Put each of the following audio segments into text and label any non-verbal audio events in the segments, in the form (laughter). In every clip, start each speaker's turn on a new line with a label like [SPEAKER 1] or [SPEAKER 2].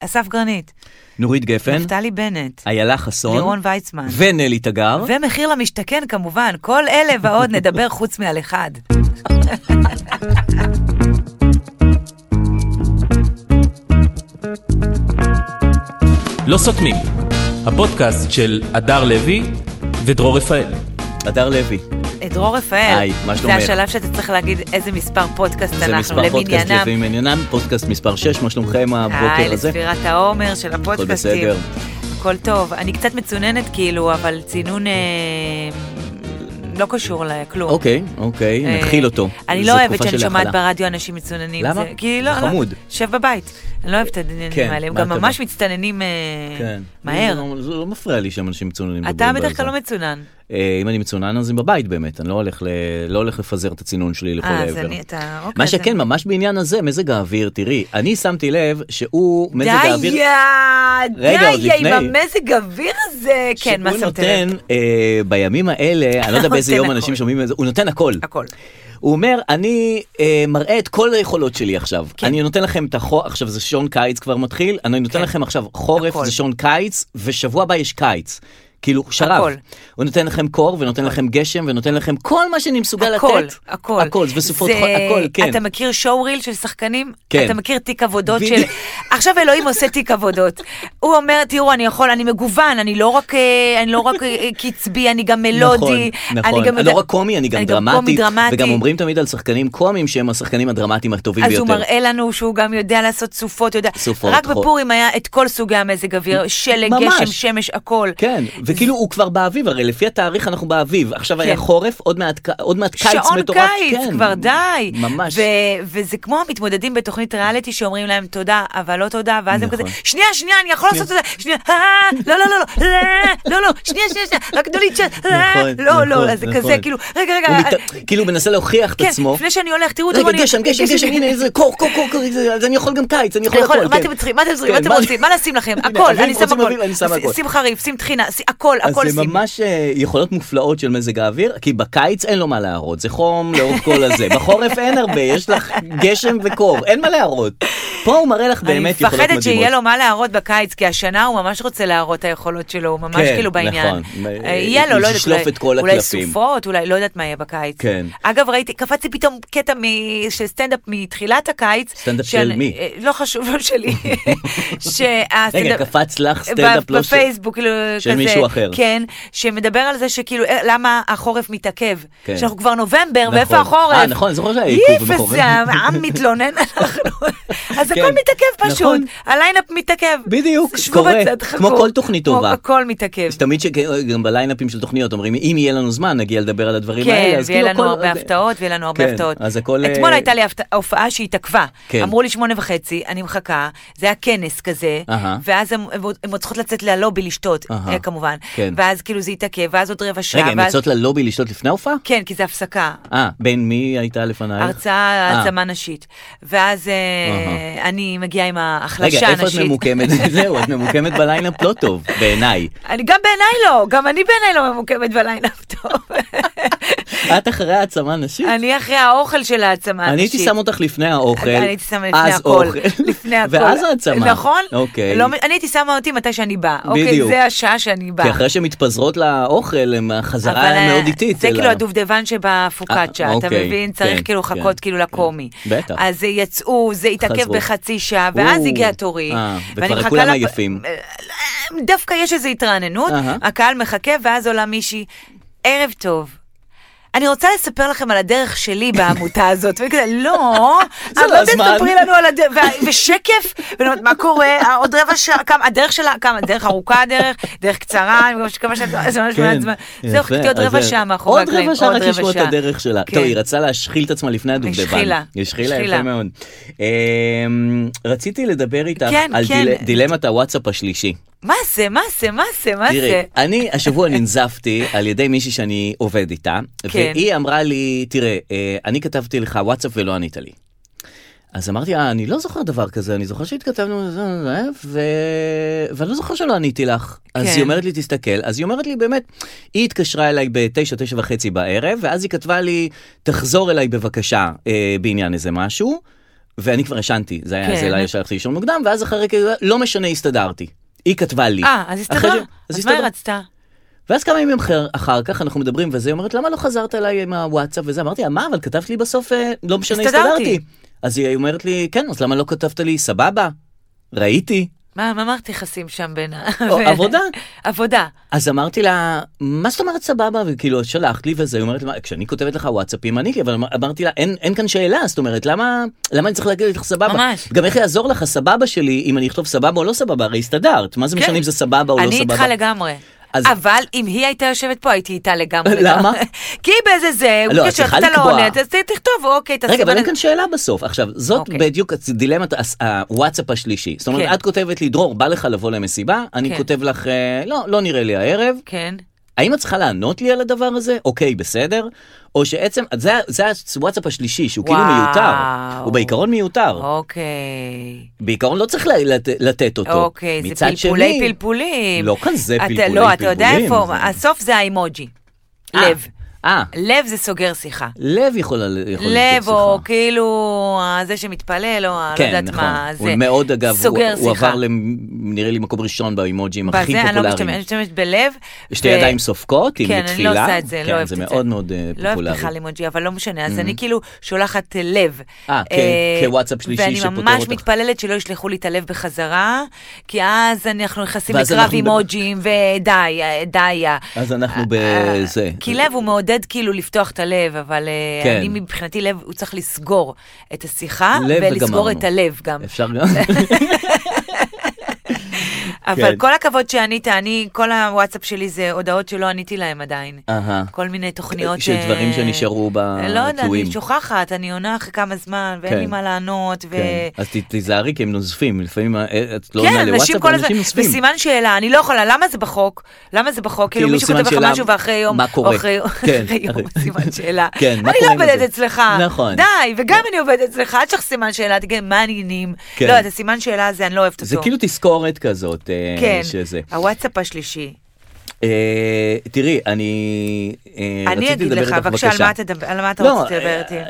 [SPEAKER 1] אסף גרנית,
[SPEAKER 2] נורית גפן,
[SPEAKER 1] נפתלי בנט,
[SPEAKER 2] איילה חסון,
[SPEAKER 1] לירון ויצמן.
[SPEAKER 2] ונלי תגר.
[SPEAKER 1] ומחיר למשתכן כמובן, כל אלה ועוד נדבר חוץ מעל אחד.
[SPEAKER 3] לא סותמים, הפודקאסט של הדר לוי ודרור רפאל.
[SPEAKER 2] הדר לוי,
[SPEAKER 1] דרור רפאל,
[SPEAKER 2] היי, מה
[SPEAKER 1] זה
[SPEAKER 2] שלומך?
[SPEAKER 1] השלב שאתה צריך להגיד איזה מספר פודקאסט
[SPEAKER 2] זה
[SPEAKER 1] אנחנו
[SPEAKER 2] מספר פודקאסט
[SPEAKER 1] למניינם.
[SPEAKER 2] לפעמים עניינם, פודקאסט מספר 6, מה שלומכם
[SPEAKER 1] היי,
[SPEAKER 2] הבוקר הזה?
[SPEAKER 1] לספירת העומר של הפודקאסטים.
[SPEAKER 2] בסדר.
[SPEAKER 1] הכל טוב. אני קצת מצוננת כאילו, אבל צינון אה, לא קשור לכלום.
[SPEAKER 2] אוקיי, אוקיי,
[SPEAKER 1] אה,
[SPEAKER 2] נכיל אותו.
[SPEAKER 1] אני
[SPEAKER 2] זו
[SPEAKER 1] לא אוהבת
[SPEAKER 2] תקופה
[SPEAKER 1] שאני
[SPEAKER 2] של
[SPEAKER 1] שומעת
[SPEAKER 2] הכלה.
[SPEAKER 1] ברדיו אנשים מצוננים.
[SPEAKER 2] למה?
[SPEAKER 1] זה- כי לא,
[SPEAKER 2] זה
[SPEAKER 1] לא.
[SPEAKER 2] חמוד.
[SPEAKER 1] שב בבית. אני לא אוהבת את העניינים
[SPEAKER 2] כן,
[SPEAKER 1] האלה. הם
[SPEAKER 2] מה
[SPEAKER 1] גם
[SPEAKER 2] אתה
[SPEAKER 1] ממש
[SPEAKER 2] בא?
[SPEAKER 1] מצטננים אה,
[SPEAKER 2] כן.
[SPEAKER 1] מהר.
[SPEAKER 2] זה לא- זה לא מפריע לי שם אנשים מצוננים.
[SPEAKER 1] אתה
[SPEAKER 2] מדברים
[SPEAKER 1] בדרך כלל
[SPEAKER 2] בזה.
[SPEAKER 1] לא מצונן.
[SPEAKER 2] אה, אם אני מצונן אז אני בבית באמת, אני לא הולך ל- לא הולך לפזר את הצינון שלי לכל
[SPEAKER 1] אה, אז
[SPEAKER 2] העבר.
[SPEAKER 1] אני, אתה, אוקיי.
[SPEAKER 2] מה
[SPEAKER 1] אז
[SPEAKER 2] שכן,
[SPEAKER 1] אני-
[SPEAKER 2] ממש בעניין הזה, מזג האוויר, תראי, אני שמתי לב שהוא מזג
[SPEAKER 1] די,
[SPEAKER 2] האוויר... רגע, עוד
[SPEAKER 1] די, עם
[SPEAKER 2] לפני.
[SPEAKER 1] המזג אוויר הזה. כן, מה שמת
[SPEAKER 2] שהוא
[SPEAKER 1] לב?
[SPEAKER 2] נותן אה, בימים האלה, אני לא
[SPEAKER 1] (laughs)
[SPEAKER 2] יודע
[SPEAKER 1] הוא
[SPEAKER 2] באיזה
[SPEAKER 1] נותן
[SPEAKER 2] יום
[SPEAKER 1] הכל.
[SPEAKER 2] אנשים שומעים את זה, הוא נותן הכל.
[SPEAKER 1] הכל.
[SPEAKER 2] הוא אומר, אני אה, מראה את כל היכולות שלי עכשיו. כן. אני נותן לכם את החורף, עכשיו זה שעון קיץ כבר מתחיל, אני נותן
[SPEAKER 1] כן.
[SPEAKER 2] כן. לכם עכשיו חורף,
[SPEAKER 1] הכל.
[SPEAKER 2] הכל. זה שעון קיץ, ושבוע הבא יש קיץ. כאילו, שרב.
[SPEAKER 1] הכל.
[SPEAKER 2] הוא נותן לכם קור, ונותן לכם גשם, ונותן לכם כל מה שאני מסוגל
[SPEAKER 1] הכל,
[SPEAKER 2] לתת.
[SPEAKER 1] הכל.
[SPEAKER 2] הכל, וסופות
[SPEAKER 1] זה-
[SPEAKER 2] חול, הכל, כן.
[SPEAKER 1] אתה מכיר שואו ריל של שחקנים?
[SPEAKER 2] כן.
[SPEAKER 1] אתה מכיר תיק עבודות של...
[SPEAKER 2] בדיוק.
[SPEAKER 1] עכשיו אלוהים עושה תיק עבודות. הוא אומר, תראו, אני יכול, אני מגוון, אני לא רק אה, אני לא רק, אה, קצבי, אני גם מלודי.
[SPEAKER 2] נכון, נכון.
[SPEAKER 1] גם
[SPEAKER 2] לא
[SPEAKER 1] יודע-
[SPEAKER 2] רק קומי, אני גם דרמטי.
[SPEAKER 1] קומי דרמטי.
[SPEAKER 2] וגם אומרים תמיד על שחקנים קומיים שהם השחקנים הדרמטיים הטובים
[SPEAKER 1] אז
[SPEAKER 2] ביותר.
[SPEAKER 1] הוא מראה לנו שהוא גם יודע לעשות סופות, יודע.
[SPEAKER 2] סופות,
[SPEAKER 1] רק
[SPEAKER 2] חול.
[SPEAKER 1] בפורים היה את כל סוגי המזג אוויר, שלג,
[SPEAKER 2] ממש.
[SPEAKER 1] גשם, שמש, הכל.
[SPEAKER 2] כן, וכאילו הוא כבר באביב, הרי לפי התאריך אנחנו באביב. עכשיו היה
[SPEAKER 1] כן.
[SPEAKER 2] חורף, עוד מעט ק- עוד מעט קיץ
[SPEAKER 1] שעון
[SPEAKER 2] מטורף.
[SPEAKER 1] קיץ,
[SPEAKER 2] כן,
[SPEAKER 1] כבר די.
[SPEAKER 2] ממש.
[SPEAKER 1] ו- וזה כמו המתמודדים בתוכנית ריאליטי שאומרים להם תודה, אבל לא תודה, ואז הם כזה,
[SPEAKER 2] נכון.
[SPEAKER 1] שנייה, שנייה, אני יכול לעשות את זה, שנייה, אה, לא, לא, לא, לא, אה, לא, לא, שנייה, שנייה, שנייה, רק תנו לי צ'אט, אה,
[SPEAKER 2] נכון,
[SPEAKER 1] לא, לא,
[SPEAKER 2] נכון,
[SPEAKER 1] אז זה כזה,
[SPEAKER 2] נכון.
[SPEAKER 1] כאילו, רגע, רגע,
[SPEAKER 2] הוא
[SPEAKER 1] אה,
[SPEAKER 2] מת- כאילו הוא מנסה להוכיח את
[SPEAKER 1] כן,
[SPEAKER 2] עצמו.
[SPEAKER 1] לפני שאני הולך, תראו,
[SPEAKER 2] רגע,
[SPEAKER 1] תראו, אני-
[SPEAKER 2] גשם, גשם, גשם, הנה, איזה קור, קור, קור, קור, זה- אז אני יכול גם קיץ, אני יכול
[SPEAKER 1] אני יכול-
[SPEAKER 2] הכל.
[SPEAKER 1] מה
[SPEAKER 2] כן.
[SPEAKER 1] אתם צריכים, מה אתם צריכים, מה
[SPEAKER 2] כן,
[SPEAKER 1] אתם רוצים, מה לשים
[SPEAKER 2] (laughs)
[SPEAKER 1] לכם,
[SPEAKER 2] הנה,
[SPEAKER 1] הכל,
[SPEAKER 2] אביב,
[SPEAKER 1] אני שם
[SPEAKER 2] רוצים
[SPEAKER 1] הכל,
[SPEAKER 2] אביב, אני שם הכל.
[SPEAKER 1] ש- שים חריף, שים טחינה, שים- הכל, הכל
[SPEAKER 2] אז זה
[SPEAKER 1] שים.
[SPEAKER 2] ממש אה, יכולות מופלאות של מזג האוויר, כי בקיץ אין לו מה להראות, זה חום לאורך כל
[SPEAKER 1] (laughs)
[SPEAKER 2] הזה. בחורף אין הרבה, יש לך גשם וקור, אין מה להראות. פה הוא מראה לך באמת יכולות מדהימות.
[SPEAKER 1] אני מפחדת שיהיה לו מה להראות בקיץ, כי השנה הוא ממש רוצה להראות את היכולות שלו, הוא ממש
[SPEAKER 2] כן,
[SPEAKER 1] כאילו בעניין.
[SPEAKER 2] נכון.
[SPEAKER 1] אה, יהיה לו, לא יודעת,
[SPEAKER 2] לשלוף
[SPEAKER 1] אולי-
[SPEAKER 2] את כל
[SPEAKER 1] אולי
[SPEAKER 2] הקלפים.
[SPEAKER 1] סופות, אולי לא יודעת מה יהיה בקיץ.
[SPEAKER 2] כן.
[SPEAKER 1] אגב, ראיתי, קפצתי פתאום קטע מ- של סטנדאפ מתחילת הקיץ.
[SPEAKER 2] סטנדאפ של מי?
[SPEAKER 1] אה, לא חשוב, לא
[SPEAKER 2] (laughs)
[SPEAKER 1] שלי. שהסטנדאפ...
[SPEAKER 2] רגע, קפץ לך
[SPEAKER 1] ב-
[SPEAKER 2] סטנדאפ לא ש-
[SPEAKER 1] בפייסבוק, כאילו,
[SPEAKER 2] של
[SPEAKER 1] כזה,
[SPEAKER 2] מישהו אחר.
[SPEAKER 1] כן, שמדבר על זה שכאילו, אה, למה החורף מתעכב.
[SPEAKER 2] כן.
[SPEAKER 1] שאנחנו כבר נובמבר,
[SPEAKER 2] נכון.
[SPEAKER 1] ואיפה החורף?
[SPEAKER 2] אה, נכון, אני זוכר שהיה עיכוב בחורף.
[SPEAKER 1] איפה
[SPEAKER 2] (laughs)
[SPEAKER 1] העם מתלונן, אנחנו... אז
[SPEAKER 2] כן.
[SPEAKER 1] הכל מתעכב
[SPEAKER 2] נכון.
[SPEAKER 1] פשוט. הליינאפ מתעכב.
[SPEAKER 2] בדיוק,
[SPEAKER 1] שבו
[SPEAKER 2] קורה,
[SPEAKER 1] בצד, חכו.
[SPEAKER 2] כמו כל תוכנית
[SPEAKER 1] כמו-
[SPEAKER 2] טובה.
[SPEAKER 1] הכל מתעכב.
[SPEAKER 2] אז תמיד שגם בליינאפים של תוכניות אומרים אם יהיה לנו זמן נגיע לדבר על הדברים האלה.
[SPEAKER 1] כן,
[SPEAKER 2] אז
[SPEAKER 1] ויהיה
[SPEAKER 2] כאילו
[SPEAKER 1] לנו
[SPEAKER 2] הכל-
[SPEAKER 1] הרבה הפתעות, ויהיה לנו הרבה
[SPEAKER 2] כן,
[SPEAKER 1] הפתעות.
[SPEAKER 2] אז הכל... אה,
[SPEAKER 1] אתמול הייתה לי הפת- הופעה שהתעכבה.
[SPEAKER 2] כן.
[SPEAKER 1] אמרו לי שמונה וחצי, אני מחכה, זה היה כנס כזה,
[SPEAKER 2] אהה.
[SPEAKER 1] ואז הם- הם עוד- הם עוד צריכות לצאת ללובי לשתות,
[SPEAKER 2] אהה.
[SPEAKER 1] אה, כמובן.
[SPEAKER 2] כן.
[SPEAKER 1] ואז כאילו זה התעכב, ואז עוד רבע שעה.
[SPEAKER 2] רגע, הן
[SPEAKER 1] ואז-
[SPEAKER 2] יוצאות ללובי לשתות לפני ההופעה?
[SPEAKER 1] כן, כי זה הפסקה.
[SPEAKER 2] אה, בין מי הייתה לפנייך?
[SPEAKER 1] הרצאה
[SPEAKER 2] אה.
[SPEAKER 1] העצמה נשית. ואז אה, אני מגיעה עם ההחלשה
[SPEAKER 2] רגע,
[SPEAKER 1] הנשית.
[SPEAKER 2] איפה את
[SPEAKER 1] (laughs)
[SPEAKER 2] ממוקמת? זהו, את ממוקמת בליינאפ לא טוב, בעיניי.
[SPEAKER 1] אני גם בעיניי לא, גם אני בעיניי לא ממוקמת בליינאפ (laughs) טוב.
[SPEAKER 2] את אחרי העצמה נשית?
[SPEAKER 1] אני אחרי האוכל של העצמה הנשית.
[SPEAKER 2] אני הייתי שם אותך לפני האוכל,
[SPEAKER 1] אני הייתי שמה לפני
[SPEAKER 2] אז
[SPEAKER 1] הכל,
[SPEAKER 2] אוכל, (laughs)
[SPEAKER 1] לפני הכל.
[SPEAKER 2] ואז העצמה.
[SPEAKER 1] נכון?
[SPEAKER 2] אוקיי.
[SPEAKER 1] לא, אני הייתי שמה אותי מתי שאני באה. אוקיי,
[SPEAKER 2] בדיוק.
[SPEAKER 1] זה השעה שאני באה.
[SPEAKER 2] כי אחרי שמתפזרות לאוכל, הם- החזרה
[SPEAKER 1] אבל,
[SPEAKER 2] היא מאוד
[SPEAKER 1] אה,
[SPEAKER 2] איטית.
[SPEAKER 1] זה
[SPEAKER 2] אליו.
[SPEAKER 1] כאילו הדובדבן שבפוקאצ'ה,
[SPEAKER 2] אה,
[SPEAKER 1] אתה
[SPEAKER 2] אוקיי,
[SPEAKER 1] מבין? צריך
[SPEAKER 2] כן,
[SPEAKER 1] כאילו
[SPEAKER 2] כן,
[SPEAKER 1] לחכות כאילו לקומי.
[SPEAKER 2] בטח.
[SPEAKER 1] אז אה, יצאו, זה התעכב
[SPEAKER 2] חזרו.
[SPEAKER 1] בחצי שעה, ואז
[SPEAKER 2] או,
[SPEAKER 1] הגיע תורי.
[SPEAKER 2] אה,
[SPEAKER 1] ואני
[SPEAKER 2] וכבר
[SPEAKER 1] מחכה
[SPEAKER 2] כולם
[SPEAKER 1] לפ-
[SPEAKER 2] עייפים.
[SPEAKER 1] אה, דווקא יש איזו התרעננות,
[SPEAKER 2] אהה.
[SPEAKER 1] הקהל מחכה, ואז עולה מישהי, ערב טוב. אני רוצה לספר לכם על הדרך שלי
[SPEAKER 2] (laughs)
[SPEAKER 1] בעמותה הזאת, וכזה, לא,
[SPEAKER 2] זה
[SPEAKER 1] אבל
[SPEAKER 2] לא הזמן."
[SPEAKER 1] תספרי לנו על הדרך, וה- ושקף, ואני אומרת, מה קורה, אה, עוד רבע שעה, כמה, הדרך שלה, כמה, דרך ארוכה הדרך, דרך קצרה, אני חושבת, כמה שאת, זה ממש מעט זמן, זהו,
[SPEAKER 2] כן, יפה,
[SPEAKER 1] חיכיתי עוד
[SPEAKER 2] אז
[SPEAKER 1] רבע
[SPEAKER 2] זה-
[SPEAKER 1] שעה מאחורי הקלעים,
[SPEAKER 2] עוד רבע שעה רק לשמוע את הדרך שלה.
[SPEAKER 1] כן.
[SPEAKER 2] טוב, היא רצה להשחיל את עצמה לפני הדובדבן.
[SPEAKER 1] השחילה.
[SPEAKER 2] השחילה,
[SPEAKER 1] השחילה.
[SPEAKER 2] יפה מאוד. אמ, רציתי לדבר איתך
[SPEAKER 1] כן,
[SPEAKER 2] על
[SPEAKER 1] כן.
[SPEAKER 2] דיל- דילמת הוואטסאפ השלישי.
[SPEAKER 1] מה זה, מה זה, מה זה, מה זה?
[SPEAKER 2] תראי, אני השבוע ננזפתי על ידי מישהי שאני עובד איתה,
[SPEAKER 1] כן.
[SPEAKER 2] והיא אמרה לי, תראה, אה, אני כתבתי לך וואטסאפ ולא ענית לי. אז אמרתי, אה, אני לא זוכר דבר כזה, אני זוכר שהתכתבנו, זה, זה, ו... ואני לא זוכר שלא עניתי לך. אז
[SPEAKER 1] כן.
[SPEAKER 2] היא אומרת לי, תסתכל. אז היא אומרת לי, באמת, היא התקשרה אליי בתשע, תשע וחצי בערב, ואז היא כתבה לי, תחזור אליי בבקשה אה, בעניין איזה משהו. ואני כבר ישנתי, זה לא היה
[SPEAKER 1] כן.
[SPEAKER 2] איזה לילה שהלכתי לישון מוקדם, ואז אחרי כזה, לא משנה, הסתדרתי. היא כתבה לי.
[SPEAKER 1] אה, אז
[SPEAKER 2] אחרי ש-
[SPEAKER 1] הסתדרה. אז מה היא רצתה?
[SPEAKER 2] ואז כמה ימים אחר, אחר כך אנחנו מדברים וזה, היא אומרת, למה לא חזרת אליי עם הוואטסאפ וזה? אמרתי לה, מה, אבל כתבת לי בסוף, אה, לא משנה,
[SPEAKER 1] הסתדרתי."
[SPEAKER 2] הסתדרתי. אז היא אומרת לי, כן, אז למה לא כתבת לי, סבבה, ראיתי.
[SPEAKER 1] מה, מה מערכת יחסים שם בין ה...
[SPEAKER 2] או, עבודה.
[SPEAKER 1] עבודה.
[SPEAKER 2] אז אמרתי לה, מה זאת אומרת סבבה? וכאילו, שלחת לי וזה, היא אומרת לי, "מה, כשאני כותבת לך וואטסאפים ענית לי, אבל אמר- אמרתי לה, אין, אין כאן שאלה, זאת אומרת, למה, למה אני צריך להגיד לך סבבה?
[SPEAKER 1] ממש.
[SPEAKER 2] גם איך יעזור לך סבבה שלי, אם אני אכתוב סבבה או לא סבבה, הרי הסתדרת, מה זה
[SPEAKER 1] כן.
[SPEAKER 2] משנה אם זה סבבה או לא
[SPEAKER 1] אני
[SPEAKER 2] סבבה?
[SPEAKER 1] איתך לגמרי.
[SPEAKER 2] אז-
[SPEAKER 1] אבל אם היא הייתה יושבת פה, הייתי איתה לגמרי. לא.
[SPEAKER 2] למה?
[SPEAKER 1] (laughs) כי באיזה זה,
[SPEAKER 2] לא,
[SPEAKER 1] הוא
[SPEAKER 2] את
[SPEAKER 1] מתקשר,
[SPEAKER 2] צריכה
[SPEAKER 1] אתה לא
[SPEAKER 2] לקבוע.
[SPEAKER 1] עונה, אז תכתוב, אוקיי, תשים
[SPEAKER 2] רגע, אבל
[SPEAKER 1] על-
[SPEAKER 2] אין כאן שאלה בסוף. עכשיו, זאת
[SPEAKER 1] אוקיי.
[SPEAKER 2] בדיוק הצ- דילמת הס- הוואטסאפ השלישי. זאת
[SPEAKER 1] כן.
[SPEAKER 2] אומרת, את כותבת לי, דרור, בא לך לבוא למסיבה,
[SPEAKER 1] כן.
[SPEAKER 2] אני כותב לך, אה, לא, לא נראה לי הערב.
[SPEAKER 1] כן.
[SPEAKER 2] האם את צריכה לענות לי על הדבר הזה? אוקיי, בסדר. או שעצם, זה- זה הוואטסאפ השלישי, שהוא כאילו
[SPEAKER 1] וואו.
[SPEAKER 2] מיותר. הוא בעיקרון מיותר.
[SPEAKER 1] אוקיי.
[SPEAKER 2] בעיקרון לא צריך ל- לת- לתת אותו.
[SPEAKER 1] אוקיי, זה
[SPEAKER 2] מצד
[SPEAKER 1] פלפולי
[SPEAKER 2] שני-
[SPEAKER 1] פלפולים.
[SPEAKER 2] לא כזה
[SPEAKER 1] אתה-
[SPEAKER 2] פלפולי
[SPEAKER 1] לא, אתה יודע
[SPEAKER 2] פלפולים,
[SPEAKER 1] איפה,
[SPEAKER 2] זה-
[SPEAKER 1] הסוף זה האימוג'י.
[SPEAKER 2] אה,
[SPEAKER 1] לב.
[SPEAKER 2] אה,
[SPEAKER 1] לב זה סוגר שיחה.
[SPEAKER 2] לב יכול ל- יכול להיות
[SPEAKER 1] לב
[SPEAKER 2] שיחה.
[SPEAKER 1] או כאילו אה, זה שמתפלל או ה- לא יודעת מה,
[SPEAKER 2] כן, נכון. הוא
[SPEAKER 1] זה
[SPEAKER 2] מאוד אגב, הוא,
[SPEAKER 1] סוגר
[SPEAKER 2] הוא
[SPEAKER 1] שיחה.
[SPEAKER 2] עבר למ- נראה לי מקום ראשון באימוג'ים הכי
[SPEAKER 1] בזה אני לא משתמשת, אני
[SPEAKER 2] פופולריים.
[SPEAKER 1] משתמשת בלב.
[SPEAKER 2] שתי
[SPEAKER 1] ו-
[SPEAKER 2] ידיים סופקות, עם
[SPEAKER 1] כן,
[SPEAKER 2] תפילה.
[SPEAKER 1] אני לא עושה את זה, לא
[SPEAKER 2] כן,
[SPEAKER 1] אוהבת את
[SPEAKER 2] זה
[SPEAKER 1] זה.
[SPEAKER 2] מאוד מאוד אה,
[SPEAKER 1] לא אוהבת
[SPEAKER 2] פופולרי. Mm.
[SPEAKER 1] בכלל אימוג'י, אבל לא משנה, אז אני כאילו שולחת אה, לב.
[SPEAKER 2] אה, כ-
[SPEAKER 1] אה,
[SPEAKER 2] כוואטסאפ שלישי שפותר
[SPEAKER 1] ואני ממש
[SPEAKER 2] אותך.
[SPEAKER 1] מתפללת שלא ישלחו לי את הלב בחזרה, כי אז אנחנו נכנסים
[SPEAKER 2] ואז
[SPEAKER 1] לקרב
[SPEAKER 2] אנחנו-
[SPEAKER 1] אימוג'ים, ודי, אה, די. אה.
[SPEAKER 2] אז אנחנו
[SPEAKER 1] אה,
[SPEAKER 2] בזה.
[SPEAKER 1] אה, כי לב הוא מעודד כאילו לפתוח את הלב, אבל אה,
[SPEAKER 2] כן.
[SPEAKER 1] אני מבחינתי לב, הוא צריך לסגור את השיחה,
[SPEAKER 2] לב
[SPEAKER 1] ולסגור
[SPEAKER 2] וגמרנו.
[SPEAKER 1] את הלב גם.
[SPEAKER 2] אפשר
[SPEAKER 1] (laughs)
[SPEAKER 2] גם? (laughs)
[SPEAKER 1] אבל
[SPEAKER 2] כן.
[SPEAKER 1] כל הכבוד שענית, אני, כל הוואטסאפ שלי זה הודעות שלא עניתי להם עדיין.
[SPEAKER 2] אהה.
[SPEAKER 1] כל מיני תוכניות...
[SPEAKER 2] אה. של
[SPEAKER 1] אה,
[SPEAKER 2] דברים שנשארו
[SPEAKER 1] אה, לא יודע,
[SPEAKER 2] בתלויים.
[SPEAKER 1] אני שוכחת, אני עונה אחרי כמה זמן, ואין
[SPEAKER 2] כן.
[SPEAKER 1] לי מה לענות, ו...
[SPEAKER 2] כן. אז ת- תיזהרי, כי הם נוזפים. לפעמים אה, את לא עונה
[SPEAKER 1] כן, אנשים
[SPEAKER 2] לוואטסאפ,
[SPEAKER 1] כל הזמן,
[SPEAKER 2] אנשים נוזפים.
[SPEAKER 1] בסימן שאלה, אני לא יכולה, למה זה בחוק? למה זה בחוק? כאילו
[SPEAKER 2] כאילו,
[SPEAKER 1] מישהו
[SPEAKER 2] סימן
[SPEAKER 1] כותב לך
[SPEAKER 2] שאלה,
[SPEAKER 1] משהו ואחרי יום,
[SPEAKER 2] מה קורה?
[SPEAKER 1] או אחרי
[SPEAKER 2] כן.
[SPEAKER 1] (laughs) אחרי יום,
[SPEAKER 2] (laughs)
[SPEAKER 1] סימן שאלה.
[SPEAKER 2] כן, מה
[SPEAKER 1] אני
[SPEAKER 2] קורה
[SPEAKER 1] לא
[SPEAKER 2] עם זה?
[SPEAKER 1] עובדת אצלך.
[SPEAKER 2] נכון.
[SPEAKER 1] די, וגם אני עובדת אצלך, אל תשכח סימן שאלה, תגיד, מה העניינים?
[SPEAKER 2] כן.
[SPEAKER 1] לא, את הסימן שאלה הזה, אני לא אוהבת
[SPEAKER 2] זה
[SPEAKER 1] אותו.
[SPEAKER 2] כאילו תזכורת כזאת, אה,
[SPEAKER 1] כן,
[SPEAKER 2] שזה.
[SPEAKER 1] הוואטסאפ השלישי.
[SPEAKER 2] אה, תראי, אני אה,
[SPEAKER 1] אני
[SPEAKER 2] רציתי
[SPEAKER 1] אגיד
[SPEAKER 2] לדבר איתך,
[SPEAKER 1] לך,
[SPEAKER 2] בבקשה.
[SPEAKER 1] בבקשה, על מה תדבר- על מה אתה
[SPEAKER 2] לא,
[SPEAKER 1] רוצה לדבר
[SPEAKER 2] אה,
[SPEAKER 1] איתי?
[SPEAKER 2] אה,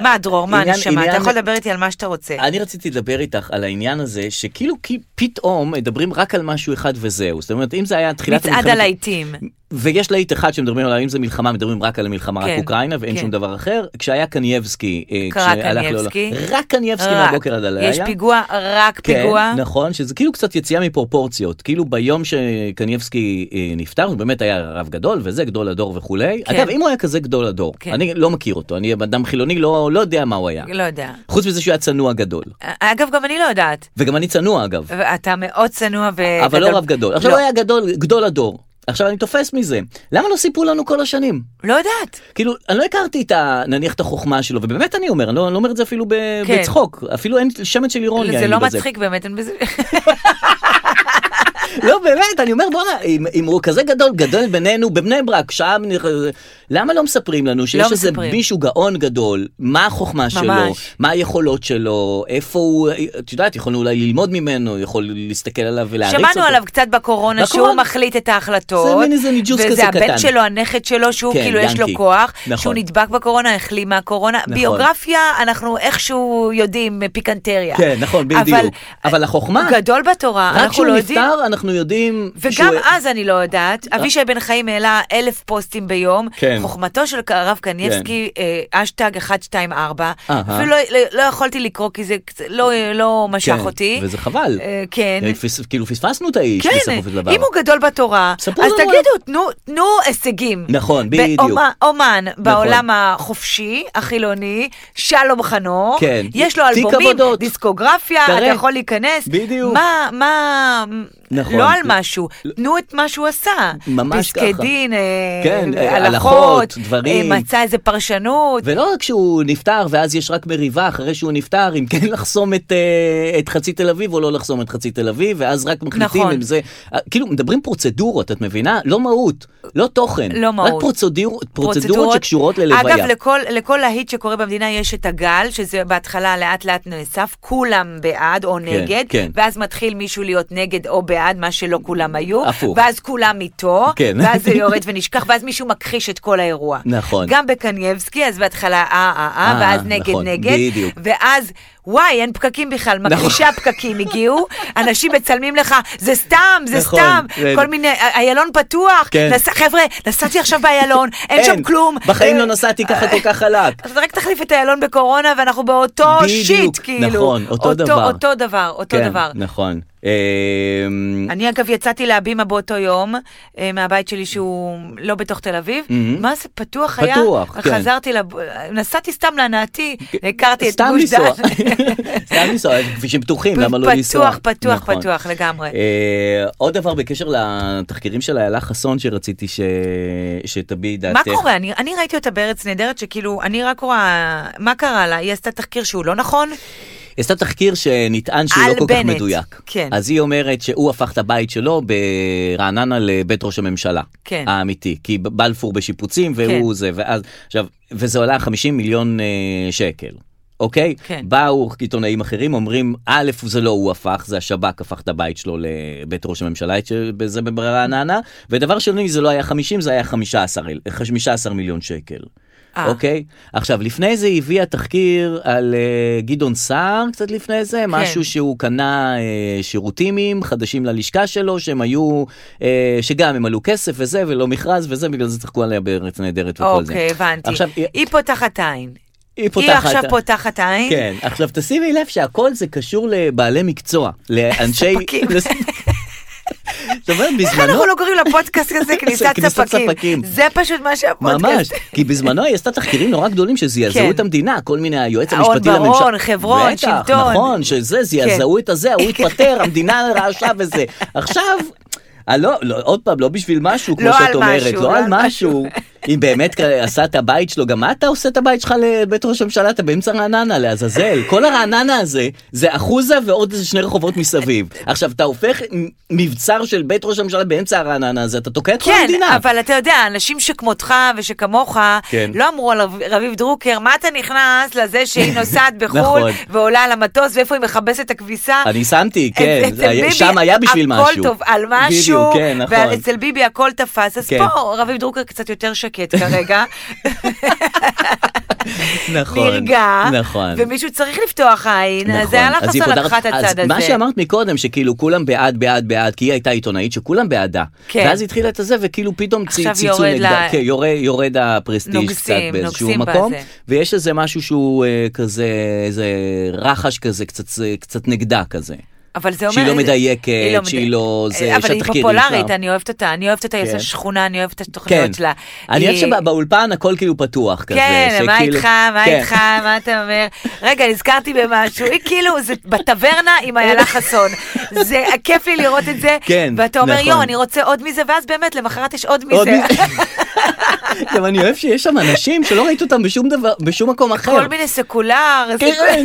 [SPEAKER 1] מה, דרור, מה,
[SPEAKER 2] עניין-
[SPEAKER 1] נשמה, אתה
[SPEAKER 2] עניין-
[SPEAKER 1] יכול לדבר איתי על מה שאתה רוצה.
[SPEAKER 2] אני רציתי לדבר איתך על העניין הזה, שכאילו כי פתאום מדברים רק על משהו אחד וזהו. זאת אומרת, אם זה היה תחילת
[SPEAKER 1] מצעד על העיתים.
[SPEAKER 2] ויש להיט אחד שמדברים עליו, אם זה מלחמה, מדברים רק על המלחמה,
[SPEAKER 1] כן,
[SPEAKER 2] רק אוקראינה, ואין
[SPEAKER 1] כן.
[SPEAKER 2] שום דבר אחר. כשהיה קנייבסקי, אה,
[SPEAKER 1] קרה
[SPEAKER 2] כשהלך
[SPEAKER 1] קנייבסקי.
[SPEAKER 2] לעולם- רק קנייבסקי
[SPEAKER 1] רק.
[SPEAKER 2] מהבוקר עד הלילה.
[SPEAKER 1] יש פיגוע, רק פיגוע.
[SPEAKER 2] כן, נכון, שזה כאילו קצת יציאה מפרופורציות. כאילו ביום שקנייבסקי אה, נפטר, הוא באמת היה רב גדול, וזה גדול הדור וכולי.
[SPEAKER 1] כן.
[SPEAKER 2] אגב, אם הוא היה כזה גדול הדור,
[SPEAKER 1] כן.
[SPEAKER 2] אני לא מכיר אותו, אני אדם חילוני, לא לא יודע מה הוא היה.
[SPEAKER 1] לא יודע.
[SPEAKER 2] חוץ מזה שהוא היה צנוע גדול.
[SPEAKER 1] אגב, גם אני לא יודעת.
[SPEAKER 2] וגם אני צנוע אגב.
[SPEAKER 1] אתה מאוד צנוע ו...
[SPEAKER 2] אבל לא רב גדול. עכשיו
[SPEAKER 1] לא,
[SPEAKER 2] הוא היה גדול, גדול הדור. עכשיו אני תופס מזה. למה לא סיפרו לנו כל השנים?
[SPEAKER 1] לא יודעת.
[SPEAKER 2] כאילו, אני לא הכרתי את ה... נניח את החוכמה שלו, ובאמת אני אומר, אני לא, אני לא אומר את זה אפילו ב...
[SPEAKER 1] כן.
[SPEAKER 2] בצחוק, אפילו אין שמץ של אירוניה.
[SPEAKER 1] זה
[SPEAKER 2] אין
[SPEAKER 1] לא
[SPEAKER 2] לי בזה.
[SPEAKER 1] מצחיק באמת, אין בזה...
[SPEAKER 2] לא, באמת, אני אומר, בואנה, אם, אם הוא כזה גדול, גדול בינינו, בבני ברק, שעה... מנ- למה לא מספרים לנו שיש
[SPEAKER 1] לא
[SPEAKER 2] איזה
[SPEAKER 1] מספרים.
[SPEAKER 2] מישהו גאון גדול, מה החוכמה שלו,
[SPEAKER 1] ממש.
[SPEAKER 2] מה היכולות שלו, איפה הוא, את יודעת, יכולנו אולי ללמוד ממנו, יכול להסתכל עליו ולהעריץ אותו.
[SPEAKER 1] שמענו עליו קצת בקורונה, שהוא
[SPEAKER 2] בקורונה.
[SPEAKER 1] מחליט את ההחלטות.
[SPEAKER 2] זה מין איזה ניג'וס כזה
[SPEAKER 1] וזה הבן
[SPEAKER 2] קטן.
[SPEAKER 1] שלו, הנכד שלו, שהוא
[SPEAKER 2] כן,
[SPEAKER 1] כאילו יש לו
[SPEAKER 2] ינקי.
[SPEAKER 1] כוח,
[SPEAKER 2] נכון.
[SPEAKER 1] שהוא נדבק בקורונה, החלים מהקורונה. ביוגרפיה, אנחנו איכשהו יודעים, פיקנטריה.
[SPEAKER 2] כן, נכון,
[SPEAKER 1] אבל-
[SPEAKER 2] בדיוק. אבל החוכמה,
[SPEAKER 1] הוא גדול בתורה,
[SPEAKER 2] רק
[SPEAKER 1] אנחנו לא
[SPEAKER 2] כשהוא
[SPEAKER 1] יודעים.
[SPEAKER 2] נפטר, אנחנו יודעים
[SPEAKER 1] וגם
[SPEAKER 2] שהוא...
[SPEAKER 1] אז אני לא יודעת, אבישי בן חיים העלה אלף פוסטים ביום,
[SPEAKER 2] אה. כן.
[SPEAKER 1] חוכמתו של הרב קניבסקי, אה, אשטג 124,
[SPEAKER 2] אהה.
[SPEAKER 1] אפילו לא, לא יכולתי לקרוא כי זה קצת- לא, לא משך
[SPEAKER 2] כן,
[SPEAKER 1] אותי.
[SPEAKER 2] וזה חבל.
[SPEAKER 1] אה, כן.
[SPEAKER 2] פס- כאילו פספסנו את האיש
[SPEAKER 1] כן,
[SPEAKER 2] בסופו של דבר.
[SPEAKER 1] אם הוא גדול בתורה, אז
[SPEAKER 2] ספרו לנו עליו.
[SPEAKER 1] תגידו, תנו, תנו הישגים.
[SPEAKER 2] נכון, בדיוק. נכון.
[SPEAKER 1] באומן- אומן בעולם החופשי, החילוני, שלום חנוך,
[SPEAKER 2] כן.
[SPEAKER 1] יש לו
[SPEAKER 2] תיק
[SPEAKER 1] אלבומים,
[SPEAKER 2] עבודות.
[SPEAKER 1] דיסקוגרפיה, אתה
[SPEAKER 2] תראה.
[SPEAKER 1] יכול להיכנס.
[SPEAKER 2] בדיוק.
[SPEAKER 1] מה, מה,
[SPEAKER 2] נכון.
[SPEAKER 1] לא על משהו, תנו את מה שהוא עשה.
[SPEAKER 2] ממש
[SPEAKER 1] פסקי
[SPEAKER 2] ככה.
[SPEAKER 1] דין, אה,
[SPEAKER 2] כן, אה,
[SPEAKER 1] הלכות,
[SPEAKER 2] הלכות, דברים.
[SPEAKER 1] אה, מצא איזה פרשנות.
[SPEAKER 2] ולא רק שהוא נפטר ואז יש רק מריבה אחרי שהוא נפטר אם כן (laughs) לחסום את, אה, את חצי תל אביב או לא לחסום את חצי תל אביב ואז רק מחליטים
[SPEAKER 1] נכון.
[SPEAKER 2] אם זה אה, כאילו מדברים פרוצדורות את מבינה לא מהות לא תוכן
[SPEAKER 1] לא
[SPEAKER 2] רק
[SPEAKER 1] מהות.
[SPEAKER 2] פרוצדור, פרוצדורות, שקשורות ללוויה.
[SPEAKER 1] אגב, לכל, לכל להיט שקורה במדינה יש את הגל, שזה בהתחלה לאט לאט נאסף, כולם בעד או נגד,
[SPEAKER 2] כן.
[SPEAKER 1] ואז מתחיל מישהו להיות נגד או בעד, מה שלא שלא כולם היו,
[SPEAKER 2] הפוך.
[SPEAKER 1] ואז כולם איתו,
[SPEAKER 2] כן.
[SPEAKER 1] ואז זה יורד ונשכח, ואז מישהו מכחיש את כל האירוע.
[SPEAKER 2] נכון.
[SPEAKER 1] גם בקנייבסקי, אז בהתחלה אה אה אה,
[SPEAKER 2] אה,
[SPEAKER 1] ואז נגד
[SPEAKER 2] נכון,
[SPEAKER 1] נגד,
[SPEAKER 2] בדיוק.
[SPEAKER 1] ואז וואי, אין פקקים בכלל,
[SPEAKER 2] נכון.
[SPEAKER 1] מכחישי הפקקים הגיעו, אנשים מצלמים לך, זה סתם, זה
[SPEAKER 2] נכון,
[SPEAKER 1] סתם,
[SPEAKER 2] זה-
[SPEAKER 1] כל מיני, "א- איילון פתוח,
[SPEAKER 2] כן.
[SPEAKER 1] "נס- חבר'ה, נסעתי עכשיו באיילון, אין שם כלום.
[SPEAKER 2] בחיים
[SPEAKER 1] אה,
[SPEAKER 2] לא נסעתי ככה כל כך חלק.
[SPEAKER 1] אז רק תחליף את איילון בקורונה ואנחנו באותו
[SPEAKER 2] בדיוק,
[SPEAKER 1] שיט, כאילו.
[SPEAKER 2] נכון, אותו דבר.
[SPEAKER 1] אותו דבר, אותו
[SPEAKER 2] כן,
[SPEAKER 1] דבר.
[SPEAKER 2] נכון. אמ,
[SPEAKER 1] אני אגב יצאתי להבימה באותו יום, אה, מהבית שלי שהוא לא בתוך תל אביב,
[SPEAKER 2] מהמם.
[SPEAKER 1] מה זה פתוח היה?
[SPEAKER 2] פתוח, כן.
[SPEAKER 1] חזרתי, לב- נסעתי סתם להנאתי, הכרתי את
[SPEAKER 2] סתם
[SPEAKER 1] גוש דן.
[SPEAKER 2] לנסוע, (laughs) סתם לנסוע, יש כבישים פתוחים, למה לא לנסוע?
[SPEAKER 1] פתוח, פתוח,
[SPEAKER 2] נכון.
[SPEAKER 1] פתוח לגמרי.
[SPEAKER 2] אה, עוד דבר בקשר לתחקירים של איילה חסון שרציתי ש- שתביעי דעתך.
[SPEAKER 1] מה קורה? אני, אני ראיתי אותה בארץ נהדרת, שכאילו, אני רק רואה, מה קרה לה? היא עשתה תחקיר שהוא לא נכון?
[SPEAKER 2] היא עשתה תחקיר שנטען שהוא
[SPEAKER 1] על
[SPEAKER 2] לא כל כך
[SPEAKER 1] בנט,
[SPEAKER 2] מדויק.
[SPEAKER 1] כן.
[SPEAKER 2] אז היא אומרת שהוא הפך את הבית שלו ברעננה לבית ראש הממשלה.
[SPEAKER 1] כן.
[SPEAKER 2] האמיתי. כי ב- בלפור בשיפוצים והוא
[SPEAKER 1] כן.
[SPEAKER 2] זה, ואז, עכשיו, וזה עולה 50 מיליון אה, שקל. אוקיי?
[SPEAKER 1] כן.
[SPEAKER 2] באו עיתונאים אחרים, אומרים, א', זה לא הוא הפך, זה השב"כ הפך את הבית שלו לבית ראש הממשלה, את ש- זה ברעננה, ודבר שני, זה לא היה 50, זה היה 15, אל- 15 מיליון שקל.
[SPEAKER 1] אה.
[SPEAKER 2] אוקיי? עכשיו, לפני זה היא הביאה תחקיר על uh, גדעון סער, קצת לפני זה, כן. משהו שהוא קנה uh, שירותים חדשים ללשכה שלו, שהם היו, uh, שגם הם עלו כסף וזה, ולא מכרז וזה, בגלל זה צחקו עליה בארץ נהדרת וכל זה.
[SPEAKER 1] אוקיי, הבנתי.
[SPEAKER 2] עכשיו, היא,
[SPEAKER 1] היא פותחת עין.
[SPEAKER 2] היא
[SPEAKER 1] היא
[SPEAKER 2] פותחת...
[SPEAKER 1] עכשיו פותחת עין.
[SPEAKER 2] כן, עכשיו תשימי לב שהכל זה קשור לבעלי מקצוע, לאנשי...
[SPEAKER 1] ספקים.
[SPEAKER 2] לס- זאת אומרת,
[SPEAKER 1] איך
[SPEAKER 2] בזמנו...
[SPEAKER 1] אנחנו לא קוראים לפודקאסט
[SPEAKER 2] (laughs)
[SPEAKER 1] הזה כניסת
[SPEAKER 2] כניסת ספקים.
[SPEAKER 1] ספקים? זה פשוט מה שהפודקאסט.
[SPEAKER 2] ממש, כי בזמנו היא עשתה תחקירים נורא גדולים שזעזעו
[SPEAKER 1] כן.
[SPEAKER 2] את המדינה, כל מיני, היועץ
[SPEAKER 1] אהרן
[SPEAKER 2] המשפטי לממשלה.
[SPEAKER 1] ברון, חברון,
[SPEAKER 2] בטח,
[SPEAKER 1] שלטון. כן.
[SPEAKER 2] נכון, שזה, זעזעו את
[SPEAKER 1] (laughs)
[SPEAKER 2] הזה, הוא התפטר, המדינה רעשה וזה. עכשיו, אה, לא, לא, עוד פעם, לא בשביל משהו, כמו
[SPEAKER 1] לא
[SPEAKER 2] שאת
[SPEAKER 1] על
[SPEAKER 2] אומרת,
[SPEAKER 1] משהו,
[SPEAKER 2] לא על משהו. (laughs) אם באמת כ- עשה את הבית שלו, גם אתה עושה את הבית שלך לבית ראש הממשלה, אתה באמצע רעננה, לעזאזל. כל הרעננה הזה, זה אחוזה ועוד איזה שני רחובות מסביב. עכשיו, אתה הופך מ- מבצר של בית ראש הממשלה באמצע הרעננה הזה, אתה תוקע את כל
[SPEAKER 1] כן,
[SPEAKER 2] המדינה.
[SPEAKER 1] אבל אתה יודע, אנשים שכמותך ושכמוך,
[SPEAKER 2] כן.
[SPEAKER 1] לא אמרו על רב- רביב דרוקר, מה אתה נכנס לזה
[SPEAKER 2] (laughs)
[SPEAKER 1] שהיא נוסעת
[SPEAKER 2] נכון.
[SPEAKER 1] בחו"ל ועולה על המטוס ואיפה היא מכבסת את הכביסה?
[SPEAKER 2] אני שמתי, כן,
[SPEAKER 1] אצל
[SPEAKER 2] זה היה-
[SPEAKER 1] ביבי
[SPEAKER 2] שם היה בשביל
[SPEAKER 1] הכל
[SPEAKER 2] משהו.
[SPEAKER 1] טוב, על
[SPEAKER 2] בדיוק,
[SPEAKER 1] משהו,
[SPEAKER 2] כן, נכון.
[SPEAKER 1] ואצל ביבי הכל תפס, אז
[SPEAKER 2] כן.
[SPEAKER 1] פה רביב דרוקר קצת יותר
[SPEAKER 2] (laughs)
[SPEAKER 1] שקט כרגע,
[SPEAKER 2] נכון,
[SPEAKER 1] נרגע,
[SPEAKER 2] נכון.
[SPEAKER 1] ומישהו צריך לפתוח עין, אז
[SPEAKER 2] נכון.
[SPEAKER 1] זה הלך
[SPEAKER 2] אז היא
[SPEAKER 1] לעשות
[SPEAKER 2] פותחת-
[SPEAKER 1] לקחה את הצד הזה.
[SPEAKER 2] אז מה שאמרת מקודם, שכאילו כולם בעד, בעד, בעד, כי היא הייתה עיתונאית שכולם בעדה.
[SPEAKER 1] כן.
[SPEAKER 2] ואז התחילה את הזה, וכאילו פתאום צי-
[SPEAKER 1] עכשיו
[SPEAKER 2] ציצו
[SPEAKER 1] יורד
[SPEAKER 2] נגדה.
[SPEAKER 1] לה-
[SPEAKER 2] כן, יורד- יורד הפרסטיג' קצת
[SPEAKER 1] נוגסים,
[SPEAKER 2] באיזשהו
[SPEAKER 1] נוגסים
[SPEAKER 2] מקום.
[SPEAKER 1] בזה.
[SPEAKER 2] ויש איזה משהו שהוא אה, כזה, איזה רחש כזה, קצת- אה, קצת נגדה כזה.
[SPEAKER 1] אבל זה אומר...
[SPEAKER 2] שהיא לא מדייקת,
[SPEAKER 1] היא
[SPEAKER 2] שהיא
[SPEAKER 1] מדי- אה,
[SPEAKER 2] לא- זה-
[SPEAKER 1] אבל היא
[SPEAKER 2] שהתחקירים
[SPEAKER 1] פופולרית,
[SPEAKER 2] שם.
[SPEAKER 1] אני אוהבת אותה, אני אוהבת אותה, היא
[SPEAKER 2] כן.
[SPEAKER 1] עושה שכונה, אני אוהבת את
[SPEAKER 2] כן.
[SPEAKER 1] התוכניות שלה.
[SPEAKER 2] אני
[SPEAKER 1] היא-
[SPEAKER 2] חושב שבאולפן הכל כאילו פתוח כזה.
[SPEAKER 1] כן, מה
[SPEAKER 2] שכאילו-
[SPEAKER 1] איתך, מה
[SPEAKER 2] כן.
[SPEAKER 1] איתך, מה אתה אומר? רגע, נזכרתי במשהו. היא כאילו, זה בטברנה
[SPEAKER 2] (laughs)
[SPEAKER 1] עם איילה חסון. זה, כיף לי לראות את זה.
[SPEAKER 2] כן,
[SPEAKER 1] ואתה אומר,
[SPEAKER 2] נכון.
[SPEAKER 1] יואו, אני רוצה עוד מזה, ואז באמת, למחרת יש עוד
[SPEAKER 2] עוד
[SPEAKER 1] מזה.
[SPEAKER 2] מ- לא, גם אני אוהב שיש שם אנשים שלא ראית אותם בשום דבר, בשום מקום אחר.
[SPEAKER 1] (laughs) כל מיני סקולר.
[SPEAKER 2] כן.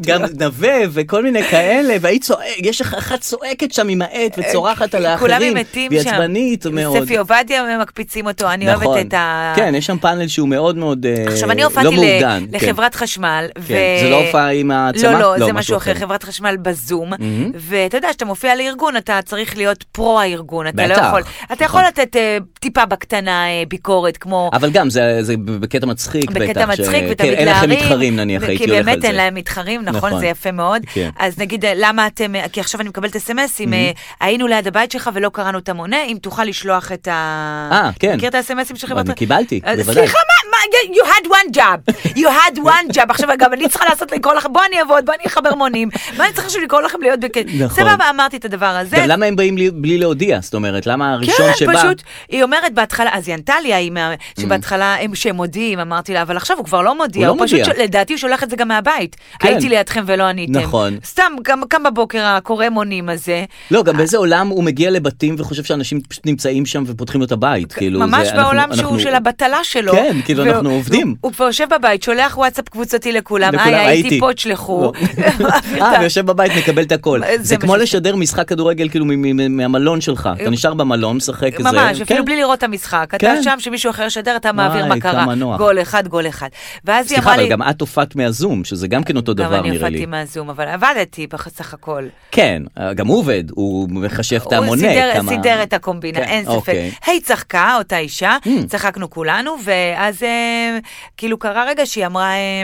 [SPEAKER 2] גם נווה וכל מיני כאלה, והיא צועקת, יש לך אחת צועקת שם עם העט וצורחת על האחרים.
[SPEAKER 1] (laughs) כולם מתים שם.
[SPEAKER 2] והיא עצבנית כן, מאוד.
[SPEAKER 1] ספי עובדיה הם מקפיצים אותו, אני
[SPEAKER 2] נכון.
[SPEAKER 1] אוהבת את ה...
[SPEAKER 2] כן, יש שם פאנל שהוא מאוד מאוד אה,
[SPEAKER 1] עכשיו, אני
[SPEAKER 2] לא
[SPEAKER 1] הופעתי ל-
[SPEAKER 2] מאורגן. כן.
[SPEAKER 1] לחברת חשמל, ו...
[SPEAKER 2] כן. זה לא הופעה עם העצמה?
[SPEAKER 1] לא, לא, זה משהו אחר, חברת חשמל בזום, ואתה יודע, כשאתה מופיע לארגון, אתה צריך להיות פרו הארגון, אתה לא
[SPEAKER 2] בטח,
[SPEAKER 1] יכול,
[SPEAKER 2] נכון.
[SPEAKER 1] אתה יכול לתת אה, טיפה בקטנה אה, ביקורת, כמו
[SPEAKER 2] אבל גם זה, זה בקטע מצחיק בטח.
[SPEAKER 1] בקטע
[SPEAKER 2] ש-
[SPEAKER 1] מצחיק, ואתה
[SPEAKER 2] כן,
[SPEAKER 1] מתלהרים.
[SPEAKER 2] אין לכם מתחרים נניח,
[SPEAKER 1] ו-
[SPEAKER 2] הייתי הולך על זה.
[SPEAKER 1] כי באמת אין להם מתחרים,
[SPEAKER 2] נכון.
[SPEAKER 1] נכון, זה יפה מאוד.
[SPEAKER 2] כן.
[SPEAKER 1] אז נגיד, אה, למה אתם, אה, כי עכשיו אני מקבלת אסמסים, אה, היינו ליד הבית שלך ולא קראנו את המונה, אם תוכל לשלוח את ה...
[SPEAKER 2] אה, כן.
[SPEAKER 1] מכיר את האסמסים של חברת...
[SPEAKER 2] אני קיבלתי,
[SPEAKER 1] אה,
[SPEAKER 2] בוודאי.
[SPEAKER 1] סליחה, מה, מה, you had one job, you had one job, עכשיו גם אני צריכה לעשות, לקרוא לכם, בוא אני אעבוד, בוא אני אחבר מונים, מה אני צריכה עכשיו לקרוא לכם להיות בקטע?
[SPEAKER 2] נכון.
[SPEAKER 1] סבבה, אמרתי את הדבר הזה.
[SPEAKER 2] גם למה הם באים לי- בלי להודיע? זאת אומרת, למה הראשון
[SPEAKER 1] כן,
[SPEAKER 2] שבא... Mm.
[SPEAKER 1] פשוט, היא אומרת בהתחלה, אז היא ענתה לי, ההיא מה- שבהתחלה הם שהם מודיעים, אמרתי לה, אבל עכשיו הוא כבר לא מודיע,
[SPEAKER 2] הוא לא
[SPEAKER 1] פשוט,
[SPEAKER 2] מודיע.
[SPEAKER 1] ש- לדעתי הוא שולח את זה גם מהבית.
[SPEAKER 2] כן.
[SPEAKER 1] הייתי לידכם ולא עניתם.
[SPEAKER 2] נכון.
[SPEAKER 1] סתם, גם קם בבוקר הקורא מונים הזה.
[SPEAKER 2] לא, גם באיזה עולם הוא מגיע לבתים וחושב שאנשים פשוט נמצאים שם ופותחים לו את הבית, כאילו...
[SPEAKER 1] כן, ממש
[SPEAKER 2] זה- אנחנו-
[SPEAKER 1] בעולם
[SPEAKER 2] אנחנו-
[SPEAKER 1] שהוא של הבטלה שלו.
[SPEAKER 2] כן, כאילו
[SPEAKER 1] והוא-
[SPEAKER 2] אנחנו אנחנו עובדים.
[SPEAKER 1] הוא כבר יושב בבית, שולח וואטסאפ קבוצתי לכולם,
[SPEAKER 2] לכולם,
[SPEAKER 1] היי, הייתי
[SPEAKER 2] הייתי." לא.
[SPEAKER 1] פה, תשלחו. (laughs)
[SPEAKER 2] אה, ויושב בבית, מקבל את הכל.
[SPEAKER 1] זה
[SPEAKER 2] זה
[SPEAKER 1] מה
[SPEAKER 2] כמו
[SPEAKER 1] שזה.
[SPEAKER 2] לשדר משחק כדורגל כאילו מ- מ- מהמלון שלך. אתה נשאר במלון, משחק את זה.
[SPEAKER 1] ממש,
[SPEAKER 2] כן.
[SPEAKER 1] אפילו בלי לראות את המשחק. אתה
[SPEAKER 2] כן.
[SPEAKER 1] שם, שמישהו אחר ישדר, אתה מעביר
[SPEAKER 2] וואי,
[SPEAKER 1] מה קרה.
[SPEAKER 2] כמה נוח.
[SPEAKER 1] גול אחד, גול אחד. ואז היא
[SPEAKER 2] סליחה,
[SPEAKER 1] אמרה לי...
[SPEAKER 2] אבל גם את הופעת מהזום, שזה גם כן אותו דבר
[SPEAKER 1] גם
[SPEAKER 2] נראה
[SPEAKER 1] אני הופעתי
[SPEAKER 2] לי.
[SPEAKER 1] מהזום, אבל עבדתי בסך הכל.
[SPEAKER 2] כן, גם הוא עובד, הוא מחשב את
[SPEAKER 1] הוא
[SPEAKER 2] המונה.
[SPEAKER 1] סידר,
[SPEAKER 2] כמה-
[SPEAKER 1] סידר את הקומבינה,
[SPEAKER 2] כן,
[SPEAKER 1] אין ספק.
[SPEAKER 2] אוקיי. Hmm.
[SPEAKER 1] היא צחקה, אותה אישה, צחקנו כולנו, ואז אה, כאילו קרה רגע שהיא אמרה... אה,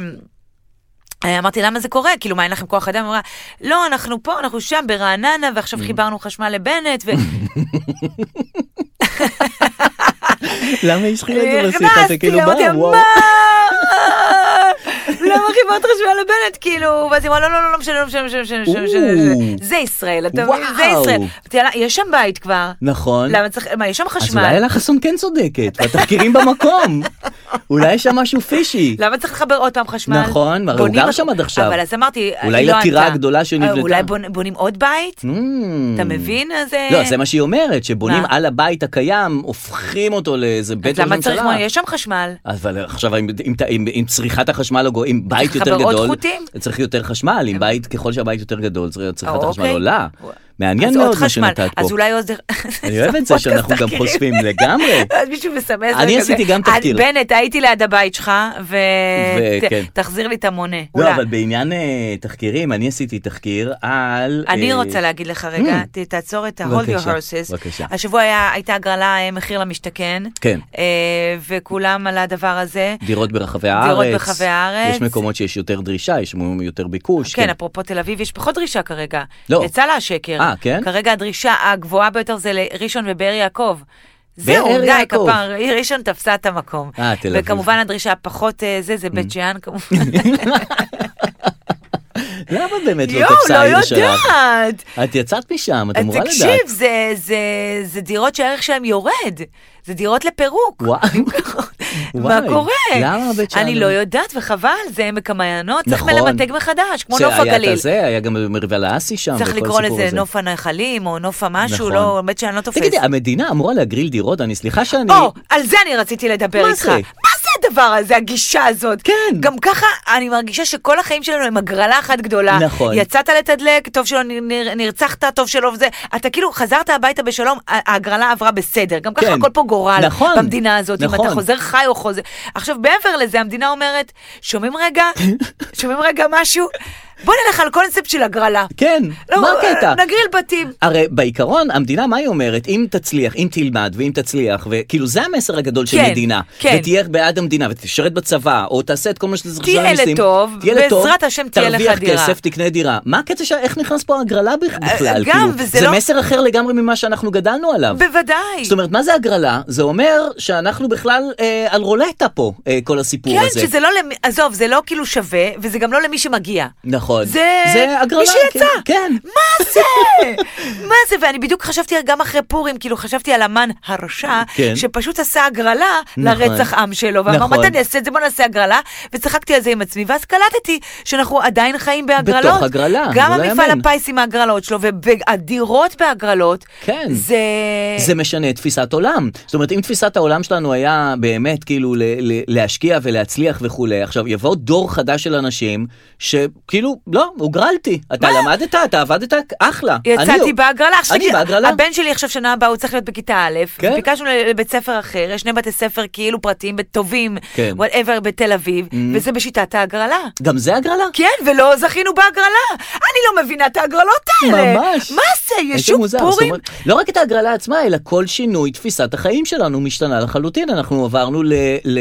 [SPEAKER 1] אה, אמרתי, למה זה קורה? כאילו, מה, אין לכם כוח אדם? היא אמרה, לא, אנחנו פה, אנחנו שם, ברעננה,
[SPEAKER 2] Hmm.
[SPEAKER 1] ועכשיו חיברנו חשמל לבנט, ו...
[SPEAKER 2] (laughs) למה היא השחילה את זה בשיחה? אתה
[SPEAKER 1] נכנסתי,
[SPEAKER 2] כאילו
[SPEAKER 1] אמרתי,
[SPEAKER 2] בא,
[SPEAKER 1] אה, מה? לא
[SPEAKER 2] וואו.
[SPEAKER 1] למה חיברת חשמל לבנט? כאילו, ואז היא אמרה, לא, לא, לא, לא משנה, לא משנה, לא משנה, לא משנה, לא משנה, לא משנה.
[SPEAKER 2] או.
[SPEAKER 1] זה ישראל, אתה מבין? זה
[SPEAKER 2] וואו.
[SPEAKER 1] ישראל. אמרתי לה, יש שם בית כבר.
[SPEAKER 2] נכון.
[SPEAKER 1] למה צריך, מה, יש שם
[SPEAKER 2] אז אולי
[SPEAKER 1] חשמל?
[SPEAKER 2] אלה חסון כן צודקת, והתחקירים במקום. אולי יש שם משהו פישי.
[SPEAKER 1] למה צריך לחבר עוד פעם חשמל?
[SPEAKER 2] נכון, הרי הוא
[SPEAKER 1] בונים
[SPEAKER 2] גר
[SPEAKER 1] עוד-
[SPEAKER 2] שם עד עכשיו.
[SPEAKER 1] אבל אז אמרתי,
[SPEAKER 2] אולי
[SPEAKER 1] היא לא
[SPEAKER 2] לטירה
[SPEAKER 1] ענתה.
[SPEAKER 2] הגדולה שנבנתה.
[SPEAKER 1] אה, אולי בונ- בונים עוד בית?
[SPEAKER 2] Mm.
[SPEAKER 1] אתה מבין? אז... אה,
[SPEAKER 2] לא, זה מה שהיא אומרת, שבונים
[SPEAKER 1] מה?
[SPEAKER 2] על הבית הקיים, הופכים אותו לאיזה בית
[SPEAKER 1] אז
[SPEAKER 2] ראש
[SPEAKER 1] למה צריך,
[SPEAKER 2] ממשלה.
[SPEAKER 1] יש שם חשמל.
[SPEAKER 2] אבל עכשיו, אם, אם, אם, אם צריכת החשמל, או אם בית
[SPEAKER 1] צריך
[SPEAKER 2] יותר
[SPEAKER 1] לחבר עוד
[SPEAKER 2] גדול,
[SPEAKER 1] חוטים?
[SPEAKER 2] צריך יותר חשמל, אם בית, ככל שהבית יותר גדול, צריך- צריכת
[SPEAKER 1] אה,
[SPEAKER 2] החשמל
[SPEAKER 1] אוקיי.
[SPEAKER 2] עולה. מעניין
[SPEAKER 1] אז עוד
[SPEAKER 2] מאוד מה
[SPEAKER 1] חשמל.
[SPEAKER 2] שנתת פה.
[SPEAKER 1] אז אולי עוד... (laughs)
[SPEAKER 2] אני אוהב את זה שאנחנו גם חושפים לגמרי.
[SPEAKER 1] אז מישהו מסמס.
[SPEAKER 2] אני
[SPEAKER 1] וכזה,
[SPEAKER 2] עשיתי גם
[SPEAKER 1] "אה,
[SPEAKER 2] תחקיר."
[SPEAKER 1] בנט, הייתי ליד הבית שלך,
[SPEAKER 2] וכן.
[SPEAKER 1] ותחזיר לי את המונה. (laughs) אולי.
[SPEAKER 2] לא, אבל בעניין אה, תחקירים, אני עשיתי תחקיר על...
[SPEAKER 1] אני
[SPEAKER 2] אה,
[SPEAKER 1] רוצה להגיד לך רגע,
[SPEAKER 2] Mm.
[SPEAKER 1] ת- תעצור את ה-hold your
[SPEAKER 2] בבקשה,
[SPEAKER 1] horses.
[SPEAKER 2] בבקשה.
[SPEAKER 1] השבוע היה- הייתה הגרלה אה, מחיר למשתכן.
[SPEAKER 2] כן.
[SPEAKER 1] אה, וכולם על הדבר הזה.
[SPEAKER 2] דירות ברחבי
[SPEAKER 1] דירות
[SPEAKER 2] הארץ.
[SPEAKER 1] ברחבי הארץ.
[SPEAKER 2] יש מקומות שיש יותר דרישה, יש מ- יותר ביקוש.
[SPEAKER 1] כן, אפרופו תל אביב, יש פחות דרישה כרגע.
[SPEAKER 2] לא.
[SPEAKER 1] יצא לה השקר.
[SPEAKER 2] אה, כן?
[SPEAKER 1] כרגע הדרישה הגבוהה ביותר זה לראשון ובאר יעקב. זהו,
[SPEAKER 2] באר
[SPEAKER 1] די,
[SPEAKER 2] יעקב.
[SPEAKER 1] כפר, ראשון תפסה את המקום.
[SPEAKER 2] אה, תל אביב. Mm.
[SPEAKER 1] וכמובן הדרישה הפחות אה, זה, זה בית שאן כמובן.
[SPEAKER 2] למה באמת לא
[SPEAKER 1] יואו, לא
[SPEAKER 2] תפסה העיר שלך?
[SPEAKER 1] יודעת.
[SPEAKER 2] את יצאת משם, את
[SPEAKER 1] אז
[SPEAKER 2] אמורה לדעת.
[SPEAKER 1] אה, (laughs) תקשיב, זה- זה- זה דירות שהערך שלהן יורד. זה דירות לפירוק.
[SPEAKER 2] וואי.
[SPEAKER 1] מה
[SPEAKER 2] וואי,
[SPEAKER 1] קורה?
[SPEAKER 2] למה בית שאן?
[SPEAKER 1] אני לא יודעת, וחבל, זה עמק המעיינות, לא- צריך
[SPEAKER 2] נכון.
[SPEAKER 1] מלמתג מחדש, כמו נוף
[SPEAKER 2] שהיה
[SPEAKER 1] הגליל.
[SPEAKER 2] את הזה, היה גם מרבל האסי שם.
[SPEAKER 1] צריך
[SPEAKER 2] וכל
[SPEAKER 1] לקרוא
[SPEAKER 2] הסיפור
[SPEAKER 1] לזה
[SPEAKER 2] הזה.
[SPEAKER 1] נוף הנחלים, או נוף המשהו,
[SPEAKER 2] נכון.
[SPEAKER 1] לא, האמת שאני לא תופס.
[SPEAKER 2] תגידי, המדינה אמורה להגריל דירות? אני, סליחה שאני...
[SPEAKER 1] או, על זה אני רציתי לדבר
[SPEAKER 2] מה
[SPEAKER 1] איתך.
[SPEAKER 2] זה?
[SPEAKER 1] מה זה הדבר הזה, הגישה הזאת?
[SPEAKER 2] כן.
[SPEAKER 1] גם ככה, אני מרגישה שכל החיים שלנו הם הגרלה אחת גדולה.
[SPEAKER 2] נכון.
[SPEAKER 1] יצאת לתדלק, טוב שלא נ- נ- נרצחת, טוב שלא זה. אתה כאילו חזרת הביתה בשלום, ה- ההגרלה עברה בסדר. גם ככה
[SPEAKER 2] כן.
[SPEAKER 1] הכל פה גורל
[SPEAKER 2] נכון.
[SPEAKER 1] במדינה הזאת, אם
[SPEAKER 2] נכון.
[SPEAKER 1] אתה חוזר חי או חוזר. עכשיו, מעבר לזה, המדינה אומרת, שומעים
[SPEAKER 2] (laughs)
[SPEAKER 1] רגע? שומעים רגע משהו? בוא נלך על קונספט של הגרלה.
[SPEAKER 2] כן,
[SPEAKER 1] לא,
[SPEAKER 2] מה הקטע?
[SPEAKER 1] נגריל בתים.
[SPEAKER 2] הרי בעיקרון המדינה מה היא אומרת אם תצליח אם תלמד ואם תצליח וכאילו זה המסר הגדול של
[SPEAKER 1] כן,
[SPEAKER 2] מדינה
[SPEAKER 1] כן.
[SPEAKER 2] ותהיה בעד המדינה ותשרת בצבא או תעשה את כל מה שזה
[SPEAKER 1] תהיה לטוב, בעזרת השם תהיה לך דירה. אה,
[SPEAKER 2] תרוויח כסף תקנה דירה מה הקטע ש... איך נכנס פה הגרלה בכ- בכלל
[SPEAKER 1] גם,
[SPEAKER 2] כאילו
[SPEAKER 1] וזה
[SPEAKER 2] זה
[SPEAKER 1] לא-
[SPEAKER 2] מסר אחר לגמרי ממה שאנחנו גדלנו עליו.
[SPEAKER 1] בוודאי.
[SPEAKER 2] זאת אומרת, מה זה הגרלה? זה אומר שאנחנו בכלל אה, על רולטה פה, אה, כל הסיפור
[SPEAKER 1] כן,
[SPEAKER 2] הזה.
[SPEAKER 1] שזה לא, למי- עזוב, זה לא כאילו שווה, וזה גם לא למי שמגיע.
[SPEAKER 2] נכון.
[SPEAKER 1] זה,
[SPEAKER 2] זה הגרלה.
[SPEAKER 1] מי שיצא.
[SPEAKER 2] כן, כן.
[SPEAKER 1] מה זה? מה זה? ואני בדיוק חשבתי גם אחרי פורים, כאילו חשבתי על המן הרשע,
[SPEAKER 2] כן.
[SPEAKER 1] שפשוט עשה הגרלה
[SPEAKER 2] נכון.
[SPEAKER 1] לרצח עם שלו, ואמר,
[SPEAKER 2] נכון.
[SPEAKER 1] מתי אני אעשה את זה? בוא נעשה הגרלה, וצחקתי על זה עם עצמי, ואז קלטתי שאנחנו עדיין חיים בהגרלות.
[SPEAKER 2] בתוך הגרלה,
[SPEAKER 1] גם
[SPEAKER 2] זה לא
[SPEAKER 1] המפעל
[SPEAKER 2] יאמן.
[SPEAKER 1] הפיס עם ההגרלות שלו, והדירות בהגרלות.
[SPEAKER 2] כן.
[SPEAKER 1] זה...
[SPEAKER 2] זה משנה את תפיסת עולם. זאת אומרת, אם תפיסת העולם שלנו היה באמת כאילו ל- ל- להשקיע ולהצליח וכולי, עכשיו יבוא דור חדש של אנשים שכאילו, לא, הוגרלתי. אתה למדת, אתה עבדת, אחלה.
[SPEAKER 1] יצאתי
[SPEAKER 2] אני- לא-
[SPEAKER 1] בהגרלה. עכשיו,
[SPEAKER 2] אני בהגרלה.
[SPEAKER 1] הבן שלי עכשיו שנה הבאה, הוא צריך להיות בכיתה א',
[SPEAKER 2] כן.
[SPEAKER 1] ביקשנו לבית ספר אחר, יש שני בתי ספר כאילו פרטיים טובים,
[SPEAKER 2] כן. Mm-hmm.
[SPEAKER 1] whatever, בתל אביב, וזה בשיטת ההגרלה.
[SPEAKER 2] גם זה הגרלה?
[SPEAKER 1] כן, ולא זכינו בהגרלה. אני לא מבינה את ההגרלות האלה.
[SPEAKER 2] ממש.
[SPEAKER 1] מה זה,
[SPEAKER 2] איזה
[SPEAKER 1] ישוב
[SPEAKER 2] מוזר, זאת
[SPEAKER 1] פורים?
[SPEAKER 2] אומרת, לא רק את ההגרלה עצמה, אלא כל שינוי תפיסת החיים שלנו משתנה לחלוטין. אנחנו עברנו ל- ל-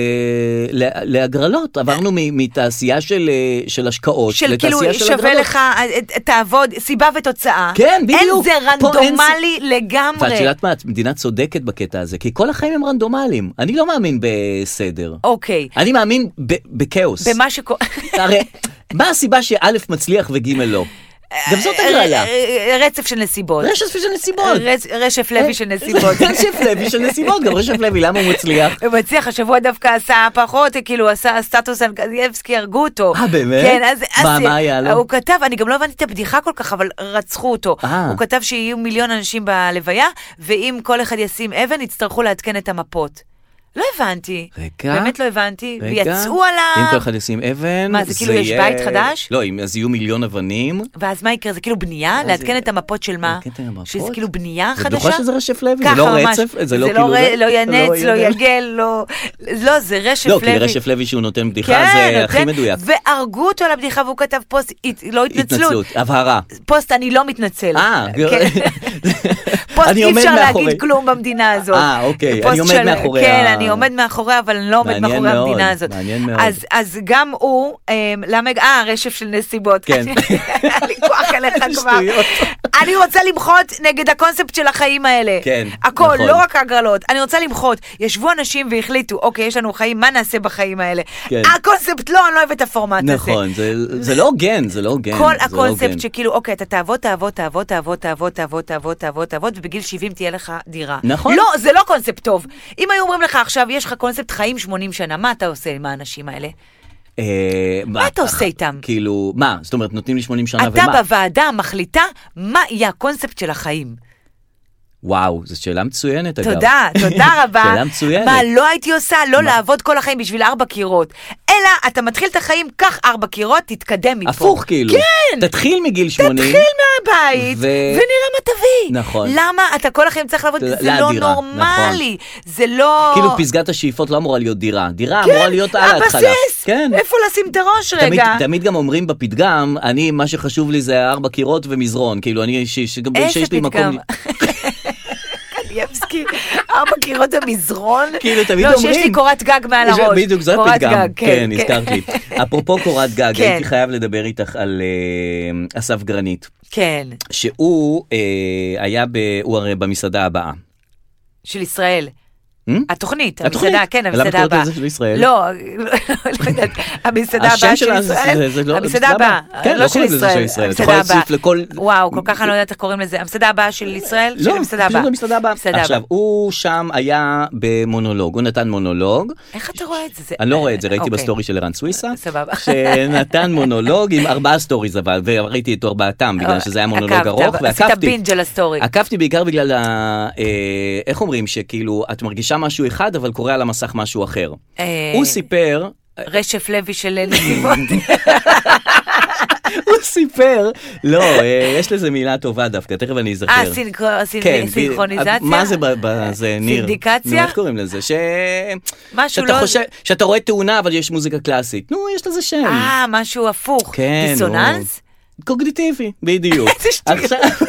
[SPEAKER 2] ל- להגרלות, עברנו מ- מתעשייה של אה, של השקעות
[SPEAKER 1] של
[SPEAKER 2] לתעשייה
[SPEAKER 1] כאילו
[SPEAKER 2] של הגרלות.
[SPEAKER 1] שווה לך, אה, אה, תעבוד, סיבה ותוצאה.
[SPEAKER 2] כן, בדיוק.
[SPEAKER 1] אין זה
[SPEAKER 2] פה אין
[SPEAKER 1] רנדומלי
[SPEAKER 2] ואת
[SPEAKER 1] לגמרי.
[SPEAKER 2] יודעת מה, המדינה צודקת בקטע הזה, כי כל החיים הם רנדומליים. אני לא מאמין בסדר.
[SPEAKER 1] אוקיי,
[SPEAKER 2] אני מאמין ב- בכאוס.
[SPEAKER 1] במה שקורה...
[SPEAKER 2] הרי, מה הסיבה שא' מצליח וג' לא? גם זאת
[SPEAKER 1] אה,
[SPEAKER 2] הגרלה.
[SPEAKER 1] (laughs) רצף של נסיבות.
[SPEAKER 2] רשף של נסיבות.
[SPEAKER 1] רצ- רשף
[SPEAKER 2] אה,
[SPEAKER 1] לוי של
[SPEAKER 2] (laughs)
[SPEAKER 1] נסיבות.
[SPEAKER 2] רשף לוי של נסיבות, גם רשף לוי, למה הוא
[SPEAKER 1] (laughs)
[SPEAKER 2] מצליח?
[SPEAKER 1] הוא מצליח, השבוע דווקא עשה פחות, כאילו עשה סטטוס על גזייבסקי, הרגו אותו.
[SPEAKER 2] אה, באמת?
[SPEAKER 1] כן, אז...
[SPEAKER 2] מה,
[SPEAKER 1] אז-
[SPEAKER 2] מה היה לו?
[SPEAKER 1] הוא כתב, אני גם לא הבנתי את הבדיחה כל כך, אבל רצחו אותו.
[SPEAKER 2] אה.
[SPEAKER 1] הוא כתב שיהיו מיליון אנשים בלוויה, ואם כל אחד ישים אבן, יצטרכו לעדכן את המפות. לא הבנתי.
[SPEAKER 2] רגע.
[SPEAKER 1] באמת לא הבנתי,
[SPEAKER 2] רגע.
[SPEAKER 1] ויצאו עליו.
[SPEAKER 2] אם כל אחד ישים אבן,
[SPEAKER 1] מה, זה כאילו יש בית חדש?
[SPEAKER 2] לא, אם- אז יהיו מיליון אבנים.
[SPEAKER 1] ואז מה יקרה? זה כאילו בנייה?
[SPEAKER 2] אה, זה-
[SPEAKER 1] לעדכן את המפות של מה?
[SPEAKER 2] לעדכן את המפות?
[SPEAKER 1] שזה כאילו בנייה
[SPEAKER 2] את
[SPEAKER 1] חדשה?
[SPEAKER 2] בטוחה שזה רשף לוי?
[SPEAKER 1] ככה
[SPEAKER 2] זה לא
[SPEAKER 1] ממש.
[SPEAKER 2] רצף? זה לא כאילו...
[SPEAKER 1] ר- לא יהיה נץ, לא
[SPEAKER 2] יהיה-
[SPEAKER 1] יגל, לא... לא, זה רשף לוי.
[SPEAKER 2] לא, כי רשף לוי שהוא נותן בדיחה
[SPEAKER 1] כן,
[SPEAKER 2] זה
[SPEAKER 1] נותן-
[SPEAKER 2] אה, הכי מדויק.
[SPEAKER 1] והרגו אותו על הבדיחה והוא כתב פוסט, הת- לא התנצלות.
[SPEAKER 2] התנצלות, הבהרה.
[SPEAKER 1] פוסט אני לא מתנצל.
[SPEAKER 2] אה,
[SPEAKER 1] (laughs) כן. פוסט
[SPEAKER 2] אני
[SPEAKER 1] אי
[SPEAKER 2] עומד
[SPEAKER 1] אפשר
[SPEAKER 2] מאחורי.
[SPEAKER 1] להגיד כלום במדינה הזאת.
[SPEAKER 2] אה, אוקיי,
[SPEAKER 1] פוסט
[SPEAKER 2] אני עומד
[SPEAKER 1] של-
[SPEAKER 2] מאחורי
[SPEAKER 1] כן,
[SPEAKER 2] ה-
[SPEAKER 1] אני עומד מאחורי, אבל אני לא עומד
[SPEAKER 2] מעניין
[SPEAKER 1] מאחורי
[SPEAKER 2] מאוד,
[SPEAKER 1] המדינה הזאת.
[SPEAKER 2] מעניין מאוד.
[SPEAKER 1] אז- אז גם הוא, אמ, למה, אה, רשף של נסיבות. (laughs)
[SPEAKER 2] כן.
[SPEAKER 1] היה לי כוח
[SPEAKER 2] (laughs)
[SPEAKER 1] אליך
[SPEAKER 2] איזה
[SPEAKER 1] כבר.
[SPEAKER 2] שטויות.
[SPEAKER 1] אני רוצה למחות נגד הקונספט של החיים האלה.
[SPEAKER 2] כן,
[SPEAKER 1] הכל,
[SPEAKER 2] נכון.
[SPEAKER 1] לא רק הגרלות. אני רוצה למחות. ישבו אנשים והחליטו, אוקיי, יש לנו חיים, מה נעשה בחיים האלה?
[SPEAKER 2] כן.
[SPEAKER 1] הקונספט, לא, אני לא אוהבת את הפורמט הזה.
[SPEAKER 2] נכון, זה- זה לא הוגן, זה לא הוגן.
[SPEAKER 1] כל
[SPEAKER 2] זה לא הוגן.
[SPEAKER 1] הקונספט שכאילו, אוקיי, אתה תעבוד, תעבוד, תעבוד, תעבוד, תעבוד, תעבוד, תעבוד, תעבוד, תעבוד, ובגיל 70 תהיה לך דירה.
[SPEAKER 2] נכון.
[SPEAKER 1] לא, זה לא קונספט טוב. אם היו אומרים לך עכשיו, יש לך קונספט חיים 80 שנה, מה אתה עושה עם האנשים האלה?
[SPEAKER 2] אה,
[SPEAKER 1] מה אתה עושה איתם?
[SPEAKER 2] כאילו, מה? זאת אומרת, נותנים לי 80 שנה
[SPEAKER 1] אתה
[SPEAKER 2] ומה?
[SPEAKER 1] בוועדה מחליטה מה יהיה הקונספט של החיים.
[SPEAKER 2] וואו, זו שאלה מצוינת, אגב.
[SPEAKER 1] תודה,
[SPEAKER 2] (laughs)
[SPEAKER 1] תודה רבה.
[SPEAKER 2] שאלה מצוינת.
[SPEAKER 1] מה לא הייתי עושה? לא לעבוד כל החיים בשביל ארבע קירות. אלא, אתה מתחיל את החיים, קח ארבע קירות, תתקדם מפה.
[SPEAKER 2] הפוך, כאילו.
[SPEAKER 1] כן!
[SPEAKER 2] תתחיל מגיל 80.
[SPEAKER 1] תתחיל מהבית,
[SPEAKER 2] ו-
[SPEAKER 1] ו... ונראה מה תביא.
[SPEAKER 2] נכון.
[SPEAKER 1] למה אתה כל החיים צריך לעבוד?
[SPEAKER 2] ל-
[SPEAKER 1] זה לא
[SPEAKER 2] לדירה,
[SPEAKER 1] נורמלי. זה לא...
[SPEAKER 2] כאילו פסגת השאיפות לא אמורה להיות דירה, דירה אמורה להיות על ההתחלה.
[SPEAKER 1] כן, הבסיס!
[SPEAKER 2] כן.
[SPEAKER 1] איפה לשים את הראש
[SPEAKER 2] תמיד,
[SPEAKER 1] רגע? (laughs)
[SPEAKER 2] תמיד גם אומרים בפתגם, אני, מה שחשוב לי זה ארבע קירות ומזרון, כאילו, אני, ש, ש, גם
[SPEAKER 1] איזה
[SPEAKER 2] שיש לי
[SPEAKER 1] פתגם?
[SPEAKER 2] מקום,
[SPEAKER 1] קניבסקי, ארבע קירות המזרון.
[SPEAKER 2] כאילו, תמיד
[SPEAKER 1] לא, שיש
[SPEAKER 2] אומרים-
[SPEAKER 1] לי קורת גג מעל
[SPEAKER 2] זה-
[SPEAKER 1] הראש.
[SPEAKER 2] בדיוק, זה
[SPEAKER 1] קורת
[SPEAKER 2] הפתגם.
[SPEAKER 1] גג,
[SPEAKER 2] כן, הזכרת לי. אפרופו קורת גג,
[SPEAKER 1] כן.
[SPEAKER 2] הייתי חייב לדבר איתך על אה, אסף גרנית,
[SPEAKER 1] כן,
[SPEAKER 2] שהוא אה, היה, ב, הוא הרי במסעדה הבאה.
[SPEAKER 1] של ישראל.
[SPEAKER 2] Hmm?
[SPEAKER 1] התוכנית,
[SPEAKER 2] התוכנית.
[SPEAKER 1] המסעדה, כן,
[SPEAKER 2] למה את
[SPEAKER 1] המסעדה
[SPEAKER 2] קוראת
[SPEAKER 1] הבאה.
[SPEAKER 2] לזה של ישראל?
[SPEAKER 1] לא, לא יודעת, המסעדה
[SPEAKER 2] השם
[SPEAKER 1] הבאה של
[SPEAKER 2] שלה זה-
[SPEAKER 1] ישראל.
[SPEAKER 2] זה- זה לא-
[SPEAKER 1] המסעדה
[SPEAKER 2] למה?
[SPEAKER 1] הבאה,
[SPEAKER 2] כן,
[SPEAKER 1] לא
[SPEAKER 2] לא
[SPEAKER 1] של
[SPEAKER 2] קוראים לזה של
[SPEAKER 1] ישראל,
[SPEAKER 2] ישראל, אתה
[SPEAKER 1] המסעדה
[SPEAKER 2] יכול להוסיף
[SPEAKER 1] הבאה.
[SPEAKER 2] לכל-
[SPEAKER 1] וואו, כל כך אני לא יודעת איך קוראים לזה. המסעדה הבאה של ישראל, של המסעדה
[SPEAKER 2] פשוט
[SPEAKER 1] הבאה.
[SPEAKER 2] לא, במסעדה הבאה.
[SPEAKER 1] המסעדה
[SPEAKER 2] עכשיו, הוא שם היה במונולוג, הוא נתן מונולוג,
[SPEAKER 1] איך אתה רואה את זה? זה?
[SPEAKER 2] אני לא רואה את זה, ראיתי
[SPEAKER 1] אוקיי.
[SPEAKER 2] בסטורי של ערן סוויסה,
[SPEAKER 1] סבבה.
[SPEAKER 2] שנתן מונולוג עם ארבעה סטוריז אבל, וראיתי את ארבעתם בגלל שזה היה מונולוג
[SPEAKER 1] עקבת,
[SPEAKER 2] ארוך,
[SPEAKER 1] אה, אבל עשית
[SPEAKER 2] ועקבתי.
[SPEAKER 1] בינג' על הסטורי.
[SPEAKER 2] עקבתי בעיקר בגלל, ה- אה, איך אומרים, שכאילו, את מרגישה משהו אחד, אבל קורה על המסך משהו אחר.
[SPEAKER 1] אה,
[SPEAKER 2] הוא סיפר,
[SPEAKER 1] רשף לוי של
[SPEAKER 2] (laughs)
[SPEAKER 1] נסיבות.
[SPEAKER 2] הוא סיפר, לא, אה, יש לזה מילה טובה דווקא, תכף אני אזכר.
[SPEAKER 1] אה, סינכרו- סינ-
[SPEAKER 2] כן,
[SPEAKER 1] סינכרוניזציה?
[SPEAKER 2] ב- מה זה ב- ב- זה, ניר?
[SPEAKER 1] סינדיקציה?
[SPEAKER 2] נו, איך קוראים לזה? ש...
[SPEAKER 1] משהו
[SPEAKER 2] שאתה
[SPEAKER 1] לא-
[SPEAKER 2] חושב, שאתה רואה תאונה אבל יש מוזיקה קלאסית. נו, יש לזה שם.
[SPEAKER 1] אה, משהו הפוך.
[SPEAKER 2] כן,
[SPEAKER 1] דיסוננס?
[SPEAKER 2] או- קוגניטיבי, בדיוק.
[SPEAKER 1] (laughs) איזה שטויות.
[SPEAKER 2] עכשיו- (laughs)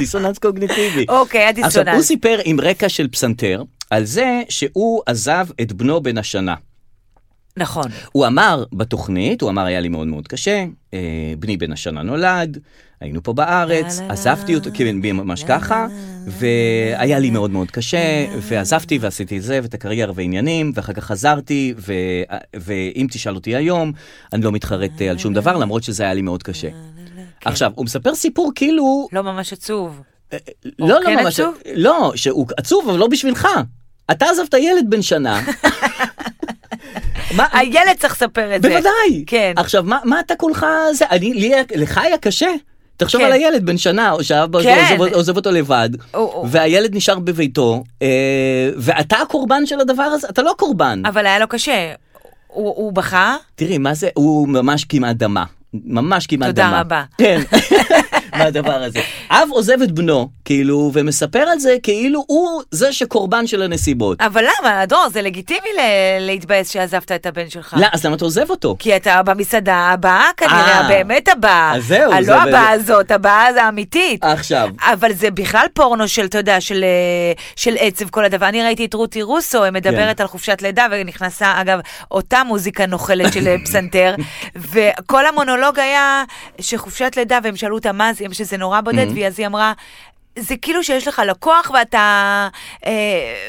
[SPEAKER 2] דיסוננס קוגניטיבי.
[SPEAKER 1] אוקיי,
[SPEAKER 2] עכשיו, הוא
[SPEAKER 1] הדיסוננס.
[SPEAKER 2] סיפר עם רקע של פסנתר על זה שהוא עזב את בנו בן השנה.
[SPEAKER 1] נכון.
[SPEAKER 2] הוא אמר בתוכנית, הוא אמר היה לי מאוד מאוד קשה, אה, בני בן השנה נולד, היינו פה בארץ,
[SPEAKER 1] לה, לה,
[SPEAKER 2] עזבתי אותו, כן, ממש ככה, והיה לי מאוד מאוד קשה, ועזבתי ועשיתי את זה ואת הקריירה ועניינים, ואחר כך חזרתי, ו- ואם תשאל אותי היום, אני לא מתחרט אה, על שום דבר, למרות שזה היה לי מאוד קשה.
[SPEAKER 1] כן.
[SPEAKER 2] עכשיו, הוא מספר סיפור כאילו,
[SPEAKER 1] לא ממש עצוב. הוא
[SPEAKER 2] לא, לא
[SPEAKER 1] כן
[SPEAKER 2] ממש,
[SPEAKER 1] עצוב?
[SPEAKER 2] לא, שהוא עצוב, אבל לא בשבילך. אתה עזבת ילד בן שנה.
[SPEAKER 1] (laughs)
[SPEAKER 2] מה,
[SPEAKER 1] הילד צריך לספר את זה.
[SPEAKER 2] אה, בוודאי.
[SPEAKER 1] כן.
[SPEAKER 2] עכשיו, מה, מה אתה כולך... זה, אני, לי, לך היה קשה. תחשוב
[SPEAKER 1] כן.
[SPEAKER 2] על הילד בן שנה, או שאבא שלו
[SPEAKER 1] כן.
[SPEAKER 2] עוזב, עוזב אותו לבד,
[SPEAKER 1] או- או.
[SPEAKER 2] והילד נשאר בביתו, אה, ואתה הקורבן של הדבר הזה? אתה לא הקורבן.
[SPEAKER 1] אבל היה לו קשה. הוא הוא בכה?
[SPEAKER 2] תראי, מה זה, הוא ממש כמעט דמה. ממש כמעט
[SPEAKER 1] תודה
[SPEAKER 2] דמה.
[SPEAKER 1] רבה.
[SPEAKER 2] כן, (laughs) מהדבר הזה. אב עוזב את בנו, כאילו, ומספר על זה כאילו הוא זה שקורבן של הנסיבות.
[SPEAKER 1] אבל למה, דרור, זה לגיטימי ל- להתבאס שעזבת את הבן שלך.
[SPEAKER 2] לא, אז למה אתה עוזב אותו?
[SPEAKER 1] כי אתה במסעדה הבאה כנראה,
[SPEAKER 2] אה.
[SPEAKER 1] הבאמת הבאה.
[SPEAKER 2] אז זהו,
[SPEAKER 1] הלא
[SPEAKER 2] זה-
[SPEAKER 1] הבאה הזאת, הבאה האמיתית.
[SPEAKER 2] עכשיו.
[SPEAKER 1] אבל זה בכלל פורנו של, אתה יודע, של, אה, של עצב כל הדבר. אני ראיתי את רותי רוסו, היא מדברת
[SPEAKER 2] כן.
[SPEAKER 1] על חופשת לידה, ונכנסה, אגב, אותה מוזיקה נוכלת של אה,
[SPEAKER 2] (laughs)
[SPEAKER 1] פסנתר, וכל המונולוג היה שחופשת לידה, והם שאלו אותה מה זה, שזה נורא בודד,
[SPEAKER 2] Mm-hmm.
[SPEAKER 1] ואז היא אמרה... זה כאילו שיש לך לקוח ואתה, אה,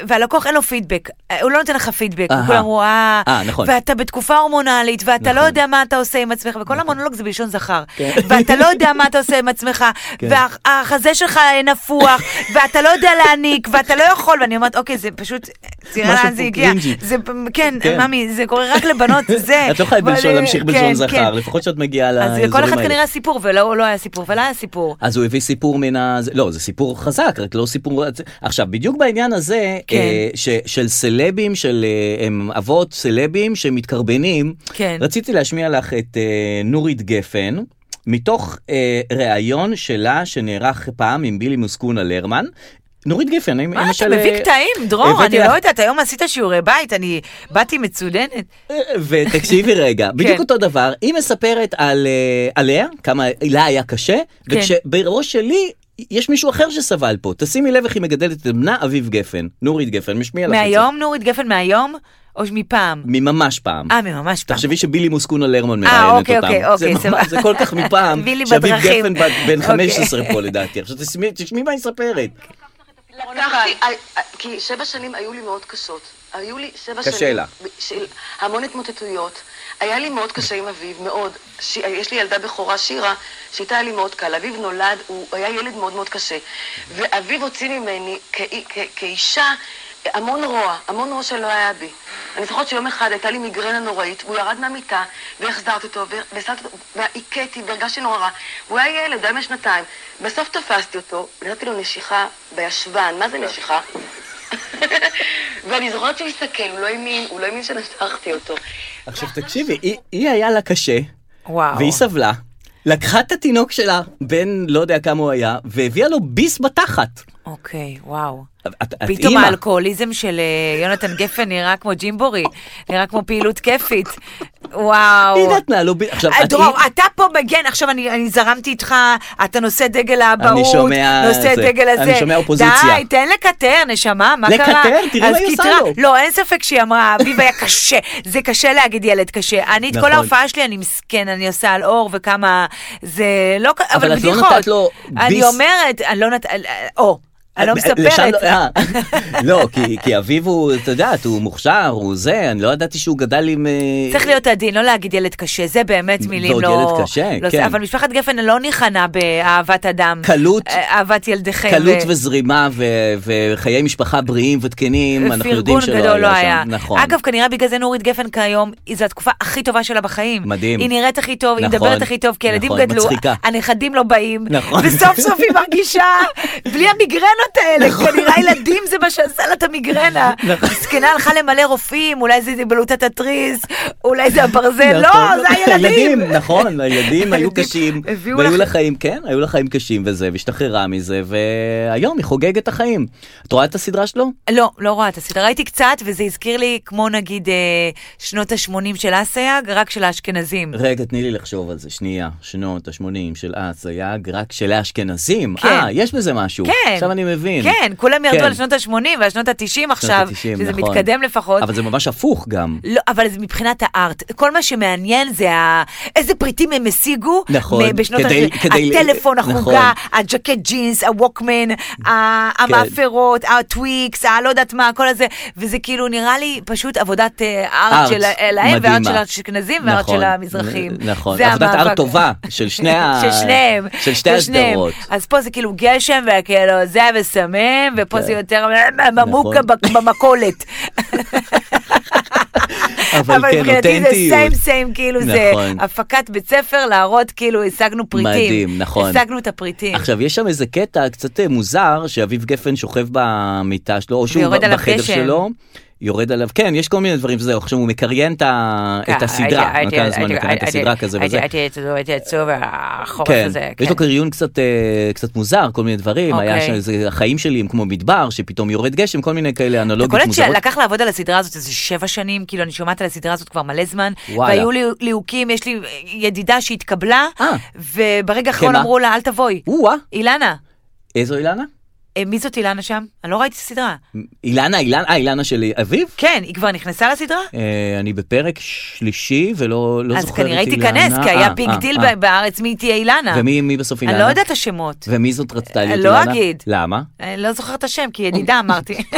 [SPEAKER 1] והלקוח אין לו פידבק, אה, הוא לא נותן לך פידבק,
[SPEAKER 2] אהה.
[SPEAKER 1] כולם אמרו, אה,
[SPEAKER 2] אה, נכון.
[SPEAKER 1] ואתה בתקופה הורמונלית, ואתה לא יודע מה אתה עושה עם עצמך,
[SPEAKER 2] נכון.
[SPEAKER 1] וכל המונולוג זה בלשון זכר, ואתה לא יודע מה אתה עושה עם עצמך,
[SPEAKER 2] (laughs) כן.
[SPEAKER 1] והחזה שלך נפוח, ואתה לא יודע להעניק, ואתה לא יכול, ואני אומרת, אוקיי, זה פשוט, תראה לאן זה
[SPEAKER 2] פה
[SPEAKER 1] הגיע.
[SPEAKER 2] קרינג'י.
[SPEAKER 1] זה, כן,
[SPEAKER 2] כן.
[SPEAKER 1] ממי, זה קורה רק לבנות,
[SPEAKER 2] (laughs)
[SPEAKER 1] זה.
[SPEAKER 2] את לא יכולה בלשון-
[SPEAKER 1] אבל-
[SPEAKER 2] להמשיך בלשון
[SPEAKER 1] כן,
[SPEAKER 2] זכר,
[SPEAKER 1] כן.
[SPEAKER 2] לפחות שאת מגיעה
[SPEAKER 1] אז
[SPEAKER 2] לאזורים האלה.
[SPEAKER 1] לכל אחד כנראה היה סיפור, ולא לא היה סיפור, ולא היה סיפור.
[SPEAKER 2] אז הוא הביא סיפור מן ה... זה- לא, זה סיפור חזק, רק לא סיפור... עכשיו, בדיוק בעניין הזה,
[SPEAKER 1] כן.
[SPEAKER 2] אה, ש, של סלבים, של אה, הם אבות סלבים שמתקרבנים,
[SPEAKER 1] כן.
[SPEAKER 2] רציתי להשמיע לך את אה, נורית גפן. מתוך אה, ראיון שלה שנערך פעם עם בילי מוסקונה לרמן, נורית גפן, היא
[SPEAKER 1] מה, אתה
[SPEAKER 2] למשל,
[SPEAKER 1] מביא
[SPEAKER 2] אה,
[SPEAKER 1] קטעים, דרור,
[SPEAKER 2] הבאתי
[SPEAKER 1] אני
[SPEAKER 2] לך-
[SPEAKER 1] לא יודעת, היום עשית שיעורי בית, אני באתי מצודנת.
[SPEAKER 2] לא, ותקשיבי רגע,
[SPEAKER 1] כן.
[SPEAKER 2] בדיוק אותו דבר, היא מספרת על, אה, עליה, כמה לה היה קשה,
[SPEAKER 1] כן.
[SPEAKER 2] וכשבראש שלי... יש מישהו אחר שסבל פה, תשימי לב איך היא מגדלת את בנה אביב גפן, נורית גפן, משמיע לך את זה.
[SPEAKER 1] מהיום, נורית גפן, מהיום? או מפעם?
[SPEAKER 2] מממש פעם.
[SPEAKER 1] אה, ממש פעם.
[SPEAKER 2] תחשבי שבילי מוסקונה לרמן
[SPEAKER 1] אה,
[SPEAKER 2] מראיינת
[SPEAKER 1] אוקיי,
[SPEAKER 2] אותם.
[SPEAKER 1] אוקיי,
[SPEAKER 2] זה
[SPEAKER 1] אוקיי,
[SPEAKER 2] ממש-
[SPEAKER 1] סבבה.
[SPEAKER 2] זה כל כך
[SPEAKER 1] (laughs)
[SPEAKER 2] מפעם,
[SPEAKER 1] בילי
[SPEAKER 2] שאביב
[SPEAKER 1] בדרכים.
[SPEAKER 2] גפן בת- בן
[SPEAKER 1] אוקיי.
[SPEAKER 2] 15 פה לדעתי. עכשיו תשמעי- תשמעי מה היא מספרת.
[SPEAKER 4] לקחתי, אה, כי שבע שנים היו לי מאוד קשות. היו לי שבע
[SPEAKER 2] קשה
[SPEAKER 4] שנים.
[SPEAKER 2] לה.
[SPEAKER 4] של המון התמוטטויות. היה לי מאוד קשה עם אביו, מאוד. ש... יש לי ילדה בכורה, שירה, שאיתה היה לי מאוד קל. אביו נולד, הוא היה ילד מאוד מאוד קשה. ואביו הוציא ממני, כ... כ... כאישה, המון רוע, המון רוע שלא היה בי. אני זוכרת שיום אחד הייתה לי מיגרנה נוראית, הוא ירד מהמיטה, והחזרתי אותו, ו- והסעתי אותו, והכיתי, והרגשתי נורא רע. הוא היה ילד, הוא היה בן שנתיים. בסוף תפסתי אותו, נתתי לו נשיכה בישבן, מה זה נשיכה? (laughs) ואני זוכרת שהוא הסתכל, הוא לא האמין, הוא לא האמין שנשכתי אותו.
[SPEAKER 2] עכשיו תקשיבי, היא- היא היה לה קשה,
[SPEAKER 1] וואו.
[SPEAKER 2] והיא סבלה. לקחה את התינוק שלה, בן לא יודע כמה הוא היה, והביאה לו ביס בתחת.
[SPEAKER 1] אוקיי, וואו.
[SPEAKER 2] את- את
[SPEAKER 1] פתאום
[SPEAKER 2] אימא.
[SPEAKER 1] האלכוהוליזם של אה, יונתן גפן נראה כמו ג'ימבורי, נראה כמו פעילות כיפית. וואו.
[SPEAKER 2] היא נתנה לו ביס. עכשיו, את
[SPEAKER 1] אה, דרור,
[SPEAKER 2] היא-
[SPEAKER 1] אתה פה מגן, עכשיו אני, אני זרמתי איתך, אתה נושא דגל האבהות,
[SPEAKER 2] אני שומע
[SPEAKER 1] נושא
[SPEAKER 2] זה,
[SPEAKER 1] דגל הזה.
[SPEAKER 2] אני שומע אופוזיציה.
[SPEAKER 1] די, תן לקטר, נשמה, מה
[SPEAKER 2] לקטר?
[SPEAKER 1] קרה?
[SPEAKER 2] תראי מה
[SPEAKER 1] אז
[SPEAKER 2] היא עושה
[SPEAKER 1] כתרה-
[SPEAKER 2] לו.
[SPEAKER 1] לא, אין ספק שהיא אמרה, אביב היה
[SPEAKER 2] (laughs)
[SPEAKER 1] קשה, זה קשה להגיד ילד קשה. אני, את
[SPEAKER 2] נכון.
[SPEAKER 1] כל ההופעה שלי, אני מסכן, אני עושה על אור וכמה, זה לא, ק-
[SPEAKER 2] אבל את לא
[SPEAKER 1] בדיחות.
[SPEAKER 2] נתת לו ביס.
[SPEAKER 1] אני אומרת, אני לא נתת, או, אני לא
[SPEAKER 2] לשם
[SPEAKER 1] מספרת.
[SPEAKER 2] לא- אה. (laughs) לא, כי- כי אביו הוא, את יודעת, הוא מוכשר, הוא זה, אני לא ידעתי שהוא גדל עם... אה,
[SPEAKER 1] צריך להיות עדין, לא להגיד ילד קשה, זה באמת מילים
[SPEAKER 2] ועוד
[SPEAKER 1] לא...
[SPEAKER 2] ילד קשה,
[SPEAKER 1] לא-
[SPEAKER 2] כן.
[SPEAKER 1] אבל משפחת גפן לא ניחנה באהבת אדם.
[SPEAKER 2] קלות.
[SPEAKER 1] אה, אהבת ילדיכם.
[SPEAKER 2] קלות
[SPEAKER 1] ו-
[SPEAKER 2] וזרימה ו- וחיי משפחה בריאים ותקנים, אנחנו יודעים שלא
[SPEAKER 1] פרגון גדול לא היה.
[SPEAKER 2] שם. נכון.
[SPEAKER 1] אגב, כנראה בגלל זה נורית גפן כיום, היא- זו התקופה הכי טובה שלה בחיים.
[SPEAKER 2] מדהים.
[SPEAKER 1] היא נראית הכי טוב, היא
[SPEAKER 2] נכון,
[SPEAKER 1] מדברת הכי טוב, כי הילדים
[SPEAKER 2] נכון,
[SPEAKER 1] גדלו,
[SPEAKER 2] מצחיקה.
[SPEAKER 1] הנכדים לא באים,
[SPEAKER 2] נכון.
[SPEAKER 1] וסוף סוף היא מרגישה, בלי המיגרנות האלה,
[SPEAKER 2] נכון.
[SPEAKER 1] כנראה ילדים זה מה שעשה לה את המיגרנה. זקנה הלכה למלא רופאים, אולי זה בלוטת התריס, אולי זה הברזל,
[SPEAKER 2] נכון.
[SPEAKER 1] לא, זה הילדים. (laughs)
[SPEAKER 2] נכון, הילדים היו
[SPEAKER 1] הילדים
[SPEAKER 2] קשים,
[SPEAKER 1] הביאו
[SPEAKER 2] והיו
[SPEAKER 1] לך-
[SPEAKER 2] לה חיים, כן, היו לה חיים קשים וזה, והשתחררה מזה, והיום היא חוגגת את החיים. את רואה את הסדרה שלו?
[SPEAKER 1] לא, לא רואה את הסדרה. ראיתי קצת, וזה הזכיר לי כמו נגיד אה, שנות ה-80 של אסייג, רק של האשכנזים.
[SPEAKER 2] רגע, תני לי לחשוב על זה, שנייה, שנות ה-80 של אסייג, רק של האשכנזים.
[SPEAKER 1] כן.
[SPEAKER 2] אה, יש בזה משהו.
[SPEAKER 1] כן.
[SPEAKER 2] עכשיו אני מבין.
[SPEAKER 1] כן, כולם ירדו
[SPEAKER 2] כן.
[SPEAKER 1] על שנות ה-80 ועל שנות ה-90 עכשיו,
[SPEAKER 2] ה-תשעים,
[SPEAKER 1] שזה
[SPEAKER 2] נכון.
[SPEAKER 1] מתקדם לפחות.
[SPEAKER 2] אבל זה ממש הפוך גם.
[SPEAKER 1] לא, אבל זה מבחינת הארט, כל מה שמעניין זה ה... איזה פריטים הם השיגו.
[SPEAKER 2] נכון,
[SPEAKER 1] מ- בשנות
[SPEAKER 2] כדי-
[SPEAKER 1] ה-
[SPEAKER 2] כדי-
[SPEAKER 1] הטלפון,
[SPEAKER 2] נכון.
[SPEAKER 1] החוגה, הג'קט ג'ינס, הווקמן, ה-
[SPEAKER 2] כן.
[SPEAKER 1] המאפרות, הטוויקס, הלא יודעת מה, כל הזה. וזה כאילו נראה לי פשוט עבודת אה,
[SPEAKER 2] ארט,
[SPEAKER 1] ארט של- להם,
[SPEAKER 2] מדהימה.
[SPEAKER 1] וארט של האשכנזים, וארט
[SPEAKER 2] נכון,
[SPEAKER 1] של המזרחים.
[SPEAKER 2] נכון,
[SPEAKER 1] זה
[SPEAKER 2] עבודת
[SPEAKER 1] המאבק.
[SPEAKER 2] ארט טובה של שני ה-
[SPEAKER 1] (laughs) של שניהם.
[SPEAKER 2] של שתי
[SPEAKER 1] שניהם. (laughs)
[SPEAKER 2] הסדרות.
[SPEAKER 1] אז פה זה כאילו גשם, וכאילו זה וסמים, ופה זה יותר ממוקה
[SPEAKER 2] נכון.
[SPEAKER 1] במכולת. אבל
[SPEAKER 2] כן,
[SPEAKER 1] מבחינתי זה סיים סיים, כאילו זה
[SPEAKER 2] נכון.
[SPEAKER 1] הפקת בית ספר להראות כאילו השגנו פריטים.
[SPEAKER 2] מדהים, נכון.
[SPEAKER 1] השגנו את הפריטים.
[SPEAKER 2] עכשיו, יש שם איזה קטע קצת אה, מוזר, שאביב גפן שוכב במיטה שלו, או שהוא
[SPEAKER 1] ויורד
[SPEAKER 2] ב-
[SPEAKER 1] עליו
[SPEAKER 2] בחדר
[SPEAKER 1] גשם.
[SPEAKER 2] שלו. יורד עליו, כן, יש כל מיני דברים, זהו, עכשיו הוא מקריין את ה-
[SPEAKER 1] כן,
[SPEAKER 2] את הסדרה,
[SPEAKER 1] הייתי-
[SPEAKER 2] נותן
[SPEAKER 1] הייתי-
[SPEAKER 2] הזמן
[SPEAKER 1] הייתי-
[SPEAKER 2] לקריין את
[SPEAKER 1] הייתי-
[SPEAKER 2] הסדרה כזה
[SPEAKER 1] הייתי-
[SPEAKER 2] וזה.
[SPEAKER 1] הייתי הייתי עצוב, החורף
[SPEAKER 2] כן,
[SPEAKER 1] הזה.
[SPEAKER 2] יש
[SPEAKER 1] כן.
[SPEAKER 2] לו קריון קצת אה, קצת מוזר, כל מיני דברים, היה
[SPEAKER 1] אוקיי.
[SPEAKER 2] שם איזה החיים שלי הם כמו מדבר, שפתאום יורד גשם, כל מיני כאלה אנלוגיות
[SPEAKER 1] קולט
[SPEAKER 2] לא מוזרות.
[SPEAKER 1] שלקח לעבוד על הסדרה הזאת איזה שבע שנים, כאילו אני שומעת על הסדרה הזאת כבר מלא זמן,
[SPEAKER 2] וואלה.
[SPEAKER 1] והיו לי ליהוקים, יש לי ידידה שהתקבלה,
[SPEAKER 2] אה.
[SPEAKER 1] וברגע האחרון
[SPEAKER 2] שמה?
[SPEAKER 1] אמרו לה אל תבואי.
[SPEAKER 2] או-אה,
[SPEAKER 1] אילנה,
[SPEAKER 2] איזו אילנה?
[SPEAKER 1] אה, מי זאת אילנה שם? אני לא ראיתי את הסדרה.
[SPEAKER 2] אילנה, אילנה, אה, אילנה של אביב?
[SPEAKER 1] כן, היא כבר נכנסה לסדרה?
[SPEAKER 2] אה, אני בפרק שלישי ולא לא
[SPEAKER 1] אז
[SPEAKER 2] זוכר את
[SPEAKER 1] כנראה
[SPEAKER 2] אילנה.
[SPEAKER 1] היא תיכנס, כי
[SPEAKER 2] אה,
[SPEAKER 1] היה ביג
[SPEAKER 2] אה,
[SPEAKER 1] דיל
[SPEAKER 2] אה.
[SPEAKER 1] ב- בארץ מי תהיה אילנה.
[SPEAKER 2] ומי מי בסוף אילנה?
[SPEAKER 1] אני לא יודעת את השמות.
[SPEAKER 2] ומי זאת רצתה להיות
[SPEAKER 1] לא
[SPEAKER 2] אילנה?
[SPEAKER 1] אגיד.
[SPEAKER 2] למה?
[SPEAKER 1] אני לא זוכרת את השם, כי ידידה אמרתי. (laughs)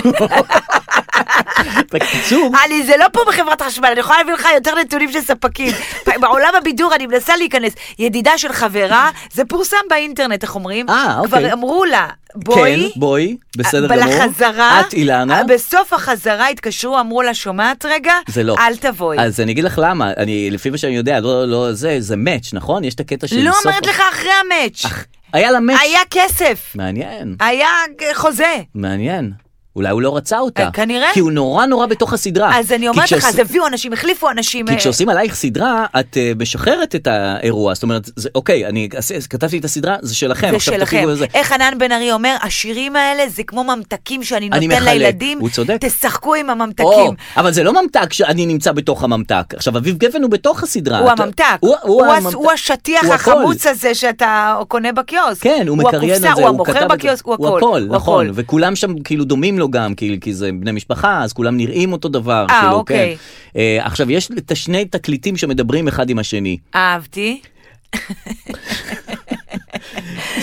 [SPEAKER 2] בקיצור,
[SPEAKER 1] אני, זה לא פה בחברת חשמל, אני יכולה להביא לך יותר נתונים של ספקים. (laughs) פ- בעולם הבידור אני מנסה להיכנס. ידידה של חברה, זה פורסם באינטרנט, איך אומרים?
[SPEAKER 2] אה, אוקיי.
[SPEAKER 1] כבר אמרו לה, בואי.
[SPEAKER 2] כן, בואי, בסדר גמור.
[SPEAKER 1] לחזרה,
[SPEAKER 2] את אילנה.
[SPEAKER 1] בסוף החזרה התקשרו, אמרו לה, שומעת רגע?
[SPEAKER 2] זה לא.
[SPEAKER 1] אל תבואי.
[SPEAKER 2] אז אני אגיד לך למה, אני, לפי מה שאני יודע, לא, לא, זה, זה מאץ', נכון? יש את הקטע של
[SPEAKER 1] לא
[SPEAKER 2] סוף...
[SPEAKER 1] אומרת לך אחרי המאץ'.
[SPEAKER 2] אך, היה לה מאץ'.
[SPEAKER 1] היה כסף,
[SPEAKER 2] מעניין,
[SPEAKER 1] היה חוזה.
[SPEAKER 2] מעניין. אולי הוא לא רצה אותה.
[SPEAKER 1] אה, כנראה.
[SPEAKER 2] כי הוא נורא נורא בתוך הסדרה.
[SPEAKER 1] אז אני
[SPEAKER 2] אה, כי
[SPEAKER 1] אומרת לך,
[SPEAKER 2] כשעוש-
[SPEAKER 1] אז הביאו אנשים, החליפו אנשים.
[SPEAKER 2] כי
[SPEAKER 1] אה,
[SPEAKER 2] כשעושים עלייך סדרה, את אה, משחררת את האירוע. זאת אומרת, זה, אוקיי, אני עש- כתבתי את הסדרה, זה שלכם,
[SPEAKER 1] זה
[SPEAKER 2] עכשיו
[SPEAKER 1] שלכם.
[SPEAKER 2] תפיגו את זה.
[SPEAKER 1] איך חנן בן ארי אומר, השירים האלה זה כמו ממתקים שאני
[SPEAKER 2] אני
[SPEAKER 1] נותן
[SPEAKER 2] מחלק."
[SPEAKER 1] לילדים.
[SPEAKER 2] הוא צודק.
[SPEAKER 1] תשחקו עם
[SPEAKER 2] או,
[SPEAKER 1] הממתקים.
[SPEAKER 2] אבל זה לא ממתק שאני נמצא בתוך הממתק. עכשיו, אביב גפן הוא בתוך הסדרה.
[SPEAKER 1] הוא
[SPEAKER 2] אתה-
[SPEAKER 1] הממתק,
[SPEAKER 2] הוא, הוא,
[SPEAKER 1] הוא הס-
[SPEAKER 2] הממתק.
[SPEAKER 1] הוא השטיח
[SPEAKER 2] הוא הכל.
[SPEAKER 1] החמוץ הזה שאתה קונה בקיוסק.
[SPEAKER 2] כן, הוא מקריין את
[SPEAKER 1] הקופסה,
[SPEAKER 2] זה,
[SPEAKER 1] הוא המוכר
[SPEAKER 2] כתב את זה.
[SPEAKER 1] בקיוסק, הוא הכל.
[SPEAKER 2] הוא הכל,
[SPEAKER 1] הוא
[SPEAKER 2] נכון,
[SPEAKER 1] הכל.
[SPEAKER 2] וכולם שם כאילו דומים לו גם, כי, כי זה בני משפחה, אז כולם נראים אותו דבר,
[SPEAKER 1] אה,
[SPEAKER 2] כאילו,
[SPEAKER 1] אוקיי.
[SPEAKER 2] כן. אה, עכשיו, יש את השני תקליטים שמדברים אחד עם השני,
[SPEAKER 1] (laughs) אהבתי.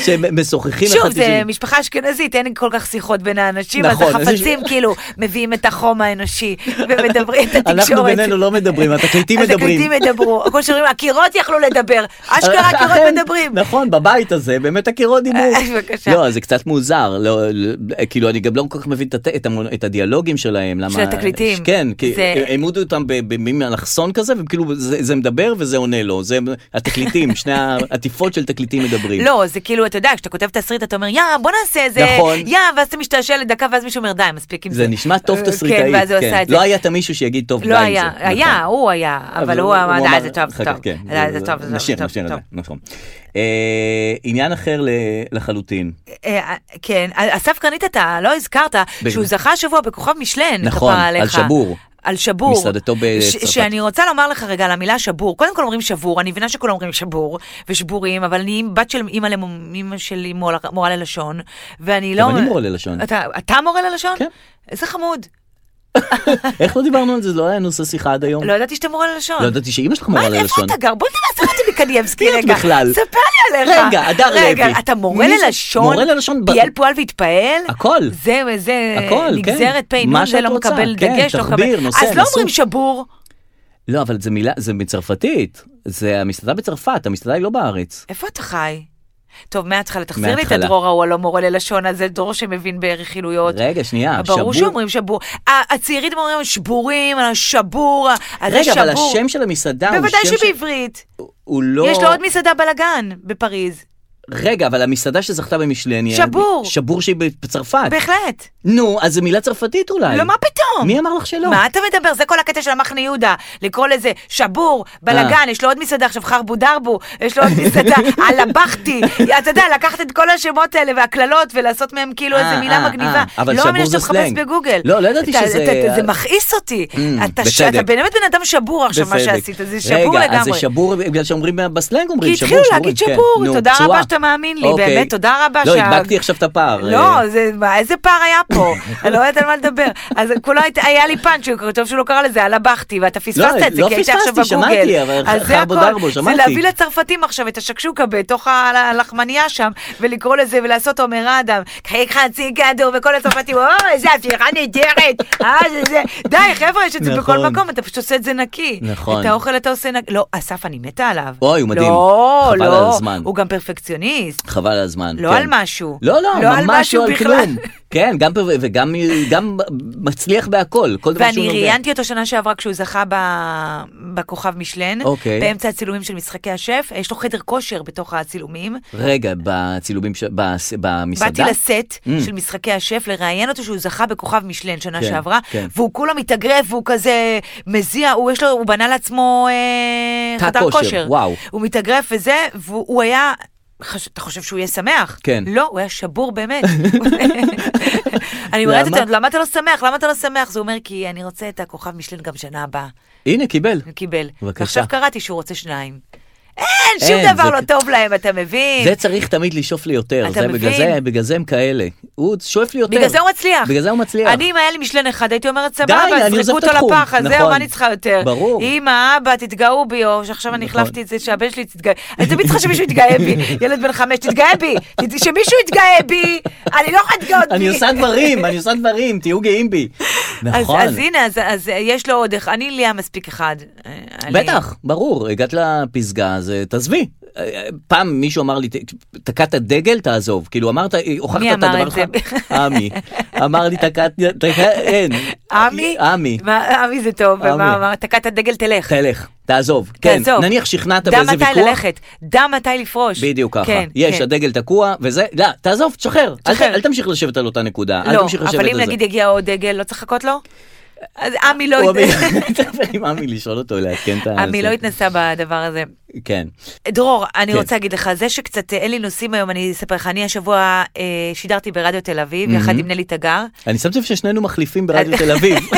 [SPEAKER 2] שהם משוחחים אחד
[SPEAKER 1] שוב,
[SPEAKER 2] עם השני.
[SPEAKER 1] זה משפחה אשכנזית, אין כל כך שיחות בין האנשים, אז
[SPEAKER 2] נכון, אז יש- (laughs)
[SPEAKER 1] החפצים כאילו מביאים את החום האנושי ומדברים את התקשורת.
[SPEAKER 2] אנחנו בינינו לא מדברים, התקליטים מדברים.
[SPEAKER 1] (laughs)
[SPEAKER 2] אה,
[SPEAKER 1] התקליטים ידברו, כמו שאומרים, הקירות יכלו
[SPEAKER 2] (laughs)
[SPEAKER 1] לדבר, אשכרה
[SPEAKER 2] אכן,
[SPEAKER 1] הקירות מדברים. אה,
[SPEAKER 2] נכון, בבית הזה, באמת הקירות דיברו.
[SPEAKER 1] בבקשה.
[SPEAKER 2] לא, זה קצת מוזר, לא, לא, כאילו אני גם לא כל כך מבין את הת- את המו- את הדיאלוגים שלהם, למה...
[SPEAKER 1] של התקליטים.
[SPEAKER 2] כן, כי
[SPEAKER 1] זה-
[SPEAKER 2] העמידו אותם ב- במין אלכסון כזה, וכאילו זה זה מדבר וזה עונה לו, זה התקליטים, שני
[SPEAKER 1] (laughs)
[SPEAKER 2] העטיפות של תקליטים מדברים.
[SPEAKER 1] לא, זה כאילו, אתה יודע, כשאתה כותב תסריט, אתה אומר, יא, בוא נעשה איזה,
[SPEAKER 2] נכון.
[SPEAKER 1] יא, ואז אתה משתעשע לדקה, ואז מישהו אומר, די, מספיק עם זה.
[SPEAKER 2] זה נשמע טוב
[SPEAKER 1] אה,
[SPEAKER 2] תסריטאי,
[SPEAKER 1] כן, ואז הוא עשה את זה.
[SPEAKER 2] לא היה את המישהו שיגיד טוב די
[SPEAKER 1] לא
[SPEAKER 2] עם זה.
[SPEAKER 1] היה, היה,
[SPEAKER 2] נכון.
[SPEAKER 1] הוא היה, אבל הוא אמר, "די, זה טוב,
[SPEAKER 2] אחר
[SPEAKER 1] זה
[SPEAKER 2] כך,
[SPEAKER 1] טוב,
[SPEAKER 2] כן,
[SPEAKER 1] אה,
[SPEAKER 2] זה-
[SPEAKER 1] זה טוב, זה טוב,
[SPEAKER 2] נשאיר,
[SPEAKER 1] זה טוב,
[SPEAKER 2] נשאיר
[SPEAKER 1] זה
[SPEAKER 2] את
[SPEAKER 1] טוב.
[SPEAKER 2] זה, נכון. אה, עניין אחר ל- לחלוטין.
[SPEAKER 1] אה, כן, אסף קרנית אתה לא הזכרת שהוא זכה השבוע בכוכב משלן,
[SPEAKER 2] נכון,
[SPEAKER 1] כפרה
[SPEAKER 2] על
[SPEAKER 1] עליך.
[SPEAKER 2] שבור.
[SPEAKER 1] על שבור.
[SPEAKER 2] מסעדתו בצרפת.
[SPEAKER 1] ש- שאני רוצה לומר לך רגע על המילה שבור. קודם כל אומרים שבור, אני מבינה שכולם אומרים שבור ושבורים, אבל אני בת של אימא למ- אימא שלי מורה- מורה ללשון, ואני לא...
[SPEAKER 2] גם אני מורה ללשון.
[SPEAKER 1] אתה, אתה מורה ללשון?
[SPEAKER 2] כן.
[SPEAKER 1] איזה חמוד.
[SPEAKER 2] איך לא דיברנו על זה? זה לא היה נושא שיחה עד היום.
[SPEAKER 1] לא ידעתי שאתה מורה ללשון.
[SPEAKER 2] לא ידעתי שאימא שלך
[SPEAKER 1] מה,
[SPEAKER 2] מורה
[SPEAKER 1] איפה
[SPEAKER 2] ללשון.
[SPEAKER 1] אתה גר? בוא נדבר על סרטי מקנייבסקי
[SPEAKER 2] מי את
[SPEAKER 1] רגע.
[SPEAKER 2] בכלל?
[SPEAKER 1] ספר לי עליך.
[SPEAKER 2] רגע, הדר לוי.
[SPEAKER 1] רגע, אתה מורה
[SPEAKER 2] מי זה?
[SPEAKER 1] ללשון?
[SPEAKER 2] מורה ללשון ב-
[SPEAKER 1] פייל פועל והתפעל?
[SPEAKER 2] הכל.
[SPEAKER 1] זה, זה,
[SPEAKER 2] הכל, כן.
[SPEAKER 1] נגזרת פ'
[SPEAKER 2] מה
[SPEAKER 1] נ', זה
[SPEAKER 2] שאת
[SPEAKER 1] לא
[SPEAKER 2] רוצה,
[SPEAKER 1] מקבל
[SPEAKER 2] כן,
[SPEAKER 1] דגש, לא מקבל...
[SPEAKER 2] תחביר, נושא,
[SPEAKER 1] אז לא
[SPEAKER 2] נשוא.
[SPEAKER 1] אומרים שבור.
[SPEAKER 2] לא, אבל זה מילה, זה בצרפתית. זה המסעדה בצרפת, המסעדה היא לא בארץ.
[SPEAKER 1] איפה אתה חי? טוב, מההתחלה, תחזיר לי את
[SPEAKER 2] מההתחלה.
[SPEAKER 1] הדרור ההוא הלא מורה ללשון הזה, דרור שמבין ברכילויות.
[SPEAKER 2] רגע, שנייה,
[SPEAKER 1] ברור
[SPEAKER 2] שבור-
[SPEAKER 1] שאומרים שבור. ה- הצעירים אומרים שבורים, השבור, ה- זה
[SPEAKER 2] רגע, אבל
[SPEAKER 1] שבור.
[SPEAKER 2] השם של המסעדה הוא
[SPEAKER 1] בוודאי
[SPEAKER 2] שם ש-
[SPEAKER 1] שבעברית.
[SPEAKER 2] הוא לא...
[SPEAKER 1] יש לו עוד מסעדה בלאגן בפריז.
[SPEAKER 2] רגע, אבל המסעדה שזכתה במשלן... היא-
[SPEAKER 1] שבור.
[SPEAKER 2] שבור שהיא בצרפת.
[SPEAKER 1] בהחלט.
[SPEAKER 2] נו, אז זו מילה צרפתית אולי.
[SPEAKER 1] לא, מה פתאום?
[SPEAKER 2] מי אמר לך שלא?
[SPEAKER 1] מה אתה מדבר? זה כל הקטע של המחנה יהודה. לקרוא לזה שבור,
[SPEAKER 2] אה.
[SPEAKER 1] בלאגן, יש לו עוד מסעדה עכשיו, חרבו דרבו, יש לו עוד
[SPEAKER 2] (laughs)
[SPEAKER 1] מסעדה, אללה בכתי. אתה יודע, לקחת את כל השמות האלה והקללות ולעשות מהם כאילו
[SPEAKER 2] אה,
[SPEAKER 1] איזה
[SPEAKER 2] אה,
[SPEAKER 1] מילה מגניבה.
[SPEAKER 2] אה, אבל
[SPEAKER 1] לא
[SPEAKER 2] שבור
[SPEAKER 1] מאמינה
[SPEAKER 2] זה
[SPEAKER 1] שאתה מחפש
[SPEAKER 2] סלנג.
[SPEAKER 1] בגוגל.
[SPEAKER 2] לא, לא ידעתי
[SPEAKER 1] אתה-
[SPEAKER 2] שזה-
[SPEAKER 1] אתה- זה מכעיס אותי.
[SPEAKER 2] Mm,
[SPEAKER 1] אתה ש-
[SPEAKER 2] בצדק.
[SPEAKER 1] אתה באמת בן אדם שבור עכשיו, מה
[SPEAKER 2] בצדק.
[SPEAKER 1] שעשית. זה שבור
[SPEAKER 2] רגע, אז זה
[SPEAKER 1] לגמרי.
[SPEAKER 2] שבור בגלל שאומרים בסלנג
[SPEAKER 1] כי
[SPEAKER 2] אומרים שבור,
[SPEAKER 1] התחילו
[SPEAKER 2] שבורים,
[SPEAKER 1] להגיד
[SPEAKER 2] כן.
[SPEAKER 1] שבור,
[SPEAKER 2] נו,
[SPEAKER 1] תודה
[SPEAKER 2] פצועה.
[SPEAKER 1] רבה שאתה מאמין לי,
[SPEAKER 2] אוקיי.
[SPEAKER 1] באמת, תודה רבה
[SPEAKER 2] לא,
[SPEAKER 1] שה-
[SPEAKER 2] הדבקתי עכשיו את הפער. אה,
[SPEAKER 1] לא, זה, מה, איזה פער היה
[SPEAKER 2] (laughs)
[SPEAKER 1] פה? אני לא יודעת על מה לדבר. אז כולו היית- היה לי פאנץ', שהוא- טוב שהוא לא קרא לזה, עלה בכתי, ואתה פספסת
[SPEAKER 2] לא,
[SPEAKER 1] את זה,
[SPEAKER 2] לא
[SPEAKER 1] כי היית עכשיו
[SPEAKER 2] פספסתי,
[SPEAKER 1] בגוגל.
[SPEAKER 2] שמעתי, אבל
[SPEAKER 1] אז זה
[SPEAKER 2] חרבו
[SPEAKER 1] הכל.
[SPEAKER 2] דרבו, שמעתי.
[SPEAKER 1] זה להביא לצרפתים עכשיו את השקשוקה בתוך ה- הלחמנייה שם, ולקרוא לזה ולעשות עומר אדם. קחי חצי כדור, וכל הצרפתים, או, איזה הפיכה נהדרת. אה, זה זה. די, חבר'ה, יש את זה בכל
[SPEAKER 2] נכון.
[SPEAKER 1] מקום, אתה פשוט עושה את זה נקי.
[SPEAKER 2] נכון.
[SPEAKER 1] את האוכל אתה עושה נקי. לא, אסף, אני מתה עליו.
[SPEAKER 2] אוי, הוא מדהים.
[SPEAKER 1] לא,
[SPEAKER 2] חבל על
[SPEAKER 1] לא.
[SPEAKER 2] הזמן.
[SPEAKER 1] הוא גם פרפקציוניסט.
[SPEAKER 2] חבל על הזמן.
[SPEAKER 1] לא
[SPEAKER 2] כן.
[SPEAKER 1] על משהו.
[SPEAKER 2] לא, לא,
[SPEAKER 1] לא על
[SPEAKER 2] ממש
[SPEAKER 1] משהו
[SPEAKER 2] לא על
[SPEAKER 1] בכלל.
[SPEAKER 2] כלום. (laughs) כן, גם פר- וגם גם מצליח בהכל, כל דבר שהוא
[SPEAKER 1] ואני
[SPEAKER 2] נוגע.
[SPEAKER 1] ראיינתי אותו שנה שעברה כשהוא זכה ב- בכוכב משלן,
[SPEAKER 2] אוקיי.
[SPEAKER 1] באמצע הצילומים של משחקי השף, אה, יש לו חדר כושר בתוך הצילומים.
[SPEAKER 2] רגע, בצילומים, ש- בס- במסעדה?
[SPEAKER 1] באתי לסט
[SPEAKER 2] Mm.
[SPEAKER 1] של משחקי השף לראיין אותו שהוא זכה בכוכב משלן שנה
[SPEAKER 2] כן,
[SPEAKER 1] שעברה,
[SPEAKER 2] כן.
[SPEAKER 1] והוא כולו מתאגרף והוא כזה מזיע, הוא יש לו, הוא בנה לעצמו אה,
[SPEAKER 2] תא
[SPEAKER 1] חדר
[SPEAKER 2] כושר,
[SPEAKER 1] כושר.
[SPEAKER 2] וואו.
[SPEAKER 1] הוא מתאגרף וזה, והוא הוא היה... חש- אתה חושב שהוא יהיה שמח?
[SPEAKER 2] כן.
[SPEAKER 1] לא, הוא היה שבור באמת.
[SPEAKER 2] (laughs)
[SPEAKER 1] אני אומרת
[SPEAKER 2] למה?
[SPEAKER 1] אותו, למה אתה לא שמח? למה אתה לא שמח? אז הוא אומר, כי אני רוצה את הכוכב משלן גם שנה הבאה.
[SPEAKER 2] הנה, קיבל.
[SPEAKER 1] הוא קיבל.
[SPEAKER 2] בבקשה.
[SPEAKER 1] ועכשיו קראתי שהוא רוצה שניים. אין,
[SPEAKER 2] אין,
[SPEAKER 1] שום דבר
[SPEAKER 2] זה-
[SPEAKER 1] לא טוב להם, אתה מבין?
[SPEAKER 2] זה צריך תמיד לשאוף ליותר,
[SPEAKER 1] אתה
[SPEAKER 2] זה בגלל
[SPEAKER 1] מבין?
[SPEAKER 2] זה, בגלל זה הם כאלה. הוא שואף ליותר.
[SPEAKER 1] בגלל זה הוא מצליח.
[SPEAKER 2] בגלל זה הוא מצליח.
[SPEAKER 1] אני, אם היה לי משלן אחד, הייתי אומרת,
[SPEAKER 2] אני
[SPEAKER 1] סבבה,
[SPEAKER 2] עוזב
[SPEAKER 1] זרקו
[SPEAKER 2] את
[SPEAKER 1] אותו
[SPEAKER 2] התחום."
[SPEAKER 1] לפח, אז זהו,
[SPEAKER 2] נכון.
[SPEAKER 1] מה אני צריכה יותר?
[SPEAKER 2] ברור.
[SPEAKER 1] אמא, אבא, תתגאו בי, או שעכשיו אני
[SPEAKER 2] נכון.
[SPEAKER 1] החלפתי את זה, שהבן שלי תתגאה. אני תמיד צריכה שמישהו יתגאה
[SPEAKER 2] (laughs)
[SPEAKER 1] בי. ילד בן חמש, תתגאה בי. ת- שמישהו יתגאה בי. אני לא יכולה להתגאות בי.
[SPEAKER 2] אני עושה דברים, אני עושה דברים, תהיו גאים בי. נכון.
[SPEAKER 1] אז, אז הנה, אז, אז יש לו עוד אחד, אני לי היה מספיק אחד. אה,
[SPEAKER 2] בטח, ברור, הגעת לפסגה, אז אה, תעזבי. אה, פעם מישהו אמר לי, "ת- תקעת דגל, תעזוב. כאילו אמרת, אה, הוכחת
[SPEAKER 1] מי
[SPEAKER 2] את
[SPEAKER 1] אמר
[SPEAKER 2] הדבר
[SPEAKER 1] את
[SPEAKER 2] שלך.
[SPEAKER 1] זה? (laughs)
[SPEAKER 2] עמי. אמר לי, תקעת, תקעת, אין.
[SPEAKER 1] עמי?
[SPEAKER 2] עמי.
[SPEAKER 1] מה- עמי זה טוב,
[SPEAKER 2] עמי.
[SPEAKER 1] ומה אמר? תקעת דגל תלך.
[SPEAKER 2] תלך, תעזוב. כן,
[SPEAKER 1] תעזוב.
[SPEAKER 2] נניח שכנעת
[SPEAKER 1] דע
[SPEAKER 2] באיזה ויכוח.
[SPEAKER 1] מתי ללכת, דע מתי לפרוש.
[SPEAKER 2] בדיוק ככה.
[SPEAKER 1] כן,
[SPEAKER 2] יש,
[SPEAKER 1] כן.
[SPEAKER 2] הדגל תקוע, וזה, לא, תעזוב, תשחרר. אל ת-
[SPEAKER 1] תשחרר.
[SPEAKER 2] אל תמשיך לשבת על אותה נקודה. אל
[SPEAKER 1] לא,
[SPEAKER 2] תמשיך לשבת
[SPEAKER 1] אבל
[SPEAKER 2] על
[SPEAKER 1] אם
[SPEAKER 2] זה.
[SPEAKER 1] נגיד יגיע עוד דגל, לא צריך לחכות לו? אז עמי לא...
[SPEAKER 2] הוא
[SPEAKER 1] הת-
[SPEAKER 2] אמין. (laughs) תדבר עם עמי לשאול אותו, לעדכן את ה...
[SPEAKER 1] (laughs) עמי
[SPEAKER 2] זה.
[SPEAKER 1] לא התנסה בדבר הזה.
[SPEAKER 2] כן.
[SPEAKER 1] דרור, אני
[SPEAKER 2] כן.
[SPEAKER 1] רוצה להגיד לך, זה שקצת אה, אין לי נושאים היום, אני אספר לך, אני השבוע אה, שידרתי ברדיו תל אביב, יחד עם נלי תגר.
[SPEAKER 2] אני שם לב ששנינו מחליפים ברדיו תל אביב. (laughs)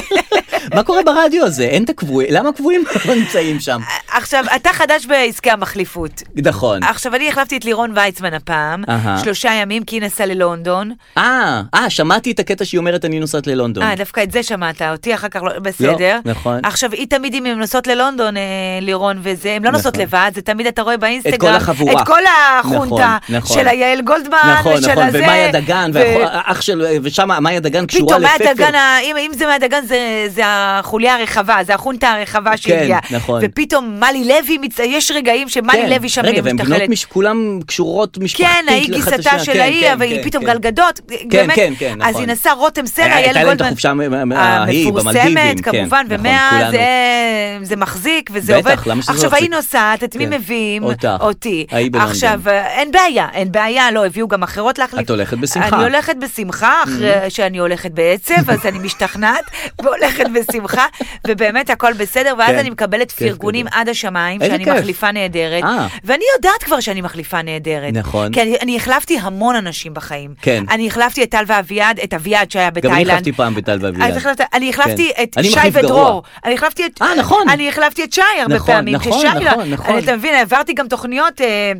[SPEAKER 2] מה קורה ברדיו הזה? אין את הקבועים, למה הקבועים (laughs) לא נמצאים שם?
[SPEAKER 1] עכשיו, אתה חדש בעסקי המחליפות.
[SPEAKER 2] נכון.
[SPEAKER 1] עכשיו, אני החלפתי את לירון ויצמן הפעם,
[SPEAKER 2] אהה.
[SPEAKER 1] שלושה ימים, כי היא נסעה ללונדון.
[SPEAKER 2] אה, אה, שמעתי את הקטע שהיא אומרת אני נוסעת ללונדון.
[SPEAKER 1] אה, דווקא את זה שמעת, אותי אחר כך לא, בסדר.
[SPEAKER 2] נכון.
[SPEAKER 1] עכשיו, היא תמיד, אם הן נוסעות ללונדון, אה, לירון וזה, הן לא נוסעות
[SPEAKER 2] נכון.
[SPEAKER 1] לבד, זה תמיד אתה רואה באינסטגרם.
[SPEAKER 2] את כל החבורה.
[SPEAKER 1] את כל החונטה.
[SPEAKER 2] נכון, נכון.
[SPEAKER 1] של היעל גולדמן,
[SPEAKER 2] נכון,
[SPEAKER 1] ושל
[SPEAKER 2] נכון,
[SPEAKER 1] הזה.
[SPEAKER 2] ומאיה דגן,
[SPEAKER 1] ו-
[SPEAKER 2] והאח של, ושם מאיה דגן קשורה
[SPEAKER 1] פתאום
[SPEAKER 2] לפפר.
[SPEAKER 1] מהדגן, ה- אם, אם זה מהדגן זה, זה החוליה הרחבה, זה החונטה הרחבה שהגיעה.
[SPEAKER 2] נכון.
[SPEAKER 1] ופתאום מלי לוי, מצ... יש רגעים שמלי
[SPEAKER 2] כן.
[SPEAKER 1] לוי שם
[SPEAKER 2] רגע, והן בנות
[SPEAKER 1] משתחלת.
[SPEAKER 2] מש... כולם קשורות משפחתית
[SPEAKER 1] כן, ההיא
[SPEAKER 2] לאחת
[SPEAKER 1] גיסתה
[SPEAKER 2] לשנייה.
[SPEAKER 1] של
[SPEAKER 2] כן,
[SPEAKER 1] ההיא,
[SPEAKER 2] כן,
[SPEAKER 1] אבל היא
[SPEAKER 2] כן,
[SPEAKER 1] פתאום
[SPEAKER 2] כן.
[SPEAKER 1] גל גדות. באמת.
[SPEAKER 2] כן, כן,
[SPEAKER 1] אז
[SPEAKER 2] נכון.
[SPEAKER 1] היא נסעה רותם סלע,
[SPEAKER 2] היה-
[SPEAKER 1] יעל
[SPEAKER 2] הייתה להם את
[SPEAKER 1] גולדמן.
[SPEAKER 2] החופשה מ- מ- ההיא,
[SPEAKER 1] המפורסמת,
[SPEAKER 2] במלדיבים. כן,
[SPEAKER 1] כמובן,
[SPEAKER 2] נכון,
[SPEAKER 1] ומאז
[SPEAKER 2] כולנו.
[SPEAKER 1] אה, זה מחזיק וזה
[SPEAKER 2] בטח,
[SPEAKER 1] עובד.
[SPEAKER 2] למה שזה
[SPEAKER 1] עכשיו,
[SPEAKER 2] לא
[SPEAKER 1] ההיא
[SPEAKER 2] יחזיק?
[SPEAKER 1] נוסעת, את מי
[SPEAKER 2] כן.
[SPEAKER 1] מביאים?
[SPEAKER 2] אותך.
[SPEAKER 1] אותי.
[SPEAKER 2] ההיא בלונדון.
[SPEAKER 1] עכשיו, אה, אין בעיה, אין בעיה, לא, הביאו גם אחרות להחליף.
[SPEAKER 2] את הולכת בשמחה. Mm-hmm.
[SPEAKER 1] אני הולכת בשמחה, אחרי שאני הולכת בעצב, אז אני משתכנעת (laughs) והולכת בשמחה, ובאמת הכל בסדר, ואז
[SPEAKER 2] כן.
[SPEAKER 1] אני מקבלת
[SPEAKER 2] כיף
[SPEAKER 1] פרגונים
[SPEAKER 2] גדול.
[SPEAKER 1] עד השמיים,
[SPEAKER 2] איזה
[SPEAKER 1] שאני
[SPEAKER 2] כיף.
[SPEAKER 1] מחליפה נהדרת,
[SPEAKER 2] אה.
[SPEAKER 1] ואני יודעת כבר שאני מחליפה נהדרת.
[SPEAKER 2] נכון.
[SPEAKER 1] כי אני- אני החלפתי המון אנשים בחיים.
[SPEAKER 2] כן.
[SPEAKER 1] אני החלפתי את טל ואביעד, את אביעד שהיה
[SPEAKER 2] גם
[SPEAKER 1] בתאילנד.
[SPEAKER 2] אני החלפתי פעם בטל ואביעד. (laughs)
[SPEAKER 1] אז החלפת- אני החלפתי
[SPEAKER 2] כן.
[SPEAKER 1] את
[SPEAKER 2] אני
[SPEAKER 1] שי
[SPEAKER 2] מחליף גרוע.
[SPEAKER 1] ודרור, אני החלפתי את,
[SPEAKER 2] אה, נכון.
[SPEAKER 1] אני החלפתי את שי הרבה
[SPEAKER 2] נכון,
[SPEAKER 1] פעמים,
[SPEAKER 2] נכון,
[SPEAKER 1] כששי- לא-
[SPEAKER 2] נכון, נכון.
[SPEAKER 1] אני- אתה מבין, העברתי גם תוכניות, אה,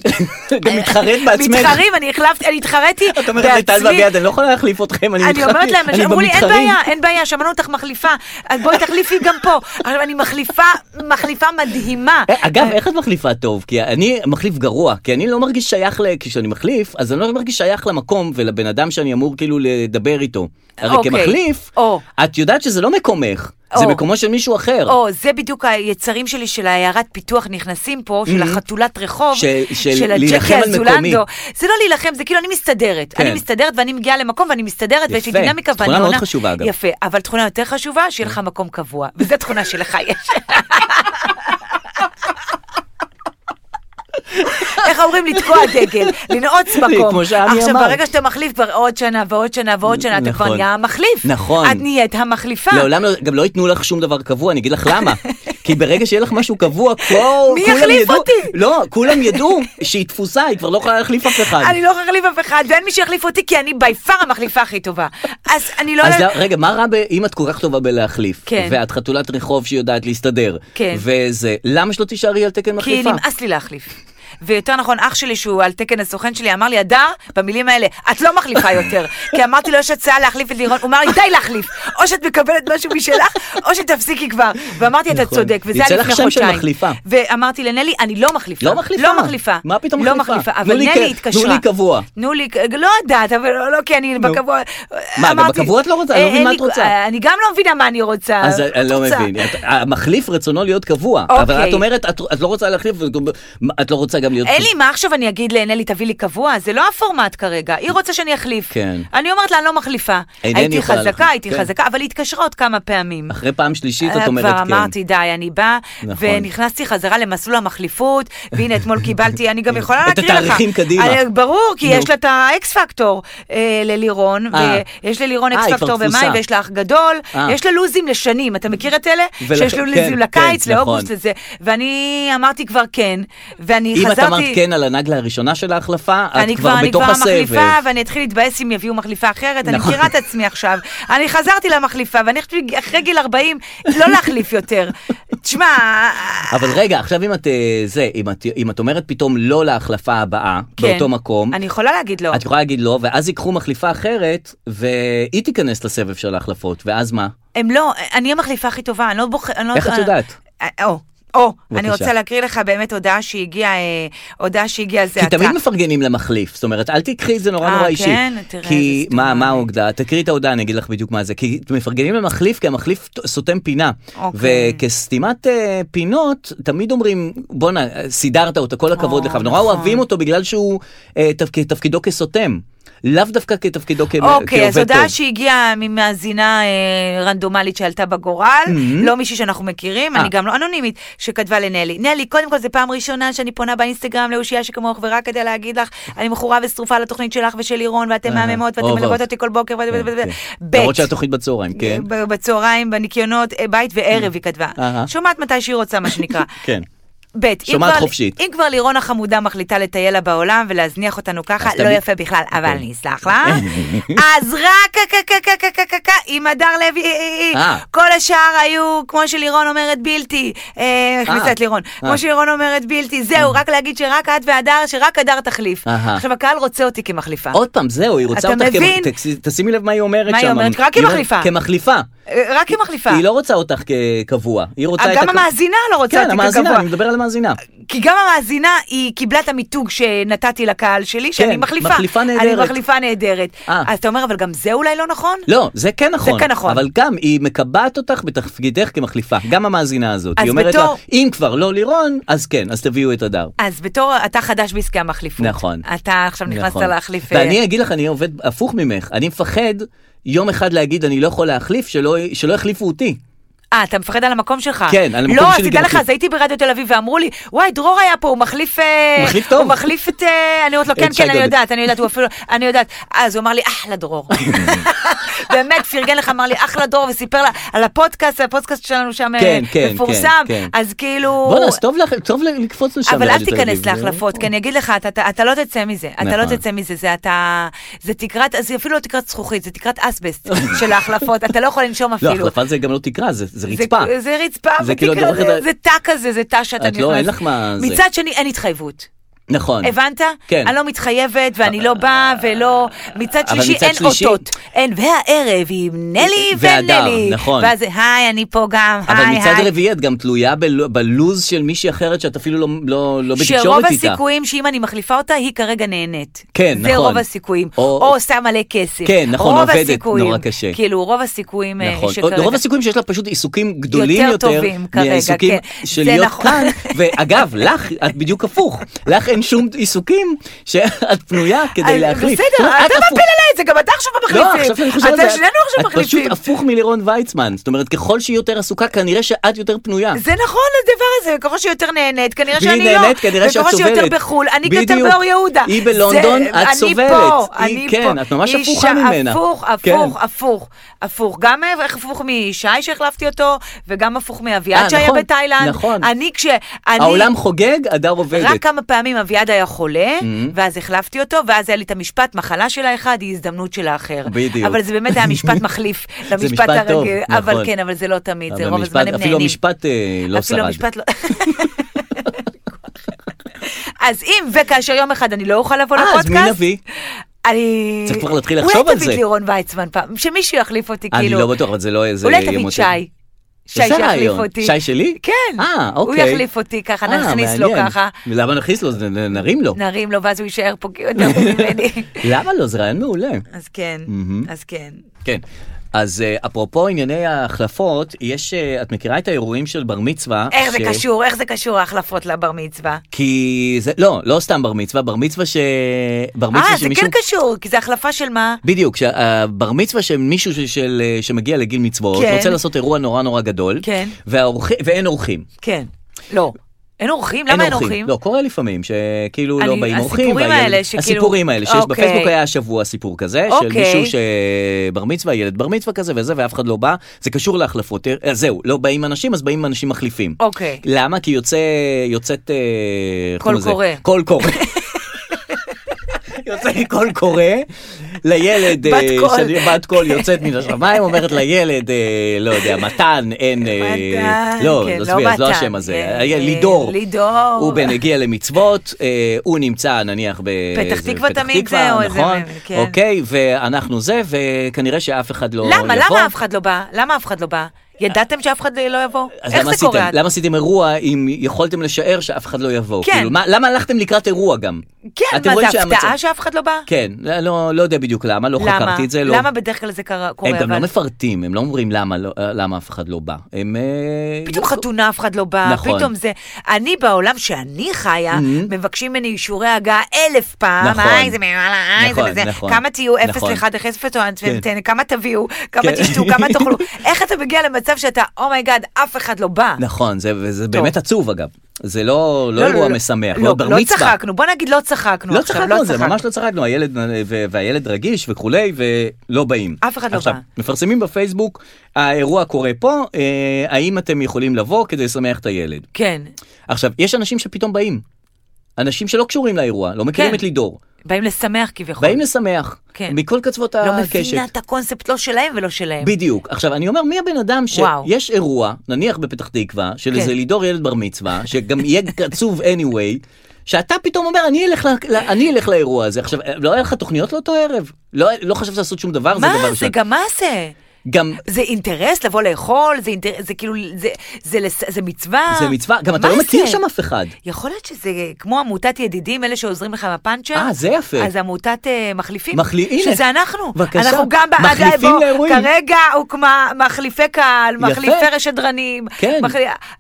[SPEAKER 2] גם מתחרט (laughs) בעצמך.
[SPEAKER 1] מתחרים, אני החלפתי, אני התחרתי בעצמי,
[SPEAKER 2] את אומרת לטל ואביעד, אני לא יכולה להחליף אתכם, אני
[SPEAKER 1] אני
[SPEAKER 2] מתחרט.
[SPEAKER 1] אומרת להם,
[SPEAKER 2] אני
[SPEAKER 1] אמרו לי, אין
[SPEAKER 2] במתחרים."
[SPEAKER 1] בעיה, אין בעיה, שמענו אותך מחליפה, אז בואי תחליפי גם פה. עכשיו אני מחליפה, מחליפה מדהימה.
[SPEAKER 2] אה, אגב, איך את מחליפה טוב? כי אני מחליף גרוע, כי אני לא מרגיש שייך, ל- כשאני מחליף, אז אני לא מרגיש שייך למקום ולבן אדם שאני אמור כאילו לדבר איתו. הרי
[SPEAKER 1] אוקיי.
[SPEAKER 2] כמחליף,
[SPEAKER 1] או.
[SPEAKER 2] את יודעת שזה לא מקומך, זה
[SPEAKER 1] או.
[SPEAKER 2] מקומו של מישהו אחר.
[SPEAKER 1] או, זה בדיוק היצרים שלי של העיירת פיתוח נכנסים פה, של החתולת רחוב,
[SPEAKER 2] של- Mm-hmm. של
[SPEAKER 1] הג'קי
[SPEAKER 2] להילחם על מקומי.
[SPEAKER 1] אזולנדו. זה לא להילחם, זה כאילו אני מסתדרת.
[SPEAKER 2] כן.
[SPEAKER 1] אני מסתדרת ואני מגיעה למקום ואני מסתדרת, ויש לי
[SPEAKER 2] יפה.
[SPEAKER 1] דינמיקה ואני
[SPEAKER 2] תכונה מאוד
[SPEAKER 1] עונה.
[SPEAKER 2] חשובה, אגב. Mm-hmm.
[SPEAKER 1] יפה, אבל תכונה יותר חשובה, שיהיה לך מקום קבוע. וזו תכונה שלך יש. איך אומרים לתקוע דגל,
[SPEAKER 2] (laughs)
[SPEAKER 1] לנעוץ מקום.
[SPEAKER 2] כמו שעמי
[SPEAKER 1] עכשיו,
[SPEAKER 2] אמר.
[SPEAKER 1] ברגע שאתה מחליף כבר עוד שנה ועוד שנה ועוד שנה, אתה כבר
[SPEAKER 2] נכון.
[SPEAKER 1] נהיה המחליף.
[SPEAKER 2] נכון.
[SPEAKER 1] את נהיית המחליפה.
[SPEAKER 2] לעולם לא, גם לא ייתנו לך שום דבר קבוע, אני אגיד לך
[SPEAKER 1] (laughs)
[SPEAKER 2] למה. כי ברגע שיהיה לך משהו קבוע, כל,
[SPEAKER 1] מי
[SPEAKER 2] כולם
[SPEAKER 1] יחליף
[SPEAKER 2] ידעו,
[SPEAKER 1] אותי?
[SPEAKER 2] לא, כולם ידעו שהיא תפוסה, היא כבר לא יכולה להחליף אף אחד.
[SPEAKER 1] אני לא יכולה להחליף אף אחד, ואין מי שיחליף אותי, כי אני בי פאר המחליפה הכי טובה. אז אני לא...
[SPEAKER 2] אז
[SPEAKER 1] יודעת-
[SPEAKER 2] לא, רגע, מה רע ב... אם את כל כך טובה בלהחליף,
[SPEAKER 1] כן.
[SPEAKER 2] ואת חתולת רחוב שיודעת להסתדר,
[SPEAKER 1] כן.
[SPEAKER 2] וזה, למה שלא תישארי על תקן
[SPEAKER 1] כי
[SPEAKER 2] מחליפה?
[SPEAKER 1] נמאס לי להחליף. ויותר נכון, אח שלי, שהוא על תקן הסוכן שלי, אמר לי, הדר, במילים האלה, את לא מחליפה
[SPEAKER 2] (laughs)
[SPEAKER 1] יותר. כי אמרתי לו, יש הצעה להחליף את לירון, הוא אמר לי, די להחליף. או שאת מקבלת משהו משלך, או שתפסיקי כבר. ואמרתי, אתה
[SPEAKER 2] נכון.
[SPEAKER 1] צודק, וזה
[SPEAKER 2] יצא
[SPEAKER 1] היה
[SPEAKER 2] לך
[SPEAKER 1] לפני
[SPEAKER 2] שם של
[SPEAKER 1] חודשיים.
[SPEAKER 2] מחליפה.
[SPEAKER 1] ואמרתי לנלי, אני לא מחליפה.
[SPEAKER 2] לא מחליפה.
[SPEAKER 1] לא מחליפה.
[SPEAKER 2] מה פתאום
[SPEAKER 1] לא
[SPEAKER 2] מחליפה?
[SPEAKER 1] מחליפה,
[SPEAKER 2] תנו
[SPEAKER 1] אבל
[SPEAKER 2] לי
[SPEAKER 1] נלי
[SPEAKER 2] כ-
[SPEAKER 1] התקשרה.
[SPEAKER 2] תנו לי קבוע.
[SPEAKER 1] תנו לי, לא יודעת, אבל לא, לא, כי אני בקבוע...
[SPEAKER 2] מה, גם
[SPEAKER 1] אמרתי,
[SPEAKER 2] בקבוע את לא רוצה? אני לא
[SPEAKER 1] "אה,
[SPEAKER 2] מבין
[SPEAKER 1] אין
[SPEAKER 2] מה
[SPEAKER 1] לי-
[SPEAKER 2] את רוצה."
[SPEAKER 1] אה, אני גם לא מבינה מה אני רוצה.
[SPEAKER 2] אז
[SPEAKER 1] את
[SPEAKER 2] אני לא
[SPEAKER 1] רוצה.
[SPEAKER 2] מבין, את- המחליף רצונו להיות קבוע,
[SPEAKER 1] אה, אוקיי.
[SPEAKER 2] אבל את אומרת, את- את לא רוצה להחליף, ואת גם- את לא רוצה גם להיות...
[SPEAKER 1] אלי, מה עכשיו אני אגיד לנלי, תביא לי קבוע? זה לא הפורמט כרגע, היא רוצה שאני אחליף.
[SPEAKER 2] כן.
[SPEAKER 1] אני אומרת לה, אני לא מחליפה.
[SPEAKER 2] אינני
[SPEAKER 1] הייתי
[SPEAKER 2] יכולה
[SPEAKER 1] חזקה,
[SPEAKER 2] להחליף,
[SPEAKER 1] הייתי
[SPEAKER 2] כן.
[SPEAKER 1] חזקה, אבל היא התקשרה עוד כמה פעמים.
[SPEAKER 2] אחרי פעם שלישית את
[SPEAKER 1] אה,
[SPEAKER 2] אומרת
[SPEAKER 1] כבר
[SPEAKER 2] כן.
[SPEAKER 1] אמרתי, די, אני באה,
[SPEAKER 2] נכון.
[SPEAKER 1] ונכנסתי חזרה למסלול המחליפות, והנה אתמול קיבלתי, אני גם יכולה
[SPEAKER 2] כן. את
[SPEAKER 1] להקריא לך.
[SPEAKER 2] התאריכים קדימה.
[SPEAKER 1] אני- ברור, כי
[SPEAKER 2] נו.
[SPEAKER 1] יש לה את האקס פקטור אה, ללירון,
[SPEAKER 2] אה.
[SPEAKER 1] ויש ללירון
[SPEAKER 2] אה,
[SPEAKER 1] אקס
[SPEAKER 2] היא כבר
[SPEAKER 1] פקטור
[SPEAKER 2] תפוסה.
[SPEAKER 1] במאי, ויש לה אח גדול,
[SPEAKER 2] אה.
[SPEAKER 1] יש לה לוזים לשנים, אתה מכיר את אלה?
[SPEAKER 2] ולכן-
[SPEAKER 1] שיש לו
[SPEAKER 2] כן,
[SPEAKER 1] לוזים
[SPEAKER 2] כן,
[SPEAKER 1] לקיץ,
[SPEAKER 2] נכון.
[SPEAKER 1] לאוגוסט, לזה, ואני אמרתי כבר כן, ואני
[SPEAKER 2] אם את
[SPEAKER 1] חזרתי...
[SPEAKER 2] אמרת כן על הנגלה הראשונה של ההחלפה,
[SPEAKER 1] אני
[SPEAKER 2] את
[SPEAKER 1] כבר,
[SPEAKER 2] כבר
[SPEAKER 1] אני כבר
[SPEAKER 2] בתוך הסבב.
[SPEAKER 1] המחליפה, ואני אתחיל להתבאס אם יביאו מחליפה אחרת, אני
[SPEAKER 2] נכון.
[SPEAKER 1] מכירה את עצמי עכשיו. אני חזרתי למחליפה, ואני חושבת שאחרי גיל 40, לא להחליף יותר. תשמע,
[SPEAKER 2] אבל רגע, עכשיו אם את אה, זה, אם את- אם את אומרת פתאום לא להחלפה הבאה,
[SPEAKER 1] כן.
[SPEAKER 2] באותו מקום,
[SPEAKER 1] אני יכולה להגיד לא.
[SPEAKER 2] את יכולה להגיד לא, ואז ייקחו מחליפה אחרת, והיא תיכנס לסבב של ההחלפות, ואז מה?
[SPEAKER 1] הם לא, אני המחליפה הכי טובה, אני לא בוחרת...
[SPEAKER 2] איך את יודעת?
[SPEAKER 1] או. או, אני
[SPEAKER 2] בבקשה.
[SPEAKER 1] רוצה להקריא לך באמת הודעה שהגיעה, אה, הודעה שהגיעה זה
[SPEAKER 2] כי
[SPEAKER 1] אתה.
[SPEAKER 2] תמיד מפרגנים למחליף, זאת אומרת, אל תקחי את זה נורא
[SPEAKER 1] אה,
[SPEAKER 2] נורא
[SPEAKER 1] כן?
[SPEAKER 2] אישי.
[SPEAKER 1] תראה לא
[SPEAKER 2] כי
[SPEAKER 1] איזה סתומה.
[SPEAKER 2] מה, מה ההודעה? תקריא את ההודעה, אני אגיד לך בדיוק מה זה. כי מפרגנים למחליף, כי המחליף ת- סותם פינה.
[SPEAKER 1] אוקיי.
[SPEAKER 2] וכסתימת אה, פינות, תמיד אומרים, בואנה, אה, סידרת אותה, כל הכבוד
[SPEAKER 1] או,
[SPEAKER 2] לך. ונורא
[SPEAKER 1] נכון.
[SPEAKER 2] אוהבים אותו בגלל שהוא, אה, תפק- תפקידו כסותם. לאו דווקא כתפקידו כ- כעובד טוב.
[SPEAKER 1] אוקיי, אז הודעה שהגיעה ממאזינה אה, רנדומלית שעלתה בגורל, לא מישהי שאנחנו מכירים,
[SPEAKER 2] אה.
[SPEAKER 1] אני גם לא אנונימית, שכתבה לנלי. נלי, קודם כל, זו פעם ראשונה שאני פונה באינסטגרם לאושייה שכמוך, ורק כדי להגיד לך, אני מכורה ושרופה לתוכנית שלך ושל לירון, ואתן
[SPEAKER 2] אהה,
[SPEAKER 1] מהממות, ואתן
[SPEAKER 2] אוהבות.
[SPEAKER 1] מלוות אותי כל בוקר, ו- ו- ו- ו-
[SPEAKER 2] כן,
[SPEAKER 1] ב'.
[SPEAKER 2] למרות שהתוכנית בצהריים, כן.
[SPEAKER 1] ב- בצהריים, בניקיונות, אה, בית וערב, היא כתבה.
[SPEAKER 2] אהה.
[SPEAKER 1] שומעת מתי שהיא רוצה, מה
[SPEAKER 2] (laughs)
[SPEAKER 1] שנקרא.
[SPEAKER 2] כן.
[SPEAKER 1] ב', אם
[SPEAKER 2] שומעת
[SPEAKER 1] כבר-
[SPEAKER 2] חופשית.
[SPEAKER 1] אם כבר לירון החמודה מחליטה לטייל לה בעולם ולהזניח אותנו ככה,
[SPEAKER 2] אז
[SPEAKER 1] לא
[SPEAKER 2] תמיד-
[SPEAKER 1] יפה בכלל, אבל
[SPEAKER 2] אוקיי. (laughs)
[SPEAKER 1] נסלח לה. אז רק קקקקקקקקק עם הדר לוי, אה, אה, אה.
[SPEAKER 2] אה.
[SPEAKER 1] כל השאר היו, כמו שלירון אומרת, בלתי. אה, הכניסה
[SPEAKER 2] אה.
[SPEAKER 1] את לירון. כמו
[SPEAKER 2] אה.
[SPEAKER 1] שלירון אומרת, בלתי. זהו, רק להגיד שרק את והדר, שרק הדר תחליף.
[SPEAKER 2] אהה.
[SPEAKER 1] עכשיו, הקהל רוצה אותי כמחליפה.
[SPEAKER 2] עוד פעם, זהו, היא
[SPEAKER 1] אתה
[SPEAKER 2] רוצה אותך כ-
[SPEAKER 1] מבין?
[SPEAKER 2] ת- תשימי לב מה היא אומרת שם.
[SPEAKER 1] מה היא אומרת? רק כמחליפה.
[SPEAKER 2] כמחליפה.
[SPEAKER 1] אה, רק כמחליפה.
[SPEAKER 2] היא לא רוצה אותך כקבוע, היא רוצה את...
[SPEAKER 1] גם
[SPEAKER 2] הכ-
[SPEAKER 1] המאזינה לא רוצה
[SPEAKER 2] כן,
[SPEAKER 1] אותי
[SPEAKER 2] המאזינה,
[SPEAKER 1] כקבוע.
[SPEAKER 2] אני מדבר על המאזינה.
[SPEAKER 1] כי גם המאזינה, היא קיבלה את המיתוג שנתתי לקהל שלי, שאני מחליפה.
[SPEAKER 2] כן, מחליפה נהדרת.
[SPEAKER 1] אני מחליפה נהדרת.
[SPEAKER 2] אה.
[SPEAKER 1] אז אתה אומר, אבל גם זה אולי לא נכון?
[SPEAKER 2] לא, זה כן נכון.
[SPEAKER 1] כן נכון.
[SPEAKER 2] אבל גם היא מקבעת אותך בתפקידך כמחליפה, גם המאזינה הזאת.
[SPEAKER 1] אז
[SPEAKER 2] היא אומרת
[SPEAKER 1] בתור-
[SPEAKER 2] לה, אם כבר לא לירון, אז כן, אז תביאו את הדר.
[SPEAKER 1] אז בתור, אתה חדש בעסקי המחליפות.
[SPEAKER 2] נכון.
[SPEAKER 1] אתה עכשיו נכנסת
[SPEAKER 2] נכון.
[SPEAKER 1] להחליף... אה,
[SPEAKER 2] ואני אגיד לך, אני עובד הפוך ממך, אני מפחד יום אחד להגיד, אני לא יכול להחליף, שלא שלא יחליפו אותי.
[SPEAKER 1] אה, אתה מפחד על המקום שלך.
[SPEAKER 2] כן, על המקום
[SPEAKER 1] לא,
[SPEAKER 2] שלי
[SPEAKER 1] לא, תדע לך,
[SPEAKER 2] כמחליף.
[SPEAKER 1] אז הייתי ברדיו תל אביב ואמרו לי, וואי, דרור היה פה, הוא מחליף... אה,
[SPEAKER 2] מחליף טוב."
[SPEAKER 1] הוא מחליף את... אה, אני אומרת לו,
[SPEAKER 2] את
[SPEAKER 1] כן,
[SPEAKER 2] שי
[SPEAKER 1] כן, אני
[SPEAKER 2] גודל."
[SPEAKER 1] יודעת, אני יודעת, הוא אפילו... אני יודעת. אז הוא אמר לי, אחלה
[SPEAKER 2] (laughs)
[SPEAKER 1] דרור. (laughs) באמת, פרגן לך, אמר לי, אחלה דרור, וסיפר לה על הפודקאסט, הפודקאסט שלנו שם אה,
[SPEAKER 2] כן, כן,
[SPEAKER 1] מפורסם.
[SPEAKER 2] כן, כן.
[SPEAKER 1] אז כאילו...
[SPEAKER 2] בואנה, אז טוב לך- טוב לקפוץ לשם.
[SPEAKER 1] אבל אל
[SPEAKER 2] לרדיו תל
[SPEAKER 1] תיכנס
[SPEAKER 2] אביב. לא?
[SPEAKER 1] להחלפות, כי אני אגיד לך, אתה- אתה- אתה לא תצא מזה, אתה לא
[SPEAKER 2] נכון.
[SPEAKER 1] תצא מזה, זה אתה, זה תקרת, זה אפילו לא תקרת זכוכית, זה תקרת אסבסט של ההחלפות, אתה לא יכול לנשום
[SPEAKER 2] לא,
[SPEAKER 1] אפילו.
[SPEAKER 2] החלפה זה גם לא תקרה, זה-
[SPEAKER 1] זה-
[SPEAKER 2] זה רצפה.
[SPEAKER 1] זה רצפה,
[SPEAKER 2] זה כאילו את
[SPEAKER 1] ותקרה,
[SPEAKER 2] הולכת
[SPEAKER 1] זה-
[SPEAKER 2] על-
[SPEAKER 1] זה תא כזה, זה תא שאתה
[SPEAKER 2] את
[SPEAKER 1] נכנס.
[SPEAKER 2] לא, אין לך מה זה.
[SPEAKER 1] מצד שני, אין התחייבות.
[SPEAKER 2] נכון.
[SPEAKER 1] הבנת?
[SPEAKER 2] כן.
[SPEAKER 1] אני לא מתחייבת, ואני לא באה, ולא... מצד
[SPEAKER 2] אבל
[SPEAKER 1] שלישי,
[SPEAKER 2] מצד
[SPEAKER 1] אין
[SPEAKER 2] שלישי-
[SPEAKER 1] אותות. אין, והערב עם נלי
[SPEAKER 2] והדר,
[SPEAKER 1] ונלי.
[SPEAKER 2] נכון.
[SPEAKER 1] ואז זה, היי, אני פה גם, היי,
[SPEAKER 2] אבל
[SPEAKER 1] היי.
[SPEAKER 2] מצד רביעי את גם תלויה בל- בלוז של מישהי אחרת שאת אפילו לא, לא, לא בתקשורת איתה.
[SPEAKER 1] שרוב הסיכויים שאם אני מחליפה אותה, היא כרגע נהנית.
[SPEAKER 2] כן,
[SPEAKER 1] זה
[SPEAKER 2] נכון.
[SPEAKER 1] רוב הסיכויים.
[SPEAKER 2] או-
[SPEAKER 1] או עושה מלא כסף.
[SPEAKER 2] כן, נכון,
[SPEAKER 1] רוב
[SPEAKER 2] עובדת,
[SPEAKER 1] הסיכויים.
[SPEAKER 2] נורא קשה.
[SPEAKER 1] כאילו, רוב הסיכויים אה,
[SPEAKER 2] נכון,
[SPEAKER 1] שכרגע...
[SPEAKER 2] רוב הסיכויים שיש לה פשוט עיסוקים גדולים
[SPEAKER 1] יותר
[SPEAKER 2] יותר,
[SPEAKER 1] טובים כרגע,
[SPEAKER 2] מהעיסוקים
[SPEAKER 1] כן.
[SPEAKER 2] של
[SPEAKER 1] זה
[SPEAKER 2] להיות
[SPEAKER 1] נכון.
[SPEAKER 2] כאן, ואגב, לך, את בדיוק הפוך, לך אין שום עיסוקים שאת פנויה
[SPEAKER 1] אה,
[SPEAKER 2] כדי להחליף. זאת
[SPEAKER 1] בסדר,
[SPEAKER 2] אומרת, את
[SPEAKER 1] אתה
[SPEAKER 2] הפוך.
[SPEAKER 1] מפיל עליי את זה, גם אתה עכשיו במחליפים.
[SPEAKER 2] לא, עכשיו שאני חושב על
[SPEAKER 1] אתה
[SPEAKER 2] זה,
[SPEAKER 1] שנינו
[SPEAKER 2] את
[SPEAKER 1] עכשיו מחליפים.
[SPEAKER 2] פשוט הפוך מלירון ויצמן, זאת אומרת, ככל שהיא יותר עסוקה, כנראה שאת יותר פנויה.
[SPEAKER 1] זה נכון הדבר הזה, וככל שיותר נהנית, כנראה
[SPEAKER 2] והיא
[SPEAKER 1] שאני לא.
[SPEAKER 2] נהנית, כנראה שאת
[SPEAKER 1] וככל שיותר
[SPEAKER 2] סובלת.
[SPEAKER 1] בחו"ל, אני
[SPEAKER 2] בדיוק.
[SPEAKER 1] כתב באור יהודה.
[SPEAKER 2] היא בלונדון,
[SPEAKER 1] זה-
[SPEAKER 2] את
[SPEAKER 1] אני
[SPEAKER 2] סובלת.
[SPEAKER 1] פה,
[SPEAKER 2] היא-
[SPEAKER 1] אני
[SPEAKER 2] כן,
[SPEAKER 1] פה.
[SPEAKER 2] את ממש
[SPEAKER 1] היא
[SPEAKER 2] הפוכה
[SPEAKER 1] ש-
[SPEAKER 2] ממנה.
[SPEAKER 1] הפוך,
[SPEAKER 2] כן.
[SPEAKER 1] הפוך, הפוך, הפוך. גם אה, הפוך משי שהחלפתי אותו, וגם הפוך מאביעד
[SPEAKER 2] אה,
[SPEAKER 1] שהיה
[SPEAKER 2] נכון,
[SPEAKER 1] בתאילנד.
[SPEAKER 2] נכון.
[SPEAKER 1] אני כש... אני-
[SPEAKER 2] העולם חוגג, הדר
[SPEAKER 1] רק
[SPEAKER 2] עובדת.
[SPEAKER 1] כמה פעמים אביעד היה חולה,
[SPEAKER 2] Mm-hmm.
[SPEAKER 1] ואז החלפתי אותו, ואז היה לי את המשפט, מחלה של האחד היא הזדמנות של האחר.
[SPEAKER 2] בדיוק.
[SPEAKER 1] אבל זה באמת היה משפט
[SPEAKER 2] (laughs)
[SPEAKER 1] מחליף למשפט
[SPEAKER 2] משפט טוב,
[SPEAKER 1] הרגיל. אבל
[SPEAKER 2] נכון.
[SPEAKER 1] כן, אבל זה לא תמיד, זה
[SPEAKER 2] אבל
[SPEAKER 1] רוב
[SPEAKER 2] משפט-
[SPEAKER 1] הזמן הם נהנים.
[SPEAKER 2] אפילו המשפט אה, לא
[SPEAKER 1] אפילו
[SPEAKER 2] שרד.
[SPEAKER 1] המשפט לא... (laughs) אז אם וכאשר יום אחד אני לא אוכל לבוא
[SPEAKER 2] אה, אז
[SPEAKER 1] לפודקאסט,
[SPEAKER 2] מי נביא?
[SPEAKER 1] אני...
[SPEAKER 2] צריך כבר להתחיל לחשוב על
[SPEAKER 1] אולי תביא את
[SPEAKER 2] זה.
[SPEAKER 1] לירון ויצמן פעם, שמישהו יחליף אותי,
[SPEAKER 2] אני
[SPEAKER 1] כאילו.
[SPEAKER 2] לא בטוח, אבל זה לא איזה...
[SPEAKER 1] אולי
[SPEAKER 2] יהיה
[SPEAKER 1] תביא את
[SPEAKER 2] מותק.
[SPEAKER 1] שי. שי
[SPEAKER 2] זה
[SPEAKER 1] שיחליף
[SPEAKER 2] רעיון.
[SPEAKER 1] אותי.
[SPEAKER 2] שי שלי?
[SPEAKER 1] כן.
[SPEAKER 2] אה,
[SPEAKER 1] הוא
[SPEAKER 2] אוקיי.
[SPEAKER 1] יחליף אותי ככה,
[SPEAKER 2] אה,
[SPEAKER 1] נכניס לו
[SPEAKER 2] מעניין.
[SPEAKER 1] ככה.
[SPEAKER 2] למה נכניס לו? זה- זה- נרים לו.
[SPEAKER 1] נרים לו, ואז הוא יישאר פה כי הוא יותר
[SPEAKER 2] (laughs)
[SPEAKER 1] טוב ממני.
[SPEAKER 2] למה לא? זה רעיון מעולה.
[SPEAKER 1] אז כן, אז כן.
[SPEAKER 2] כן. אז אה, אפרופו ענייני ההחלפות, יש, אה, את מכירה את האירועים של בר מצווה?
[SPEAKER 1] איך אה, זה
[SPEAKER 2] ש-
[SPEAKER 1] קשור, איך זה קשור ההחלפות לבר מצווה?
[SPEAKER 2] כי זה, לא, לא סתם בר מצווה, בר מצווה ש... בר מצווה
[SPEAKER 1] אה, זה
[SPEAKER 2] שמישהו...
[SPEAKER 1] כן קשור, כי זה החלפה של מה?
[SPEAKER 2] בדיוק, אה, בר מצווה שמישהו ש- של, אה, שמגיע לגיל מצוות,
[SPEAKER 1] כן.
[SPEAKER 2] רוצה לעשות אירוע נורא נורא גדול,
[SPEAKER 1] כן.
[SPEAKER 2] והאורחי- ואין אורחים.
[SPEAKER 1] כן. לא. אין אורחים? למה אין אורחים?
[SPEAKER 2] לא, קורה לפעמים שכאילו לא
[SPEAKER 1] אני-
[SPEAKER 2] באים אורחים.
[SPEAKER 1] הסיפורים
[SPEAKER 2] והילד-
[SPEAKER 1] האלה שכאילו-
[SPEAKER 2] הסיפורים האלה, שיש
[SPEAKER 1] אוקיי.
[SPEAKER 2] בפייסבוק היה השבוע סיפור כזה, של
[SPEAKER 1] אוקיי.
[SPEAKER 2] מישהו שבר מצווה, ילד בר מצווה כזה וזה, ואף אחד לא בא, זה קשור להחלפות. אה, זהו, לא באים אנשים, אז באים אנשים מחליפים.
[SPEAKER 1] אוקיי.
[SPEAKER 2] למה? כי יוצא, יוצאת... אה, איך
[SPEAKER 1] קול
[SPEAKER 2] קוראים לזה?
[SPEAKER 1] קורא.
[SPEAKER 2] קול קורא. יוצא קול קורא לילד, אה,
[SPEAKER 1] בת קול.
[SPEAKER 2] שאני- בת קול יוצאת מן השמיים, אומרת לילד, אה, לא יודע, מתן, אין, אה,
[SPEAKER 1] מתן,
[SPEAKER 2] לא,
[SPEAKER 1] כן, לא
[SPEAKER 2] עזבי, אז לא
[SPEAKER 1] מתן,
[SPEAKER 2] השם הזה,
[SPEAKER 1] כן,
[SPEAKER 2] היה
[SPEAKER 1] אה,
[SPEAKER 2] לידור,
[SPEAKER 1] לידור.
[SPEAKER 2] הוא בן הגיע למצוות, אה, הוא נמצא נניח ב...
[SPEAKER 1] פתח
[SPEAKER 2] זה-
[SPEAKER 1] תקווה
[SPEAKER 2] פתח
[SPEAKER 1] תמיד
[SPEAKER 2] תקווה,
[SPEAKER 1] זה, או איזה
[SPEAKER 2] נכון,
[SPEAKER 1] מין, כן.
[SPEAKER 2] אוקיי, ואנחנו זה, וכנראה שאף אחד לא
[SPEAKER 1] למה?
[SPEAKER 2] יבוא.
[SPEAKER 1] למה אף אחד לא בא? למה אף אחד לא בא? ידעתם שאף אחד לא יבוא?
[SPEAKER 2] אז
[SPEAKER 1] איך
[SPEAKER 2] למה
[SPEAKER 1] זה קורה?
[SPEAKER 2] עשיתם, למה עשיתם אירוע אם יכולתם לשער שאף אחד לא יבוא?
[SPEAKER 1] כן.
[SPEAKER 2] כאילו, מה, למה הלכתם לקראת אירוע גם?
[SPEAKER 1] כן,
[SPEAKER 2] אתם
[SPEAKER 1] מה
[SPEAKER 2] רואים
[SPEAKER 1] זה הפתעה
[SPEAKER 2] שהמצב-
[SPEAKER 1] שאף אחד לא בא?
[SPEAKER 2] כן, לא, לא יודע בדיוק למה, לא
[SPEAKER 1] למה?
[SPEAKER 2] חקרתי את זה, לא.
[SPEAKER 1] למה בדרך כלל זה קרה- קורה?
[SPEAKER 2] הם גם לא
[SPEAKER 1] אבל?
[SPEAKER 2] מפרטים, הם לא אומרים למה, לא, למה אף אחד לא בא. הם... אה,
[SPEAKER 1] פתאום חתונה אף אחד לא בא,
[SPEAKER 2] נכון.
[SPEAKER 1] פתאום זה... אני בעולם שאני חיה,
[SPEAKER 2] Mhm.
[SPEAKER 1] מבקשים ממני אישורי הגעה אלף פעם,
[SPEAKER 2] נכון.
[SPEAKER 1] היי זה מעלה, היי זה
[SPEAKER 2] נכון,
[SPEAKER 1] וזה,
[SPEAKER 2] נכון.
[SPEAKER 1] כמה תהיו, אפס
[SPEAKER 2] נכון.
[SPEAKER 1] לאחד, אפס
[SPEAKER 2] כן.
[SPEAKER 1] ותן, כמה תביאו, כמה
[SPEAKER 2] כן.
[SPEAKER 1] תשתו, כמה
[SPEAKER 2] (laughs)
[SPEAKER 1] תאכלו. איך אתה מגיע למצב שאתה, אומייגאד, אף אחד לא בא?
[SPEAKER 2] נכון, זה, וזה
[SPEAKER 1] טוב.
[SPEAKER 2] באמת עצוב אגב. זה לא, לא, אירוע משמח, לא, בר
[SPEAKER 1] לא
[SPEAKER 2] מצווה.
[SPEAKER 1] צחקנו, בוא נגיד לא צחקנו
[SPEAKER 2] לא
[SPEAKER 1] עכשיו,
[SPEAKER 2] צחקנו, על זה ממש לא צחקנו, הילד, ו- והילד רגיש וכולי, ולא באים.
[SPEAKER 1] אף אחד לא
[SPEAKER 2] עכשיו,
[SPEAKER 1] בא.
[SPEAKER 2] מפרסמים בפייסבוק, האירוע קורה פה, אה, האם אתם יכולים לבוא כדי לשמח את הילד?
[SPEAKER 1] כן,
[SPEAKER 2] עכשיו, יש אנשים שפתאום באים. אנשים שלא קשורים לאירוע, לא מכירים
[SPEAKER 1] כן.
[SPEAKER 2] את לידור.
[SPEAKER 1] באים לשמח כביכול.
[SPEAKER 2] באים לשמח,
[SPEAKER 1] כן.
[SPEAKER 2] מכל קצוות
[SPEAKER 1] לא
[SPEAKER 2] הקשת.
[SPEAKER 1] מבינה את הקונספט לא שלהם ולא שלהם.
[SPEAKER 2] בדיוק. עכשיו, אני אומר, מי הבן אדם
[SPEAKER 1] וואו.
[SPEAKER 2] שיש אירוע, נניח בפתח תקווה, של
[SPEAKER 1] כן.
[SPEAKER 2] איזה לידור ילד בר מצווה, שגם יהיה עצוב anyway, שאתה פתאום אומר, אני אלך, ל- ל- אני אלך לאירוע הזה. עכשיו, לא היה לך תוכניות לאותו ערב? לא, לא חשבת לעשות שום דבר, זה דבר
[SPEAKER 1] מה זה,
[SPEAKER 2] ראשון.
[SPEAKER 1] גם מה זה?
[SPEAKER 2] גם...
[SPEAKER 1] זה אינטרס לבוא לאכול, זה, אינטר... זה כאילו, זה, זה, לס... זה מצווה.
[SPEAKER 2] זה מצווה, גם אתה
[SPEAKER 1] אה, מה
[SPEAKER 2] לא מכיר
[SPEAKER 1] זה?
[SPEAKER 2] שם אף אחד.
[SPEAKER 1] יכול להיות שזה כמו עמותת ידידים, אלה שעוזרים לך בפאנצ'ר.
[SPEAKER 2] אה, זה יפה.
[SPEAKER 1] אז עמותת אה, מחליפים.
[SPEAKER 2] מחלי- הנה.
[SPEAKER 1] שזה אנחנו.
[SPEAKER 2] בבקשה.
[SPEAKER 1] אנחנו גם בעד...
[SPEAKER 2] מחליפים
[SPEAKER 1] האירוע.
[SPEAKER 2] לאירועים.
[SPEAKER 1] כרגע הוקמה מחליפי קהל,
[SPEAKER 2] יפה.
[SPEAKER 1] מחליפי רשדרנים.
[SPEAKER 2] כן.
[SPEAKER 1] מחל...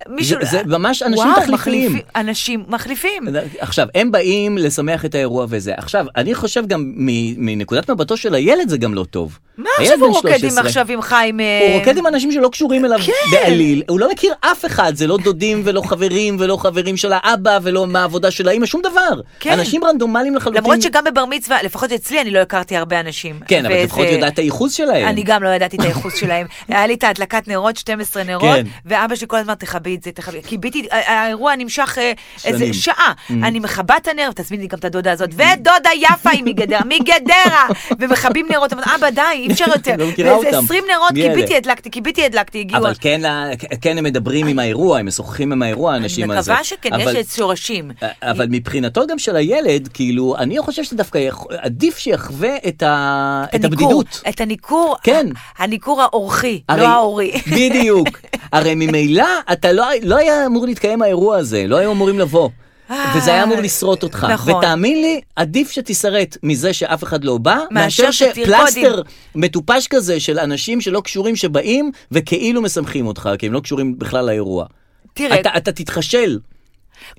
[SPEAKER 1] מישהו...
[SPEAKER 2] זה- זה ממש אנשים
[SPEAKER 1] וואו,
[SPEAKER 2] תחליפיים.
[SPEAKER 1] מחליפים- אנשים מחליפים.
[SPEAKER 2] עכשיו, הם באים לשמח את האירוע וזה. עכשיו, אני חושב גם מ- מנקודת מבטו של הילד זה גם לא טוב.
[SPEAKER 1] מה
[SPEAKER 2] הילד
[SPEAKER 1] עכשיו
[SPEAKER 2] בן
[SPEAKER 1] הוא רוקד
[SPEAKER 2] 13.
[SPEAKER 1] עם עכשיו עם חיים...
[SPEAKER 2] הוא רוקד עם אנשים שלא קשורים אליו
[SPEAKER 1] כן.
[SPEAKER 2] בעליל, הוא לא מכיר אף אחד, זה לא דודים ולא חברים ולא חברים של האבא ולא מהעבודה של האמא, שום דבר.
[SPEAKER 1] כן.
[SPEAKER 2] אנשים רנדומליים לחלוטין.
[SPEAKER 1] למרות שגם בבר מצווה, לפחות אצלי אני לא הכרתי הרבה אנשים.
[SPEAKER 2] כן, אבל
[SPEAKER 1] וזה-
[SPEAKER 2] לפחות יודעת את הייחוס שלהם.
[SPEAKER 1] אני גם לא ידעתי את
[SPEAKER 2] (laughs)
[SPEAKER 1] הייחוס שלהם. היה לי את ההדלקת נרות, 12 נרות,
[SPEAKER 2] כן.
[SPEAKER 1] ואבא שלי כל הזמן, תכבי את זה, תכבי. כי ביתי, האירוע נמשך אה,
[SPEAKER 2] שנים. Mm.
[SPEAKER 1] איזה שעה. אני מכבה את הנר, תזמין לי גם את הדודה הזאת, ודודה יפה היא מגדרה, מגדרה, ומכבים נרות. אמרתי, אבא, די, אי אפשר יותר.
[SPEAKER 2] לא מכירה
[SPEAKER 1] ואיזה
[SPEAKER 2] אותם.
[SPEAKER 1] 20 נרות,
[SPEAKER 2] מי
[SPEAKER 1] כי
[SPEAKER 2] אלה?
[SPEAKER 1] ביתי הדלקתי, כי ביתי הדלקתי, הגיעו.
[SPEAKER 2] אבל כן, ה- כן הם מדברים עם האירוע, הם משוחחים עם האירוע,
[SPEAKER 1] אני
[SPEAKER 2] האנשים הזה.
[SPEAKER 1] מקווה שכן, יש
[SPEAKER 2] אבל- אה,
[SPEAKER 1] לזה שורשים.
[SPEAKER 2] אבל מבחינתו גם של הילד, כאילו, אני חושב שדווקא יכ- עדיף שיחווה את ה- את
[SPEAKER 1] הניכור,
[SPEAKER 2] הבדידות.
[SPEAKER 1] את הניכור,
[SPEAKER 2] כן.
[SPEAKER 1] הניכור האורחי,
[SPEAKER 2] הרי-
[SPEAKER 1] לא ההורי. (laughs)
[SPEAKER 2] בדיוק. הרי ממילא אתה לא, לא היה אמור להתקיים האירוע הזה, לא היו אמורים לבוא.
[SPEAKER 1] אה,
[SPEAKER 2] וזה היה אמור לשרוט אותך.
[SPEAKER 1] נכון.
[SPEAKER 2] ותאמין לי, עדיף שתישרט מזה שאף אחד לא בא, מאשר
[SPEAKER 1] שתרקוד
[SPEAKER 2] שפלסטר מטופש כזה של אנשים שלא קשורים שבאים וכאילו מסמכים אותך, כי הם לא קשורים בכלל לאירוע.
[SPEAKER 1] תראה,
[SPEAKER 2] אתה, אתה תתחשל.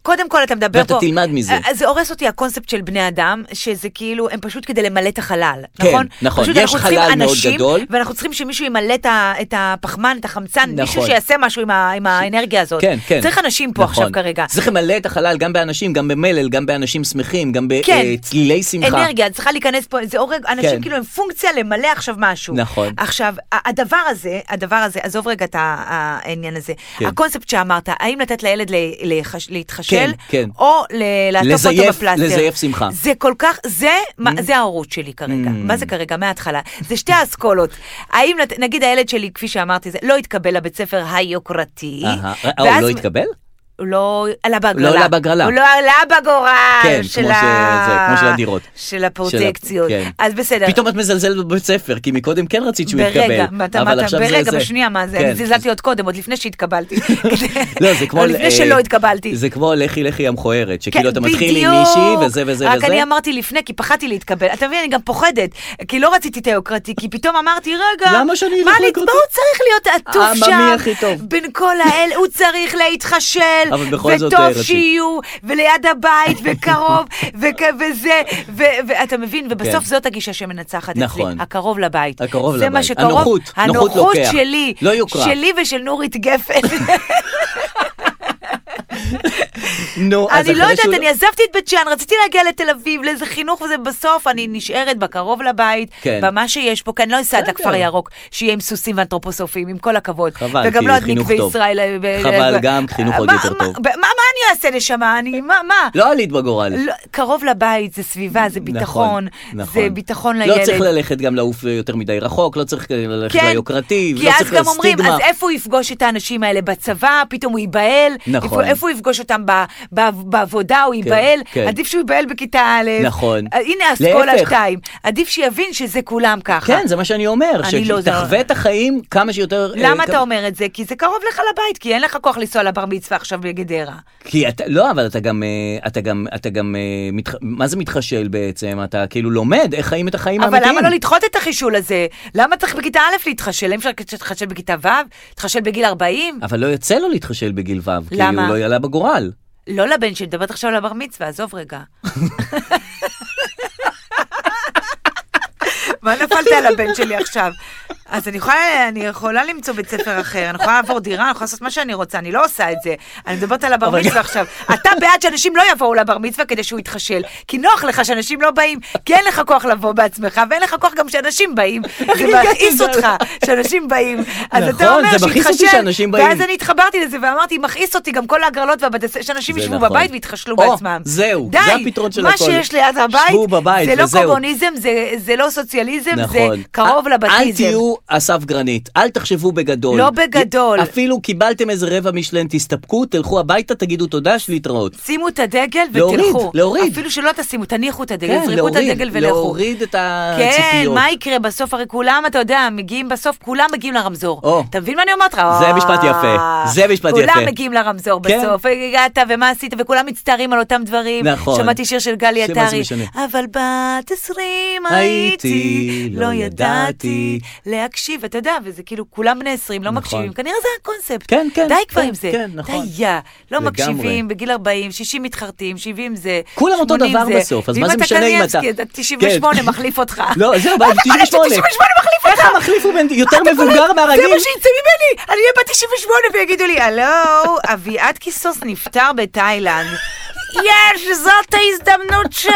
[SPEAKER 1] קודם כל אתה מדבר
[SPEAKER 2] ואתה
[SPEAKER 1] פה,
[SPEAKER 2] תלמד מזה.
[SPEAKER 1] אה, זה הורס אותי הקונספט של בני אדם, שזה כאילו, הם פשוט כדי למלא את החלל,
[SPEAKER 2] כן,
[SPEAKER 1] נכון?
[SPEAKER 2] נכון.
[SPEAKER 1] פשוט
[SPEAKER 2] יש
[SPEAKER 1] אנחנו צריכים
[SPEAKER 2] חלל מאוד
[SPEAKER 1] אנשים,
[SPEAKER 2] גדול.
[SPEAKER 1] ואנחנו צריכים שמישהו ימלא את ה- את הפחמן, את החמצן, מישהו
[SPEAKER 2] נכון.
[SPEAKER 1] שיעשה משהו עם ה- עם האנרגיה הזאת.
[SPEAKER 2] כן, כן.
[SPEAKER 1] צריך אנשים פה עכשיו כרגע.
[SPEAKER 2] צריך למלא את החלל גם באנשים, גם במלל, גם באנשים שמחים, גם
[SPEAKER 1] כן.
[SPEAKER 2] בצלילי שמחה.
[SPEAKER 1] אנרגיה, צריכה להיכנס פה, זה הורג, אנשים
[SPEAKER 2] כן.
[SPEAKER 1] כאילו הם פונקציה למלא עכשיו משהו.
[SPEAKER 2] נכון.
[SPEAKER 1] עכשיו, ה- הדבר הזה, הדבר הזה, עזוב רגע את ה- העניין הזה.
[SPEAKER 2] כן.
[SPEAKER 1] הקונספט שאמרת, האם לתת לילד ל- לחש- להתחשל,
[SPEAKER 2] כן, כן.
[SPEAKER 1] או ל- לעטוף אותו
[SPEAKER 2] לזייף-
[SPEAKER 1] בפלסטר.
[SPEAKER 2] לזייף שמחה. Mm.
[SPEAKER 1] זה כל כך, זה מה- זה ההורות שלי כרגע. מה זה כרגע? מההתחלה. זה שתי האסכולות. האם, לת- נגיד הילד שלי, כפי שאמרתי, זה לא התקבל לבית ספר היוקרתי.
[SPEAKER 2] אהה. אה, הוא
[SPEAKER 1] ואז-
[SPEAKER 2] לא התקבל?
[SPEAKER 1] הוא לא עלה בהגרלה.
[SPEAKER 2] לא עלה בהגרלה.
[SPEAKER 1] הוא לא עלה בגורל
[SPEAKER 2] כן,
[SPEAKER 1] של
[SPEAKER 2] כמו
[SPEAKER 1] ה...
[SPEAKER 2] שזה, כמו של הדירות.
[SPEAKER 1] של הפרוטקציות.
[SPEAKER 2] כן.
[SPEAKER 1] אז בסדר.
[SPEAKER 2] פתאום את מזלזלת בבית ספר, כי מקודם כן רצית שהוא יתקבל.
[SPEAKER 1] ברגע, ואתה
[SPEAKER 2] אבל
[SPEAKER 1] אמרת,
[SPEAKER 2] עכשיו זה
[SPEAKER 1] ברגע,
[SPEAKER 2] זה.
[SPEAKER 1] בשנייה, מה זה,
[SPEAKER 2] כן.
[SPEAKER 1] אני זלזלתי עוד קודם, עוד לפני שהתקבלתי.
[SPEAKER 2] לא,
[SPEAKER 1] (laughs)
[SPEAKER 2] זה כמו...
[SPEAKER 1] עוד לפני
[SPEAKER 2] אה,
[SPEAKER 1] שלא התקבלתי.
[SPEAKER 2] זה כמו לכי לכי המכוערת, שכאילו
[SPEAKER 1] כן,
[SPEAKER 2] אתה מתחיל עם
[SPEAKER 1] בדיוק.
[SPEAKER 2] מישהי וזה וזה
[SPEAKER 1] רק
[SPEAKER 2] וזה.
[SPEAKER 1] אני אמ- אמרתי לפני, כי פחדתי להתקבל. אתה מבין, אני גם פוחדת. כי לא רציתי את היוקרתי, כי פתאום אמרתי, רגע,
[SPEAKER 2] למה שאני אלך
[SPEAKER 1] מה אני-
[SPEAKER 2] ליוקרתי?"
[SPEAKER 1] מה הוא צריך להיות עטוף
[SPEAKER 2] העממי
[SPEAKER 1] שם?
[SPEAKER 2] הכי טוב.
[SPEAKER 1] בין כל האל, הוא צריך להתחשל.
[SPEAKER 2] אבל בכל זאת אה,
[SPEAKER 1] וטוב
[SPEAKER 2] היוקרתי.
[SPEAKER 1] שיהיו, וליד הבית,
[SPEAKER 2] (laughs)
[SPEAKER 1] וקרוב, וכ- וזה, ו- ואתה מבין, ובסוף
[SPEAKER 2] כן.
[SPEAKER 1] זאת הגישה שמנצחת אצלי.
[SPEAKER 2] נכון.
[SPEAKER 1] הקרוב לבית.
[SPEAKER 2] הקרוב
[SPEAKER 1] זה מה
[SPEAKER 2] לבית.
[SPEAKER 1] שקרוב.
[SPEAKER 2] הנוחות, נוחות
[SPEAKER 1] הנוחות
[SPEAKER 2] לוקח.
[SPEAKER 1] שלי.
[SPEAKER 2] לא יוקרה.
[SPEAKER 1] שלי ושל נורית גפן.
[SPEAKER 2] נו, אז
[SPEAKER 1] אני לא
[SPEAKER 2] אחרי
[SPEAKER 1] יודעת,
[SPEAKER 2] שהוא-
[SPEAKER 1] אני עזבתי את בית שאן, רציתי להגיע לתל אביב, לאיזה חינוך וזה, בסוף אני נשארת בקרוב לבית,
[SPEAKER 2] כן.
[SPEAKER 1] במה שיש פה, כי אני לא אסע עד
[SPEAKER 2] בסדר.
[SPEAKER 1] לכפר ירוק, שיהיה עם סוסים ואנתרופוסופים, עם כל הכבוד.
[SPEAKER 2] חבל,
[SPEAKER 1] וגם
[SPEAKER 2] כי
[SPEAKER 1] לא עד
[SPEAKER 2] חינוך
[SPEAKER 1] מקווה
[SPEAKER 2] טוב.
[SPEAKER 1] ישראל. אה, ו-
[SPEAKER 2] חבל,
[SPEAKER 1] ו-
[SPEAKER 2] גם חינוך עוד
[SPEAKER 1] מה-
[SPEAKER 2] יותר
[SPEAKER 1] מה-
[SPEAKER 2] טוב.
[SPEAKER 1] ב- מה מה אני נעשה נשמה? אני, מה, מה?
[SPEAKER 2] לא עלית בגורל.
[SPEAKER 1] לא, קרוב לבית זה סביבה, זה ביטחון,
[SPEAKER 2] נכון, נכון.
[SPEAKER 1] זה ביטחון לילד.
[SPEAKER 2] לא צריך ללכת גם לעוף יותר מדי רחוק, לא צריך ללכת
[SPEAKER 1] כן,
[SPEAKER 2] ליוקרתי,
[SPEAKER 1] כי
[SPEAKER 2] לא
[SPEAKER 1] אז
[SPEAKER 2] צריך
[SPEAKER 1] גם אומרים,
[SPEAKER 2] לסטיגמה.
[SPEAKER 1] אז איפה הוא יפגוש את האנשים האלה? בצבא, פתאום הוא ייבהל?
[SPEAKER 2] נכון.
[SPEAKER 1] איפה, איפה הוא יפגוש אותם? ב, ב, בעבודה הוא ייבהל?
[SPEAKER 2] כן.
[SPEAKER 1] עדיף שהוא ייבהל בכיתה א'.
[SPEAKER 2] נכון.
[SPEAKER 1] אה, הנה אסכולה
[SPEAKER 2] להפך.
[SPEAKER 1] 2. עדיף שיבין שזה כולם ככה.
[SPEAKER 2] כן, זה מה שאני אומר,
[SPEAKER 1] אני לא- זה-
[SPEAKER 2] שתחווה את החיים כמה שיותר... אה,
[SPEAKER 1] למה
[SPEAKER 2] כ-
[SPEAKER 1] אתה אומר את זה? כי זה קרוב לך לבית, כי אין לך כוח לנסוע לבר מצווה עכשיו בגדרה.
[SPEAKER 2] כי אתה, לא, אבל אתה גם, אה, אתה גם, אתה גם, אה, מתח... מה זה מתחשל בעצם? אתה כאילו לומד איך חיים את החיים
[SPEAKER 1] אבל
[SPEAKER 2] האמיתיים.
[SPEAKER 1] למה לא לדחות את החישול הזה? למה צריך בכיתה א' להתחשל? אי אפשר להתחשל בכיתה ו'? להתחשל בגיל 40?
[SPEAKER 2] אבל לא יוצא לו להתחשל בגיל ו', כי
[SPEAKER 1] למה?
[SPEAKER 2] הוא לא יעלה בגורל.
[SPEAKER 1] לא לבן שלי, מדברת עכשיו על הבר מצווה, עזוב רגע. מה נפלת על הבן שלי עכשיו? אז אני יכולה, אני יכולה למצוא בית ספר אחר, אני יכולה לעבור דירה, אני יכולה לעשות מה שאני רוצה, אני לא עושה את זה. אני מדברת על הבר
[SPEAKER 2] אבל-
[SPEAKER 1] מצווה עכשיו. אתה בעד שאנשים לא יבואו לבר מצווה כדי שהוא יתחשל, כי נוח לך שאנשים לא באים, כי אין לך כוח לבוא בעצמך, ואין לך כוח גם שאנשים באים.
[SPEAKER 2] (laughs)
[SPEAKER 1] זה מכעיס אותך שאנשים באים. אז
[SPEAKER 2] כן, נכון,
[SPEAKER 1] אתה אומר
[SPEAKER 2] זה מכעיס אותי
[SPEAKER 1] שיתחשל,
[SPEAKER 2] שאנשים באים.
[SPEAKER 1] ואז אני התחברתי לזה ואמרתי, מכעיס אותי גם כל ההגרלות והבתי ספר, שאנשים
[SPEAKER 2] זה
[SPEAKER 1] ישבו
[SPEAKER 2] נכון.
[SPEAKER 1] בבית ויתחשלו
[SPEAKER 2] או,
[SPEAKER 1] בעצמם.
[SPEAKER 2] זהו,
[SPEAKER 1] די,
[SPEAKER 2] זה הפתרון של
[SPEAKER 1] מה
[SPEAKER 2] הכל.
[SPEAKER 1] שיש ליד הבית,
[SPEAKER 2] שבו בבית
[SPEAKER 1] זה לא
[SPEAKER 2] וזהו.
[SPEAKER 1] קומוניזם, זה- זה לא סוציאליזם, זה
[SPEAKER 2] נכון.
[SPEAKER 1] קרוב
[SPEAKER 2] אל- אל
[SPEAKER 1] לבתיזם.
[SPEAKER 2] תהיו אסף גרנית, אל תחשבו בגדול.
[SPEAKER 1] לא בגדול.
[SPEAKER 2] אפילו קיבלתם איזה רבע משלן, תסתפקו, תלכו הביתה, תגידו תודה, שלהתראות.
[SPEAKER 1] שימו את הדגל
[SPEAKER 2] להוריד,
[SPEAKER 1] ותלכו.
[SPEAKER 2] להוריד.
[SPEAKER 1] אפילו שלא תשימו, תניחו את הדגל,
[SPEAKER 2] כן,
[SPEAKER 1] זרקו את
[SPEAKER 2] להוריד,
[SPEAKER 1] הדגל ולכו.
[SPEAKER 2] להוריד את
[SPEAKER 1] כן,
[SPEAKER 2] הציפיות.
[SPEAKER 1] מה יקרה בסוף? הרי כולם, אתה יודע, מגיעים בסוף, כולם מגיעים לרמזור.
[SPEAKER 2] או.
[SPEAKER 1] אתה מבין מה אני אומרת לך?
[SPEAKER 2] זה משפט יפה, זה משפט יפה.
[SPEAKER 1] כולם מגיעים לרמזור
[SPEAKER 2] כן.
[SPEAKER 1] בסוף. הגעת ומה עשית, וכולם מצטערים על אותם דברים.
[SPEAKER 2] נכון.
[SPEAKER 1] שמעתי שיר של גלי
[SPEAKER 2] שמה זה
[SPEAKER 1] עטרי.
[SPEAKER 2] משנה?
[SPEAKER 1] אבל בת עשרים
[SPEAKER 2] הייתי,
[SPEAKER 1] הייתי,
[SPEAKER 2] לא
[SPEAKER 1] לא ידעתי
[SPEAKER 2] ידעתי."
[SPEAKER 1] להקשיב, אתה יודע, וזה כאילו, כולם בני עשרים, לא
[SPEAKER 2] נכון.
[SPEAKER 1] מקשיבים. כנראה זה הקונספט.
[SPEAKER 2] כן, כן,
[SPEAKER 1] די כבר
[SPEAKER 2] כן,
[SPEAKER 1] עם זה.
[SPEAKER 2] כן, נכון.
[SPEAKER 1] די, יא. לא
[SPEAKER 2] לגמרי.
[SPEAKER 1] מקשיבים, בגיל 40, 60 מתחרטים, 70 זה,
[SPEAKER 2] כולם אותו
[SPEAKER 1] 80
[SPEAKER 2] דבר
[SPEAKER 1] זה.
[SPEAKER 2] בסוף, אז
[SPEAKER 1] ואם
[SPEAKER 2] מה זה משנה אם אתה...
[SPEAKER 1] קניאבסקי, אז 98
[SPEAKER 2] (laughs) כן.
[SPEAKER 1] מחליף אותך.
[SPEAKER 2] לא,
[SPEAKER 1] (laughs)
[SPEAKER 2] זהו, אבל
[SPEAKER 1] מה אתה יכול לעשות?
[SPEAKER 2] 98.
[SPEAKER 1] 98 מחליף אותך.
[SPEAKER 2] איך המחליף הוא בן- יותר
[SPEAKER 1] אתה
[SPEAKER 2] מבוגר
[SPEAKER 1] קולט?
[SPEAKER 2] מהרגיל?
[SPEAKER 1] זה מה שיצא ממני, אני אהיה בת 98 ויגידו לי, הלו, אביעד קיסוס נפטר
[SPEAKER 2] (laughs)
[SPEAKER 1] בתאילנד. יש, זאת ההזדמנות שלי!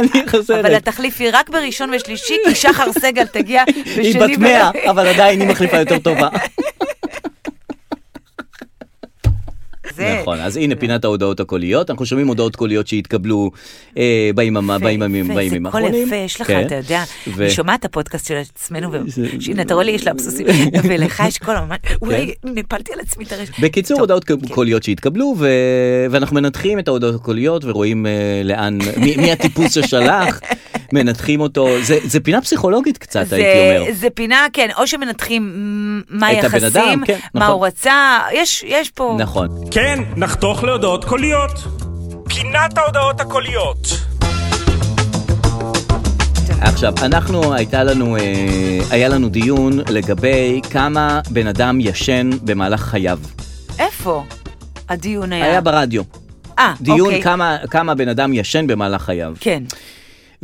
[SPEAKER 2] אני חוזרת.
[SPEAKER 1] אבל התחליף היא רק בראשון ושלישי, כי
[SPEAKER 2] (laughs)
[SPEAKER 1] שחר סגל תגיע בשני...
[SPEAKER 2] היא בת 100, אבל עדיין היא מחליפה יותר טובה.
[SPEAKER 1] (laughs) זה-
[SPEAKER 2] נכון, אז הנה פינת ההודעות הקוליות, אנחנו שומעים הודעות קוליות שהתקבלו אה, ביממה-
[SPEAKER 1] יפה,
[SPEAKER 2] בימים
[SPEAKER 1] יפה,
[SPEAKER 2] בימים האחרונים.
[SPEAKER 1] זה קול יפה, יש לך,
[SPEAKER 2] כן.
[SPEAKER 1] אתה יודע,
[SPEAKER 2] ו-
[SPEAKER 1] אני שומעת את הפודקאסט של עצמנו, ו-
[SPEAKER 2] זה- כן.
[SPEAKER 1] שהנה, אתה רואה לי, יש לה
[SPEAKER 2] (laughs)
[SPEAKER 1] אבסוסים, ולך יש קול ממש, אולי נפלתי על עצמי את הרשת.
[SPEAKER 2] בקיצור,
[SPEAKER 1] טוב,
[SPEAKER 2] הודעות
[SPEAKER 1] כן.
[SPEAKER 2] קוליות שהתקבלו, ו... ואנחנו מנתחים את ההודעות הקוליות ורואים אה, לאן, מי, מי
[SPEAKER 1] (laughs)
[SPEAKER 2] הטיפוס ששלח, מנתחים אותו, זה, זה פינה פסיכולוגית קצת,
[SPEAKER 1] זה,
[SPEAKER 2] הייתי אומר.
[SPEAKER 1] זה פינה, כן, או שמנתחים מ- מה
[SPEAKER 2] את הבן
[SPEAKER 1] היחסים,
[SPEAKER 2] אדם, כן,
[SPEAKER 1] מה
[SPEAKER 2] נכון.
[SPEAKER 1] הוא רצה, יש, יש פה...
[SPEAKER 2] נכון.
[SPEAKER 3] כן, נחתוך להודעות קוליות. פינת ההודעות הקוליות.
[SPEAKER 2] עכשיו, אנחנו, הייתה לנו, אה, היה לנו דיון לגבי כמה בן אדם ישן במהלך חייו.
[SPEAKER 1] איפה הדיון היה?
[SPEAKER 2] היה ברדיו.
[SPEAKER 1] אה,
[SPEAKER 2] דיון
[SPEAKER 1] אוקיי.
[SPEAKER 2] כמה, כמה בן אדם ישן במהלך חייו.
[SPEAKER 1] כן.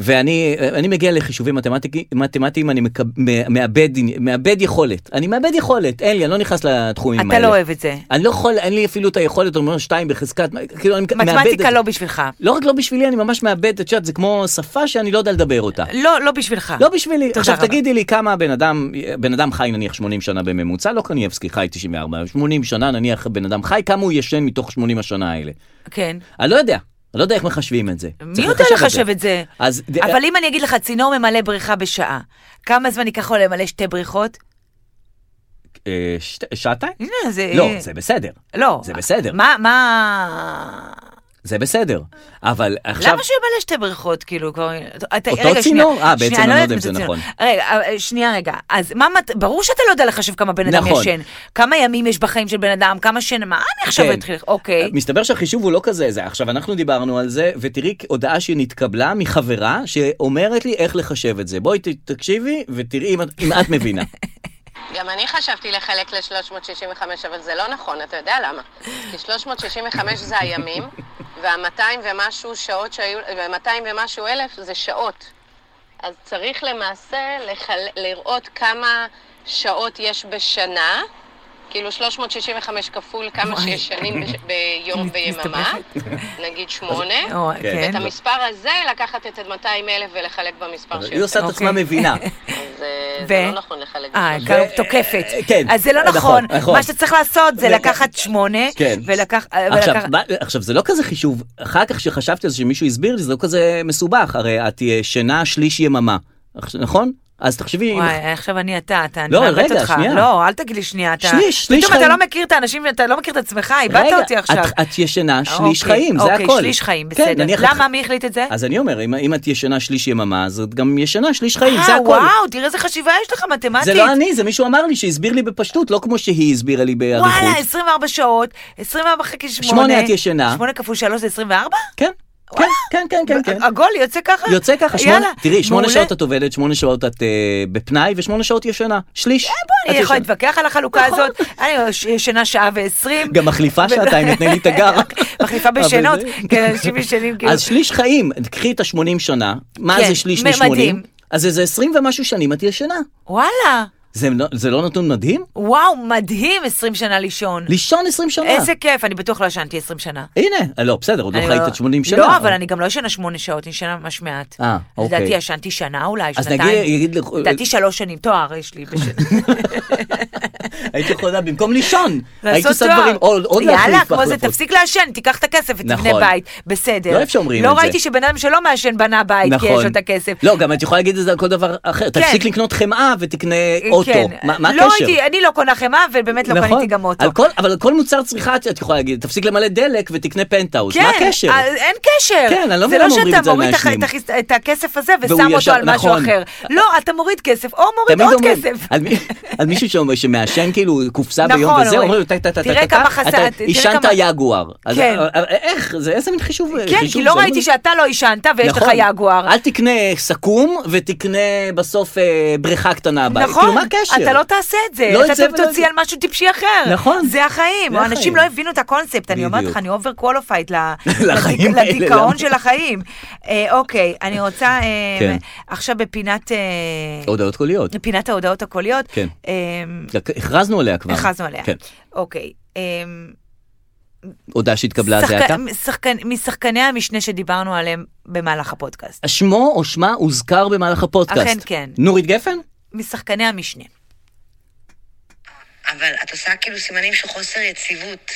[SPEAKER 2] ואני אני מגיע לחישובים מתמטיקי- מתמטיים, אני מקב- מא- מאבד עני- מאבד יכולת. אני מאבד יכולת, אין לי, אני לא נכנס לתחומים האלה.
[SPEAKER 1] אתה לא אוהב את זה.
[SPEAKER 2] אני לא יכול, אין לי אפילו את היכולת, אני אומר שתיים בחזקת, כאילו אני מאבד את
[SPEAKER 1] מתמטיקה
[SPEAKER 2] זה.
[SPEAKER 1] לא בשבילך.
[SPEAKER 2] לא רק לא בשבילי, אני ממש מאבד את שאת, זה כמו שפה שאני לא יודע לדבר אותה.
[SPEAKER 1] לא, לא בשבילך.
[SPEAKER 2] לא בשבילי. עכשיו
[SPEAKER 1] רבה.
[SPEAKER 2] תגידי לי כמה בן אדם, בן אדם חי נניח 80 שנה בממוצע, לא קנייבסקי חי 94, 80 שנה נניח בן אדם חי, כמה הוא ישן מתוך 80 השנה האלה?
[SPEAKER 1] כן.
[SPEAKER 2] אני לא יודע, אני לא יודע איך מחשבים את זה.
[SPEAKER 1] מי
[SPEAKER 2] צריך
[SPEAKER 1] יודע
[SPEAKER 2] את
[SPEAKER 1] לחשב
[SPEAKER 2] זה.
[SPEAKER 1] את זה?
[SPEAKER 2] אז-
[SPEAKER 1] אבל אם אני אגיד לך, צינור ממלא בריכה בשעה, כמה זמן ייקח לו למלא שתי בריכות?
[SPEAKER 2] אה, שת- שעתיים?
[SPEAKER 1] הנה, זה...
[SPEAKER 2] לא, זה בסדר,
[SPEAKER 1] לא.
[SPEAKER 2] זה בסדר.
[SPEAKER 1] מה, מה...
[SPEAKER 2] זה בסדר. אבל עכשיו...
[SPEAKER 1] למה שהוא ימלא שתי בריכות, כאילו, כבר... אתה-
[SPEAKER 2] אותו
[SPEAKER 1] רגע, שנייה,
[SPEAKER 2] צינור? אה, בעצם
[SPEAKER 1] שנייה,
[SPEAKER 2] אני לא
[SPEAKER 1] יודעת
[SPEAKER 2] יודע אם
[SPEAKER 1] זה
[SPEAKER 2] זה
[SPEAKER 1] צינור.
[SPEAKER 2] נכון.
[SPEAKER 1] רגע, אה, שנייה, רגע. אז מה, מת- ברור שאתה לא יודע לחשב כמה בן אדם
[SPEAKER 2] נכון.
[SPEAKER 1] ישן. כמה ימים יש בחיים של בן אדם, כמה שן, מה אני עכשיו
[SPEAKER 2] כן.
[SPEAKER 1] אתחיל... אוקיי.
[SPEAKER 2] מסתבר שהחישוב הוא לא כזה, זה עכשיו אנחנו דיברנו על זה, ותראי הודעה שנתקבלה מחברה שאומרת לי איך לחשב את זה. בואי ת- תקשיבי ותראי אם את- אם את
[SPEAKER 1] (laughs)
[SPEAKER 2] מבינה.
[SPEAKER 5] גם אני חשבתי לחלק ל-365, אבל זה לא נכון, אתה יודע למה. כי 365 זה
[SPEAKER 1] (laughs)
[SPEAKER 5] הימים, וה-200 ומשהו שעות שהיו, וה-200 ומשהו אלף זה שעות. אז צריך למעשה לחל... לראות כמה שעות יש בשנה, כאילו 365 כפול כמה שיש
[SPEAKER 1] (laughs)
[SPEAKER 5] שנים בש... ביום ויממה, נגיד שמונה.
[SPEAKER 1] או,
[SPEAKER 2] כן.
[SPEAKER 1] כן.
[SPEAKER 5] את המספר הזה, לקחת את ה-200 אלף ולחלק במספר
[SPEAKER 2] היא
[SPEAKER 5] שיוצא.
[SPEAKER 2] עושה את עצמה
[SPEAKER 1] (laughs) אוקיי.
[SPEAKER 2] מבינה.
[SPEAKER 5] אז אה, זה לא נכון לחלק
[SPEAKER 1] אה,
[SPEAKER 5] ב-365.
[SPEAKER 1] כאילו תוקפת.
[SPEAKER 2] כן,
[SPEAKER 1] אז זה לא נכון.
[SPEAKER 2] נכון, נכון.
[SPEAKER 1] מה שאתה צריך לעשות זה
[SPEAKER 2] נכון.
[SPEAKER 1] לקחת שמונה,
[SPEAKER 2] כן.
[SPEAKER 1] ולקח... אה,
[SPEAKER 2] עכשיו,
[SPEAKER 1] ולקח-
[SPEAKER 2] מה- עכשיו, זה לא כזה חישוב, אחר כך שחשבתי על זה שמישהו הסביר לי, זה לא כזה מסובך, הרי את אה, שנה שליש יממה, עכשיו, נכון? אז תחשבי, אם-
[SPEAKER 1] וואי, עכשיו אני אתה, אתה, אני
[SPEAKER 2] לא,
[SPEAKER 1] מאבדת
[SPEAKER 2] רגע,
[SPEAKER 1] אותך.
[SPEAKER 2] שנייה.
[SPEAKER 1] לא, אל תגיד לי שנייה, אתה...
[SPEAKER 2] שליש, שליש
[SPEAKER 1] פתאום אתה
[SPEAKER 2] חיים.
[SPEAKER 1] לא מכיר את האנשים ואתה לא מכיר את עצמך, איבדת
[SPEAKER 2] רגע,
[SPEAKER 1] אותי עכשיו.
[SPEAKER 2] את- את ישנה שליש
[SPEAKER 1] אוקיי,
[SPEAKER 2] חיים, זה הכל.
[SPEAKER 1] אוקיי, שליש חיים,
[SPEAKER 2] כן,
[SPEAKER 1] בסדר.
[SPEAKER 2] נניח את-
[SPEAKER 1] למה, מי החליט את זה?
[SPEAKER 2] אז אני אומר, אם- אם את ישנה שליש יממה, אז את גם ישנה שליש חיים, זה
[SPEAKER 1] אה,
[SPEAKER 2] הכל.
[SPEAKER 1] וואו, תראה איזה חשיבה יש לך מתמטית.
[SPEAKER 2] זה לא אני, זה מישהו אמר לי שהסביר לי בפשטות, לא כמו שהיא הסבירה לי באריכות.
[SPEAKER 1] וואלה, 24 שעות, 24 חלקי 8.
[SPEAKER 2] שמונה את ישנה.
[SPEAKER 1] 8 כפול 3 זה 24?
[SPEAKER 2] כן, כן, כן, כן, כן, כן.
[SPEAKER 1] הגול יוצא ככה?
[SPEAKER 2] יוצא ככה, שמונה,
[SPEAKER 1] יאללה,
[SPEAKER 2] תראי, שמונה
[SPEAKER 1] מעולה.
[SPEAKER 2] שעות את עובדת, שמונה שעות את אה, בפנאי ושמונה שעות ישנה, שליש.
[SPEAKER 1] אה, אני יכולה
[SPEAKER 2] את ישנה. נכון.
[SPEAKER 1] להתווכח על החלוקה הזאת, אני ש- ישנה שעה ועשרים.
[SPEAKER 2] גם מחליפה שעתיים, נתנה לי את הגר.
[SPEAKER 1] (laughs) מחליפה
[SPEAKER 2] אבל
[SPEAKER 1] בשינות,
[SPEAKER 2] זה-
[SPEAKER 1] כן, אנשים ישנים כאילו.
[SPEAKER 2] אז שליש חיים, קחי את ה-80 שנה, מה
[SPEAKER 1] כן,
[SPEAKER 2] זה שליש
[SPEAKER 1] מדהים.
[SPEAKER 2] מ-80? אז איזה 20 ומשהו שנים את ישנה.
[SPEAKER 1] וואלה,
[SPEAKER 2] זה לא- זה לא נתון מדהים?
[SPEAKER 1] וואו, מדהים 20 שנה לישון.
[SPEAKER 2] לישון 20 שנה.
[SPEAKER 1] איזה כיף, אני בטוח לא ישנתי 20 שנה.
[SPEAKER 2] הנה, אה, לא, בסדר, עוד לא
[SPEAKER 1] אני
[SPEAKER 2] חיית את 80 שנה.
[SPEAKER 1] לא, אבל אני גם לא ישנה 8 שעות, אני ישנה ממש מעט.
[SPEAKER 2] אה, אוקיי.
[SPEAKER 1] לדעתי ישנתי שנה אולי,
[SPEAKER 2] אז
[SPEAKER 1] שנתיים.
[SPEAKER 2] נגיד- יגיד לך-
[SPEAKER 1] לדעתי שלוש שנים, תואר יש לי.
[SPEAKER 2] (laughs)
[SPEAKER 1] בש-
[SPEAKER 2] הייתי יכולה במקום לישון, הייתי
[SPEAKER 1] לעשות
[SPEAKER 2] עושה
[SPEAKER 1] תואר.
[SPEAKER 2] דברים, עוד עוד להחליף
[SPEAKER 1] יאללה, כמו זה,
[SPEAKER 2] החלפות.
[SPEAKER 1] תפסיק לעשן, תיקח את הכסף ותבנה
[SPEAKER 2] נכון.
[SPEAKER 1] בית. בסדר.
[SPEAKER 2] לא אוהב שאומרים את
[SPEAKER 1] לא
[SPEAKER 2] זה.
[SPEAKER 1] ראיתי שבן אדם שלא מעשן בנה בית, כי יש לו את הכסף.
[SPEAKER 2] לא, גם את יכולה להגיד את זה על כל דבר אחר. תפסיק לקנות חמאה ותקנה אוטו.
[SPEAKER 1] כן.
[SPEAKER 2] מה מה
[SPEAKER 1] לא
[SPEAKER 2] הקשר? נכון.
[SPEAKER 1] הייתי, אני לא קונה חמאה, ובאמת לא קניתי גם אוטו.
[SPEAKER 2] על כל, אבל על כל מוצר צריכה את- את יכולה להגיד, תפסיק למלא דלק ותקנה פנטהאוס. מה הקשר?
[SPEAKER 1] אה, אין קשר.
[SPEAKER 2] כן, אני לא מבין למה אומרים את זה
[SPEAKER 1] זה
[SPEAKER 2] על
[SPEAKER 1] לא שאתה מוריד את הח-
[SPEAKER 2] מעשנים.
[SPEAKER 1] את החיס- את הכסף הזה
[SPEAKER 2] והוא
[SPEAKER 1] ושם אותו
[SPEAKER 2] ישר-
[SPEAKER 1] על משהו
[SPEAKER 2] נכון.
[SPEAKER 1] אחר. לא, אתה מוריד כסף, או מוריד
[SPEAKER 2] תמיד
[SPEAKER 1] עוד
[SPEAKER 2] אומרים,
[SPEAKER 1] כסף.
[SPEAKER 2] על, מי- על מישהו שאומר, שמעשן כאילו קופסה
[SPEAKER 1] נכון,
[SPEAKER 2] ביום וזה,
[SPEAKER 1] אומרים,
[SPEAKER 2] אומרים, "טה, טה, טה,
[SPEAKER 1] תראה
[SPEAKER 2] טה, טה,
[SPEAKER 1] כמה
[SPEAKER 2] טה,
[SPEAKER 1] חסר-
[SPEAKER 2] אתה
[SPEAKER 1] תראה
[SPEAKER 2] עישנת
[SPEAKER 1] כמה-
[SPEAKER 2] יגואר. אז-
[SPEAKER 1] כן.
[SPEAKER 2] אבל איך? זה איזה מין חישוב?
[SPEAKER 1] כן,
[SPEAKER 2] חישוב
[SPEAKER 1] כי לא
[SPEAKER 2] זה?
[SPEAKER 1] ראיתי שאתה לא עישנת ויש לך
[SPEAKER 2] נכון.
[SPEAKER 1] יגואר.
[SPEAKER 2] אל תקנה סכו"ם ותקנה בסוף אה, בריכה קטנה הבאה. כאילו,
[SPEAKER 1] נכון,
[SPEAKER 2] מה הקשר?
[SPEAKER 1] אתה לא תעשה את זה,
[SPEAKER 2] לא את
[SPEAKER 1] אתה
[SPEAKER 2] זה
[SPEAKER 1] תמיד
[SPEAKER 2] ולא את
[SPEAKER 1] תוציא
[SPEAKER 2] זה.
[SPEAKER 1] על משהו טיפשי אחר.
[SPEAKER 2] נכון.
[SPEAKER 1] זה החיים,
[SPEAKER 2] זה
[SPEAKER 1] אנשים
[SPEAKER 2] החיים.
[SPEAKER 1] לא הבינו את הקונספט, אני אומרת
[SPEAKER 2] בדיוק.
[SPEAKER 1] לך, אני אובר קוולופייד
[SPEAKER 2] (laughs) לחיים האלה, לא?
[SPEAKER 1] לדיכאון
[SPEAKER 2] למה?
[SPEAKER 1] של החיים. אה, אוקיי, אני רוצה אה,
[SPEAKER 2] כן.
[SPEAKER 1] עכשיו בפינת... אה,
[SPEAKER 2] הודעות קוליות.
[SPEAKER 1] פינת ההודעות הקוליות.
[SPEAKER 2] כן.
[SPEAKER 1] אמ,
[SPEAKER 2] הכרזנו עליה כבר.
[SPEAKER 1] הכרזנו עליה.
[SPEAKER 2] כן.
[SPEAKER 1] אוקיי. אמ,
[SPEAKER 2] הודעה שהתקבלה זה
[SPEAKER 1] שחק-
[SPEAKER 2] אתה.
[SPEAKER 1] שחקן- משחקני המשנה שדיברנו עליהם במהלך הפודקאסט.
[SPEAKER 2] שמו או שמה הוזכר במהלך הפודקאסט.
[SPEAKER 1] אכן כן.
[SPEAKER 2] נורית גפן?
[SPEAKER 1] משחקני המשנה.
[SPEAKER 4] אבל את עושה כאילו סימנים של חוסר יציבות.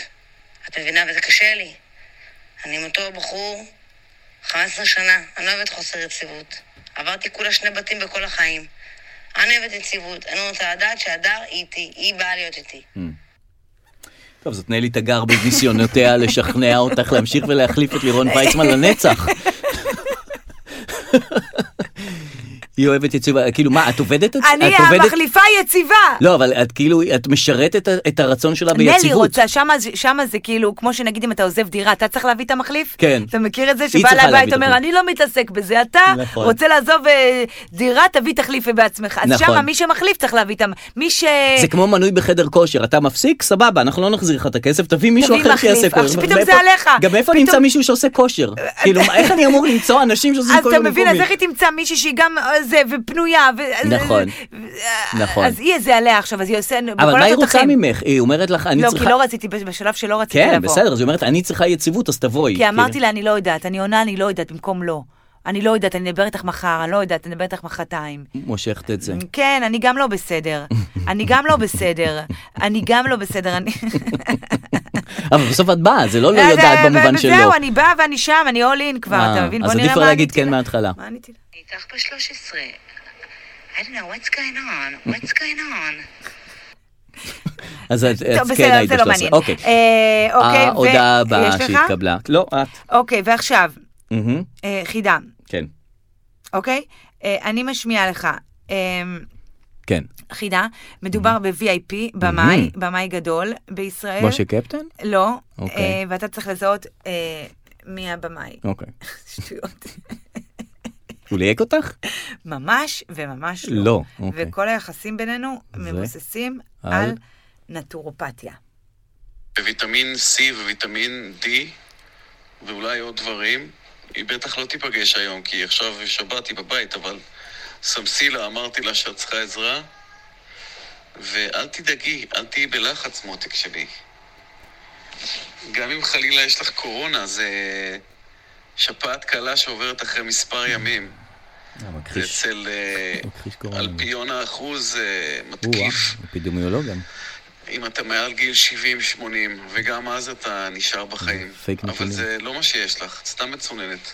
[SPEAKER 4] את מבינה? וזה קשה לי. אני עם אותו בחור 15 שנה. אני לא אוהבת חוסר יציבות. עברתי כולה שני בתים בכל החיים. אני אוהבת יציבות. אני רוצה לדעת שהדר היא איתי, היא באה להיות איתי.
[SPEAKER 2] טוב, זאת נלי
[SPEAKER 1] (laughs)
[SPEAKER 2] תגר בניסיונותיה לשכנע אותך להמשיך ולהחליף את לירון ויצמן לנצח. היא אוהבת יציבה, כאילו מה, את עובדת את זה?
[SPEAKER 1] אני
[SPEAKER 2] את עובדת-
[SPEAKER 1] המחליפה היציבה.
[SPEAKER 2] לא, אבל את כאילו, את משרתת את הרצון שלה ביציבות.
[SPEAKER 1] נלי רוצה, שמה, זה- שמה זה כאילו, כמו שנגיד אם אתה עוזב דירה, אתה צריך להביא את המחליף?
[SPEAKER 2] כן.
[SPEAKER 1] אתה מכיר את זה
[SPEAKER 2] היא
[SPEAKER 1] שבא
[SPEAKER 2] צריכה
[SPEAKER 1] לבית
[SPEAKER 2] להביא את
[SPEAKER 1] אומר,
[SPEAKER 2] המחליף.
[SPEAKER 1] אני לא מתעסק בזה, אתה
[SPEAKER 2] נכון.
[SPEAKER 1] רוצה לעזוב אה, דירה, תביא תחליף בעצמך. אז
[SPEAKER 2] נכון.
[SPEAKER 1] שמה מי שמחליף צריך להביא את המ... מי ש...
[SPEAKER 2] זה כמו מנוי בחדר כושר, אתה מפסיק, סבבה, אנחנו לא נחזיר לך את הכסף, תביא מישהו
[SPEAKER 1] תביא
[SPEAKER 2] אחר
[SPEAKER 1] מחליף.
[SPEAKER 2] שיעשה כושר.
[SPEAKER 1] עכשיו פתאום
[SPEAKER 2] מאיפה-
[SPEAKER 1] זה עליך.
[SPEAKER 2] גם איפה
[SPEAKER 1] פתאום- אה,
[SPEAKER 2] נמצא מישהו שעושה כושר? כאילו, מה- איך אני אמור למצוא אנשים שעושים
[SPEAKER 1] אז
[SPEAKER 2] כושר
[SPEAKER 1] אה, אתה מבין, אז
[SPEAKER 2] במקומי?
[SPEAKER 1] איך היא תמצא מישהי שהיא גם אה, זה, ופנויה, ו...
[SPEAKER 2] נכון.
[SPEAKER 1] ו-
[SPEAKER 2] נכון.
[SPEAKER 1] אז היא, זה עליה עכשיו, אז היא עושה...
[SPEAKER 2] אבל
[SPEAKER 1] בכל
[SPEAKER 2] מה היא
[SPEAKER 1] התותחים.
[SPEAKER 2] רוצה ממך? היא אומרת לך, אני
[SPEAKER 1] לא,
[SPEAKER 2] צריכה...
[SPEAKER 1] כי לא רציתי, בשלב שלא רציתי לבוא.
[SPEAKER 2] כן, בסדר, אז היא אומרת, אני צריכה יציבות, אז תבואי.
[SPEAKER 1] כי אמרתי
[SPEAKER 2] כאילו.
[SPEAKER 1] לה, אני לא יודעת, אני עונה, אני לא יודעת, במקום לא. אני לא יודעת, אני אדבר איתך מחר, אני לא יודעת, אני אדבר איתך מחרתיים.
[SPEAKER 2] מושכת את זה.
[SPEAKER 1] כן, אני גם לא בסדר. אני גם לא בסדר. אני גם לא בסדר. אני...
[SPEAKER 2] אבל בסוף את באה, זה לא
[SPEAKER 1] אה,
[SPEAKER 2] לא יודעת
[SPEAKER 1] אז,
[SPEAKER 2] במובן
[SPEAKER 1] וזהו,
[SPEAKER 2] שלא.
[SPEAKER 1] אני באה ואני שם, אני אול אין כבר, אתה
[SPEAKER 2] אה,
[SPEAKER 1] מבין?
[SPEAKER 2] אז
[SPEAKER 1] בוא
[SPEAKER 2] עדיף
[SPEAKER 1] נראה
[SPEAKER 2] כבר
[SPEAKER 1] מה
[SPEAKER 2] להגיד
[SPEAKER 1] עניתי
[SPEAKER 2] כן
[SPEAKER 1] לה.
[SPEAKER 2] מההתחלה.
[SPEAKER 1] מה עניתי לה?
[SPEAKER 4] אני איתך ב-13. I don't know what's going on, what's going on.
[SPEAKER 2] אז את
[SPEAKER 1] טוב,
[SPEAKER 2] את כן
[SPEAKER 1] בסדר,
[SPEAKER 2] היית
[SPEAKER 1] זה לא
[SPEAKER 2] בשלוש
[SPEAKER 1] מעניין.
[SPEAKER 2] עשרה. אוקיי.
[SPEAKER 1] אה, אוקיי, ו-
[SPEAKER 2] ההודעה הבאה
[SPEAKER 1] יש לך?
[SPEAKER 2] שהתקבלה. לא, את.
[SPEAKER 1] אוקיי, ועכשיו,
[SPEAKER 2] מהמם,
[SPEAKER 1] אה, חידה,
[SPEAKER 2] כן,
[SPEAKER 1] אוקיי? אה, אני משמיעה לך. אה,
[SPEAKER 2] כן.
[SPEAKER 1] חידה, מדובר
[SPEAKER 2] Mm-hmm.
[SPEAKER 1] ב-VIP, במאי,
[SPEAKER 2] Mhm.
[SPEAKER 1] במאי גדול בישראל.
[SPEAKER 2] משה קפטן?
[SPEAKER 1] לא,
[SPEAKER 2] אוקיי.
[SPEAKER 1] אה, ואתה צריך לזהות אה, מי
[SPEAKER 2] (laughs)
[SPEAKER 1] הבמאי.
[SPEAKER 2] אוקיי.
[SPEAKER 1] שטויות.
[SPEAKER 2] הוא ליהק אותך?
[SPEAKER 1] ממש וממש לא.
[SPEAKER 2] לא. אוקיי.
[SPEAKER 1] וכל היחסים בינינו מבוססים
[SPEAKER 2] על-
[SPEAKER 1] על נטורופתיה.
[SPEAKER 6] בוויטמין C וויטמין D ואולי עוד דברים. היא בטח לא תיפגש היום, כי עכשיו שבת היא בבית, אבל סמסילה, אמרתי לה שאת צריכה עזרה. ואל תדאגי, אל תהיי בלחץ, מותק שלי. גם אם חלילה יש לך קורונה, זה שפעת קלה שעוברת אחרי מספר ימים.
[SPEAKER 2] מכחיש.
[SPEAKER 6] אצל אה,
[SPEAKER 2] מכחיש קורונה.
[SPEAKER 6] אלפיון האחוז אה,
[SPEAKER 2] או-אה,
[SPEAKER 6] מתקיף.
[SPEAKER 2] אפידמיולוג גם.
[SPEAKER 6] אם אתה מעל גיל 70-80, וגם אז אתה נשאר בחיים.
[SPEAKER 2] פייק
[SPEAKER 6] אבל
[SPEAKER 2] נתונים.
[SPEAKER 6] זה לא מה שיש לך, את סתם מצוננת.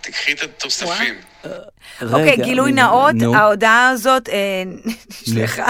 [SPEAKER 6] תקחי את התוספים.
[SPEAKER 1] אוקיי,
[SPEAKER 2] רגע,
[SPEAKER 1] גילוי
[SPEAKER 2] נו.
[SPEAKER 1] נאות,
[SPEAKER 2] נו.
[SPEAKER 1] ההודעה הזאת אה, (laughs) נשלחה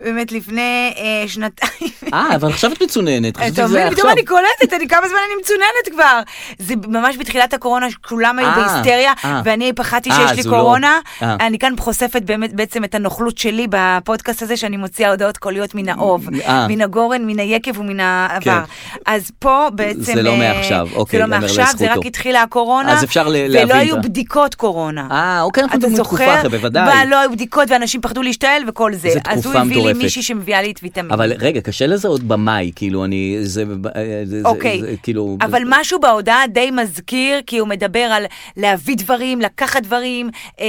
[SPEAKER 1] באמת לפני אה, שנתיים.
[SPEAKER 2] אה, אבל עכשיו את מצוננת, חשבתי
[SPEAKER 1] אתה
[SPEAKER 2] שזה היה
[SPEAKER 1] מבין,
[SPEAKER 2] עכשיו.
[SPEAKER 1] פתאום אני קולטת, אני כמה זמן אני מצוננת כבר. זה ממש בתחילת הקורונה, כולם היו
[SPEAKER 2] אה,
[SPEAKER 1] בהיסטריה,
[SPEAKER 2] אה.
[SPEAKER 1] ואני פחדתי
[SPEAKER 2] אה,
[SPEAKER 1] שיש
[SPEAKER 2] אז
[SPEAKER 1] לי
[SPEAKER 2] הוא לא-
[SPEAKER 1] קורונה.
[SPEAKER 2] אה.
[SPEAKER 1] אני כאן חושפת באמת בעצם את הנוכלות שלי בפודקאסט הזה, שאני מוציאה הודעות קוליות מן האוב,
[SPEAKER 2] אה. כן.
[SPEAKER 1] מן הגורן, מן היקב ומן העבר. אז פה בעצם...
[SPEAKER 2] זה לא
[SPEAKER 1] אה,
[SPEAKER 2] מעכשיו, אוקיי,
[SPEAKER 1] זה לא
[SPEAKER 2] ייאמר
[SPEAKER 1] מעכשיו, זה רק
[SPEAKER 2] לזכותו.
[SPEAKER 1] התחילה הקורונה.
[SPEAKER 2] אז אפשר ל-
[SPEAKER 1] ולא
[SPEAKER 2] להבין את
[SPEAKER 1] היו
[SPEAKER 2] ה-
[SPEAKER 1] בדיקות קורונה.
[SPEAKER 2] אה, אוקיי, אנחנו
[SPEAKER 1] אתה
[SPEAKER 2] מדברים תקופה
[SPEAKER 1] זוכר?
[SPEAKER 2] אחרת,
[SPEAKER 1] בה
[SPEAKER 2] בוודאי.
[SPEAKER 1] לא היו בדיקות ואנשים פחדו להשתעל וכל זה.
[SPEAKER 2] זו
[SPEAKER 1] אז הוא
[SPEAKER 2] תקופה
[SPEAKER 1] הביא לי
[SPEAKER 2] מטורפת.
[SPEAKER 1] מישהי שמביאה לי את ויטמין.
[SPEAKER 2] אבל רגע, קשה לזהות במאי, כאילו, אני... זה... אה, זה- זה-
[SPEAKER 1] אוקיי,
[SPEAKER 2] זה- כאילו...
[SPEAKER 1] אבל משהו בהודעה די מזכיר, כי הוא מדבר על להביא דברים, לקחת דברים, אה,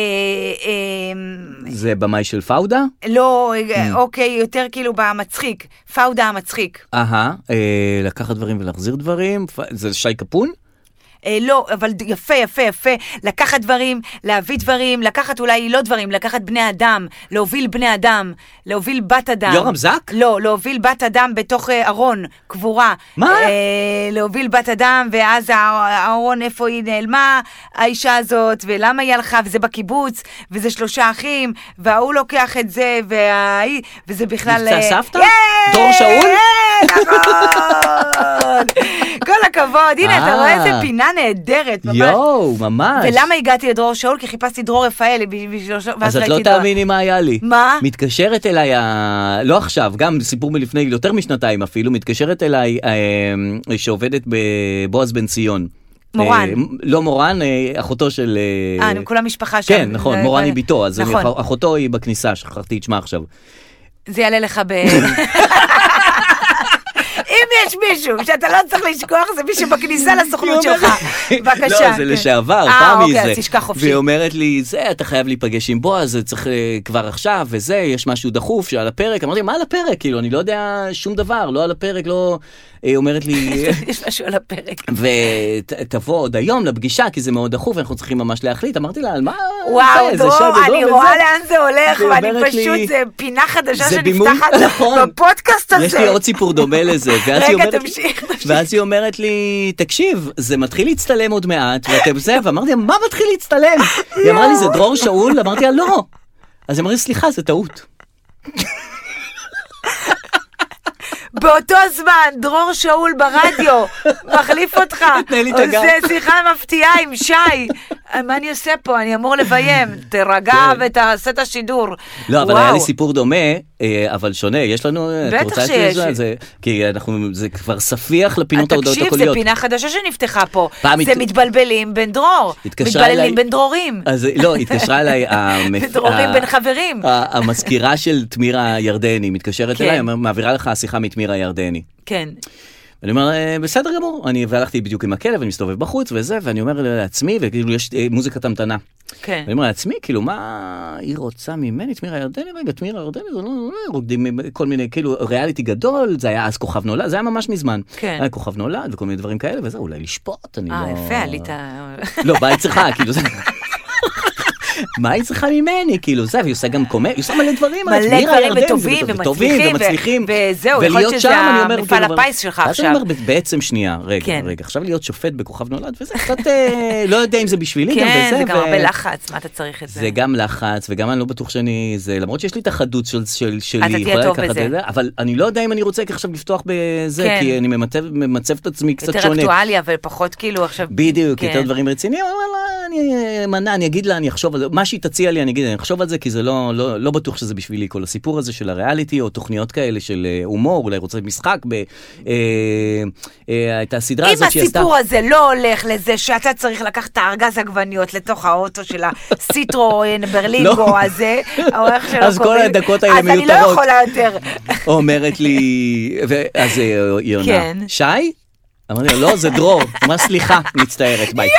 [SPEAKER 1] אה,
[SPEAKER 2] זה במאי של פאודה?
[SPEAKER 1] לא,
[SPEAKER 2] Mm.
[SPEAKER 1] אה, אוקיי, יותר כאילו במצחיק, פאודה המצחיק.
[SPEAKER 2] אהה, אה, לקחת דברים ולהחזיר דברים, פ- זה שי קפון?
[SPEAKER 1] אה, לא, אבל ד- יפה, יפה, יפה, לקחת דברים, להביא דברים, לקחת אולי לא דברים, לקחת בני אדם, להוביל בני אדם, להוביל בת אדם.
[SPEAKER 2] יורם זק?
[SPEAKER 1] לא, להוביל בת אדם בתוך אה, ארון, קבורה.
[SPEAKER 2] מה?
[SPEAKER 1] אה, להוביל בת אדם, ואז הא- הארון, איפה היא נעלמה, האישה הזאת, ולמה היא הלכה, וזה בקיבוץ, וזה שלושה אחים, וההוא לוקח את זה, וההיא, וזה בכלל...
[SPEAKER 2] מבצע
[SPEAKER 1] אה,
[SPEAKER 2] סבתא?
[SPEAKER 1] יאי!
[SPEAKER 2] דור
[SPEAKER 1] (laughs)
[SPEAKER 2] שאול?
[SPEAKER 1] אה, נכון! כל הכבוד, הנה, אתה
[SPEAKER 2] אה.
[SPEAKER 1] רואה איזה פינה נהדרת, ממש.
[SPEAKER 2] יואו, ממש.
[SPEAKER 1] ולמה הגעתי לדרור שאול? כי חיפשתי דרור רפאלי בשביל...
[SPEAKER 2] אז את לא תאמיני מה היה לי.
[SPEAKER 1] מה?
[SPEAKER 2] מתקשרת אליי, ה... לא עכשיו, גם סיפור מלפני יותר משנתיים אפילו, מתקשרת אליי אה, שעובדת בבועז בן ציון.
[SPEAKER 1] מורן.
[SPEAKER 2] אה, לא מורן, אה, אחותו של...
[SPEAKER 1] אה, אני כולה משפחה שם.
[SPEAKER 2] כן, נכון,
[SPEAKER 1] זה-
[SPEAKER 2] מורן
[SPEAKER 1] זה-
[SPEAKER 2] היא ביתו, אז אני-
[SPEAKER 1] נכון,
[SPEAKER 2] אחותו היא בכניסה, שכחתי את שמה עכשיו.
[SPEAKER 1] זה יעלה לך
[SPEAKER 2] (laughs)
[SPEAKER 1] ב... (laughs) אם יש מישהו שאתה לא צריך לשכוח, זה מישהו
[SPEAKER 2] (laughs)
[SPEAKER 1] בכניסה לסוכנות שלך. בבקשה.
[SPEAKER 2] לא, זה
[SPEAKER 1] כן.
[SPEAKER 2] לשעבר, פעם מזה.
[SPEAKER 1] אה, אוקיי, אז תשכח חופשי.
[SPEAKER 2] והיא אומרת לי, זה, אתה חייב להיפגש עם בועז, זה צריך אה, כבר עכשיו, וזה, יש משהו דחוף שעל הפרק. אמרתי, מה על הפרק? כאילו, אני לא יודע שום דבר, לא על הפרק, לא... היא
[SPEAKER 1] (laughs)
[SPEAKER 2] אומרת לי...
[SPEAKER 1] יש משהו על הפרק.
[SPEAKER 2] ותבוא עוד היום לפגישה, כי זה מאוד דחוף, אנחנו צריכים ממש להחליט. אמרתי לה, על מה...
[SPEAKER 1] וואו,
[SPEAKER 2] זה, זה
[SPEAKER 1] דרור,
[SPEAKER 2] שי ודרור
[SPEAKER 1] אני
[SPEAKER 2] וזה."
[SPEAKER 1] רואה לאן זה הולך,
[SPEAKER 2] והיא
[SPEAKER 1] ואני
[SPEAKER 2] אומרת לי,
[SPEAKER 1] פשוט, זה פינה חדשה
[SPEAKER 2] זה בימוי-
[SPEAKER 1] שנפתחת
[SPEAKER 2] נכון.
[SPEAKER 1] בפודקאסט הזה.
[SPEAKER 2] יש לי עוד סיפור דומה לזה, ואז היא
[SPEAKER 1] רגע,
[SPEAKER 2] אומרת,
[SPEAKER 1] תמשיך, תמשיך.
[SPEAKER 2] ואז היא אומרת לי, תקשיב, זה מתחיל להצטלם עוד מעט, ואתם זה, ואמרתי לה, מה מתחיל להצטלם? היא אמרה לי,
[SPEAKER 1] לא.
[SPEAKER 2] זה דרור שאול? אמרתי לה, לא. אז היא אמרה לי, סליחה, זה טעות.
[SPEAKER 1] באותו זמן, דרור שאול
[SPEAKER 2] (laughs)
[SPEAKER 1] ברדיו, מחליף אותך.
[SPEAKER 2] תנהל לי את הגב.
[SPEAKER 1] עושה שיחה מפתיעה עם שי. אה, מה אני עושה פה? אני אמור
[SPEAKER 2] (laughs)
[SPEAKER 1] לביים. תירגע ותעשה את השידור.
[SPEAKER 2] כן. לא, אבל
[SPEAKER 1] וואו.
[SPEAKER 2] היה לי סיפור דומה, אה, אבל שונה, יש לנו... אה, את
[SPEAKER 1] בטח
[SPEAKER 2] רוצה
[SPEAKER 1] שיש.
[SPEAKER 2] שזה- זה- כי אנחנו, זה כבר ספיח לפינות
[SPEAKER 1] אה,
[SPEAKER 2] ההודעות
[SPEAKER 1] תקשיב,
[SPEAKER 2] הקוליות.
[SPEAKER 1] זו פינה חדשה שנפתחה פה.
[SPEAKER 2] פעם
[SPEAKER 1] זה
[SPEAKER 2] הת-
[SPEAKER 1] מתבלבלים בין דרור.
[SPEAKER 2] התקשרה
[SPEAKER 1] מתבלבלים
[SPEAKER 2] אליי-
[SPEAKER 1] בין דרורים.
[SPEAKER 2] אז לא,
[SPEAKER 1] (laughs)
[SPEAKER 2] התקשרה אליי... המפ-
[SPEAKER 1] ודרורים
[SPEAKER 2] ה-
[SPEAKER 1] בין חברים.
[SPEAKER 2] ה- המזכירה של תמירה ירדני מתקשרת
[SPEAKER 1] כן.
[SPEAKER 2] אליי, אומר, מעבירה לך שיחה מתמירה ירדני.
[SPEAKER 1] כן.
[SPEAKER 2] ואני אומר, "אה, בסדר גמור, אני והלכתי בדיוק עם הכלב, אני מסתובב בחוץ וזה, ואני אומר לעצמי, וכאילו יש אה, מוזיקת המתנה.
[SPEAKER 1] כן.
[SPEAKER 2] אני אומר לעצמי, כאילו, מה היא רוצה ממני? תמירה ירדני, רגע, תמירה ירדני, זה לא, לא, רוקדים עם כל מיני, כאילו, ריאליטי גדול, זה היה אז כוכב נולד, זה היה ממש מזמן.
[SPEAKER 1] כן.
[SPEAKER 2] היה כוכב נולד וכל מיני דברים כאלה, וזה, אולי לשפוט, אני לא...
[SPEAKER 1] אה, יפה, עלית.
[SPEAKER 2] לא, מה היא צריכה, כאילו, זה... מה היא צריכה ממני, כאילו, זה, והיא עושה גם קומדיה, היא עושה מלא דברים,
[SPEAKER 1] מלא
[SPEAKER 2] הרי תמירה
[SPEAKER 1] דברים
[SPEAKER 2] ירדני, זה
[SPEAKER 1] וטובים
[SPEAKER 2] בטוב-
[SPEAKER 1] ומצליחים, ו-
[SPEAKER 2] ומצליחים,
[SPEAKER 1] וזהו, יכול להיות
[SPEAKER 2] ולהיות
[SPEAKER 1] שזה
[SPEAKER 2] שם, אני אומר,
[SPEAKER 1] המפעל
[SPEAKER 2] כאילו, אבל-
[SPEAKER 1] הפיס שלך
[SPEAKER 2] ואז אני
[SPEAKER 1] עכשיו.
[SPEAKER 2] אומר, בעצם שנייה, רגע,
[SPEAKER 1] כן.
[SPEAKER 2] רגע, עכשיו להיות שופט בכוכב נולד, וזה קצת, אה, לא יודע אם זה בשבילי, גם
[SPEAKER 1] כן,
[SPEAKER 2] וזה,
[SPEAKER 1] זה גם
[SPEAKER 2] ו-
[SPEAKER 1] הרבה לחץ, מה אתה צריך את זה?
[SPEAKER 2] זה גם לחץ, וגם אני לא בטוח שאני, זה, למרות שיש לי את החדות של, של, שלי,
[SPEAKER 1] תהיה
[SPEAKER 2] יכולה
[SPEAKER 1] טוב
[SPEAKER 2] לקחת את
[SPEAKER 1] בזה.
[SPEAKER 2] זה, אבל אני לא יודע אם אני רוצה עכשיו לפתוח בזה,
[SPEAKER 1] כן.
[SPEAKER 2] כי אני ממצב, ממצב את עצמי קצת
[SPEAKER 1] יותר
[SPEAKER 2] שונה.
[SPEAKER 1] אקטואלי, אבל פחות כאילו עכשיו...
[SPEAKER 2] בדיוק,
[SPEAKER 1] כן.
[SPEAKER 2] כן. יותר דברים רציניים, אבל לא, אני אמנע, אני אגיד לה, אני אחשוב על זה, מה שהיא תציע לי, אני אגיד, אני אחשוב על זה, כי זה לא, לא, לא בטוח שזה בשבילי כל הסיפור הזה של הריאליטי, או תוכניות כאלה של אה, הומור, אולי רוצה משחק, ב, אה, אה, את הסדרה
[SPEAKER 1] אם
[SPEAKER 2] הזאת שהיא עשתה.
[SPEAKER 1] הסיפור הזה לא הולך לזה שאתה צריך לקחת את הארגז עגבניות לתוך האוטו של הסיטרואן ברלינגו
[SPEAKER 2] (laughs) לא.
[SPEAKER 1] הזה, או איך שלא
[SPEAKER 2] אז כל
[SPEAKER 1] קוראים,
[SPEAKER 2] הדקות האלה
[SPEAKER 1] אז אני לא
[SPEAKER 2] מיותרות.
[SPEAKER 1] יכולה
[SPEAKER 2] (laughs)
[SPEAKER 1] יותר.
[SPEAKER 2] אומרת לי, ואז אה, היא עונה,
[SPEAKER 1] כן.
[SPEAKER 2] שי? אמרתי לו, לא, זה דרור. אמרה, סליחה, מצטערת, ביי.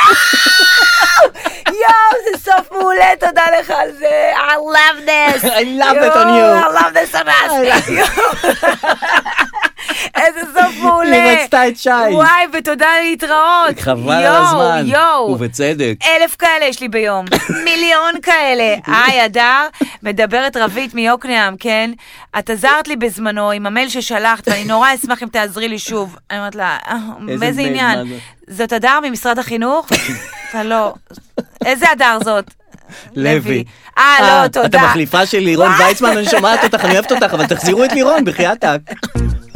[SPEAKER 1] יואו, זה סוף מעולה, תודה לך על זה. I love this.
[SPEAKER 2] (laughs) I love it on
[SPEAKER 1] יואו,
[SPEAKER 2] you.
[SPEAKER 1] I love this on us. יואו. (laughs) איזה סוף מעולה.
[SPEAKER 2] היא רצתה את שי.
[SPEAKER 1] וואי, ותודה להתראות.
[SPEAKER 2] חבל על הזמן.
[SPEAKER 1] יואו, יואו.
[SPEAKER 2] ובצדק.
[SPEAKER 1] אלף כאלה יש לי
[SPEAKER 2] (laughs)
[SPEAKER 1] ביום, מיליון כאלה. היי, אדר, מדברת רבית מיוקנעם, כן? את עזרת לי בזמנו עם המייל ששלחת, ואני נורא אשמח אם תעזרי לי שוב. אני אומרת לה, "אה,
[SPEAKER 2] איזה
[SPEAKER 1] באיזה
[SPEAKER 2] מייל,
[SPEAKER 1] עניין?
[SPEAKER 2] מה זה?"
[SPEAKER 1] זאת אדר ממשרד
[SPEAKER 2] (laughs)
[SPEAKER 1] החינוך? אתה לא. איזה אדר זאת?
[SPEAKER 2] לוי.
[SPEAKER 1] אה, לא, תודה.
[SPEAKER 2] את המחליפה של לירון
[SPEAKER 1] וואי.
[SPEAKER 2] ויצמן, אני שומעת אותך, אני אוהבת אותך, אבל תחזירו את לירון, בחייאתק.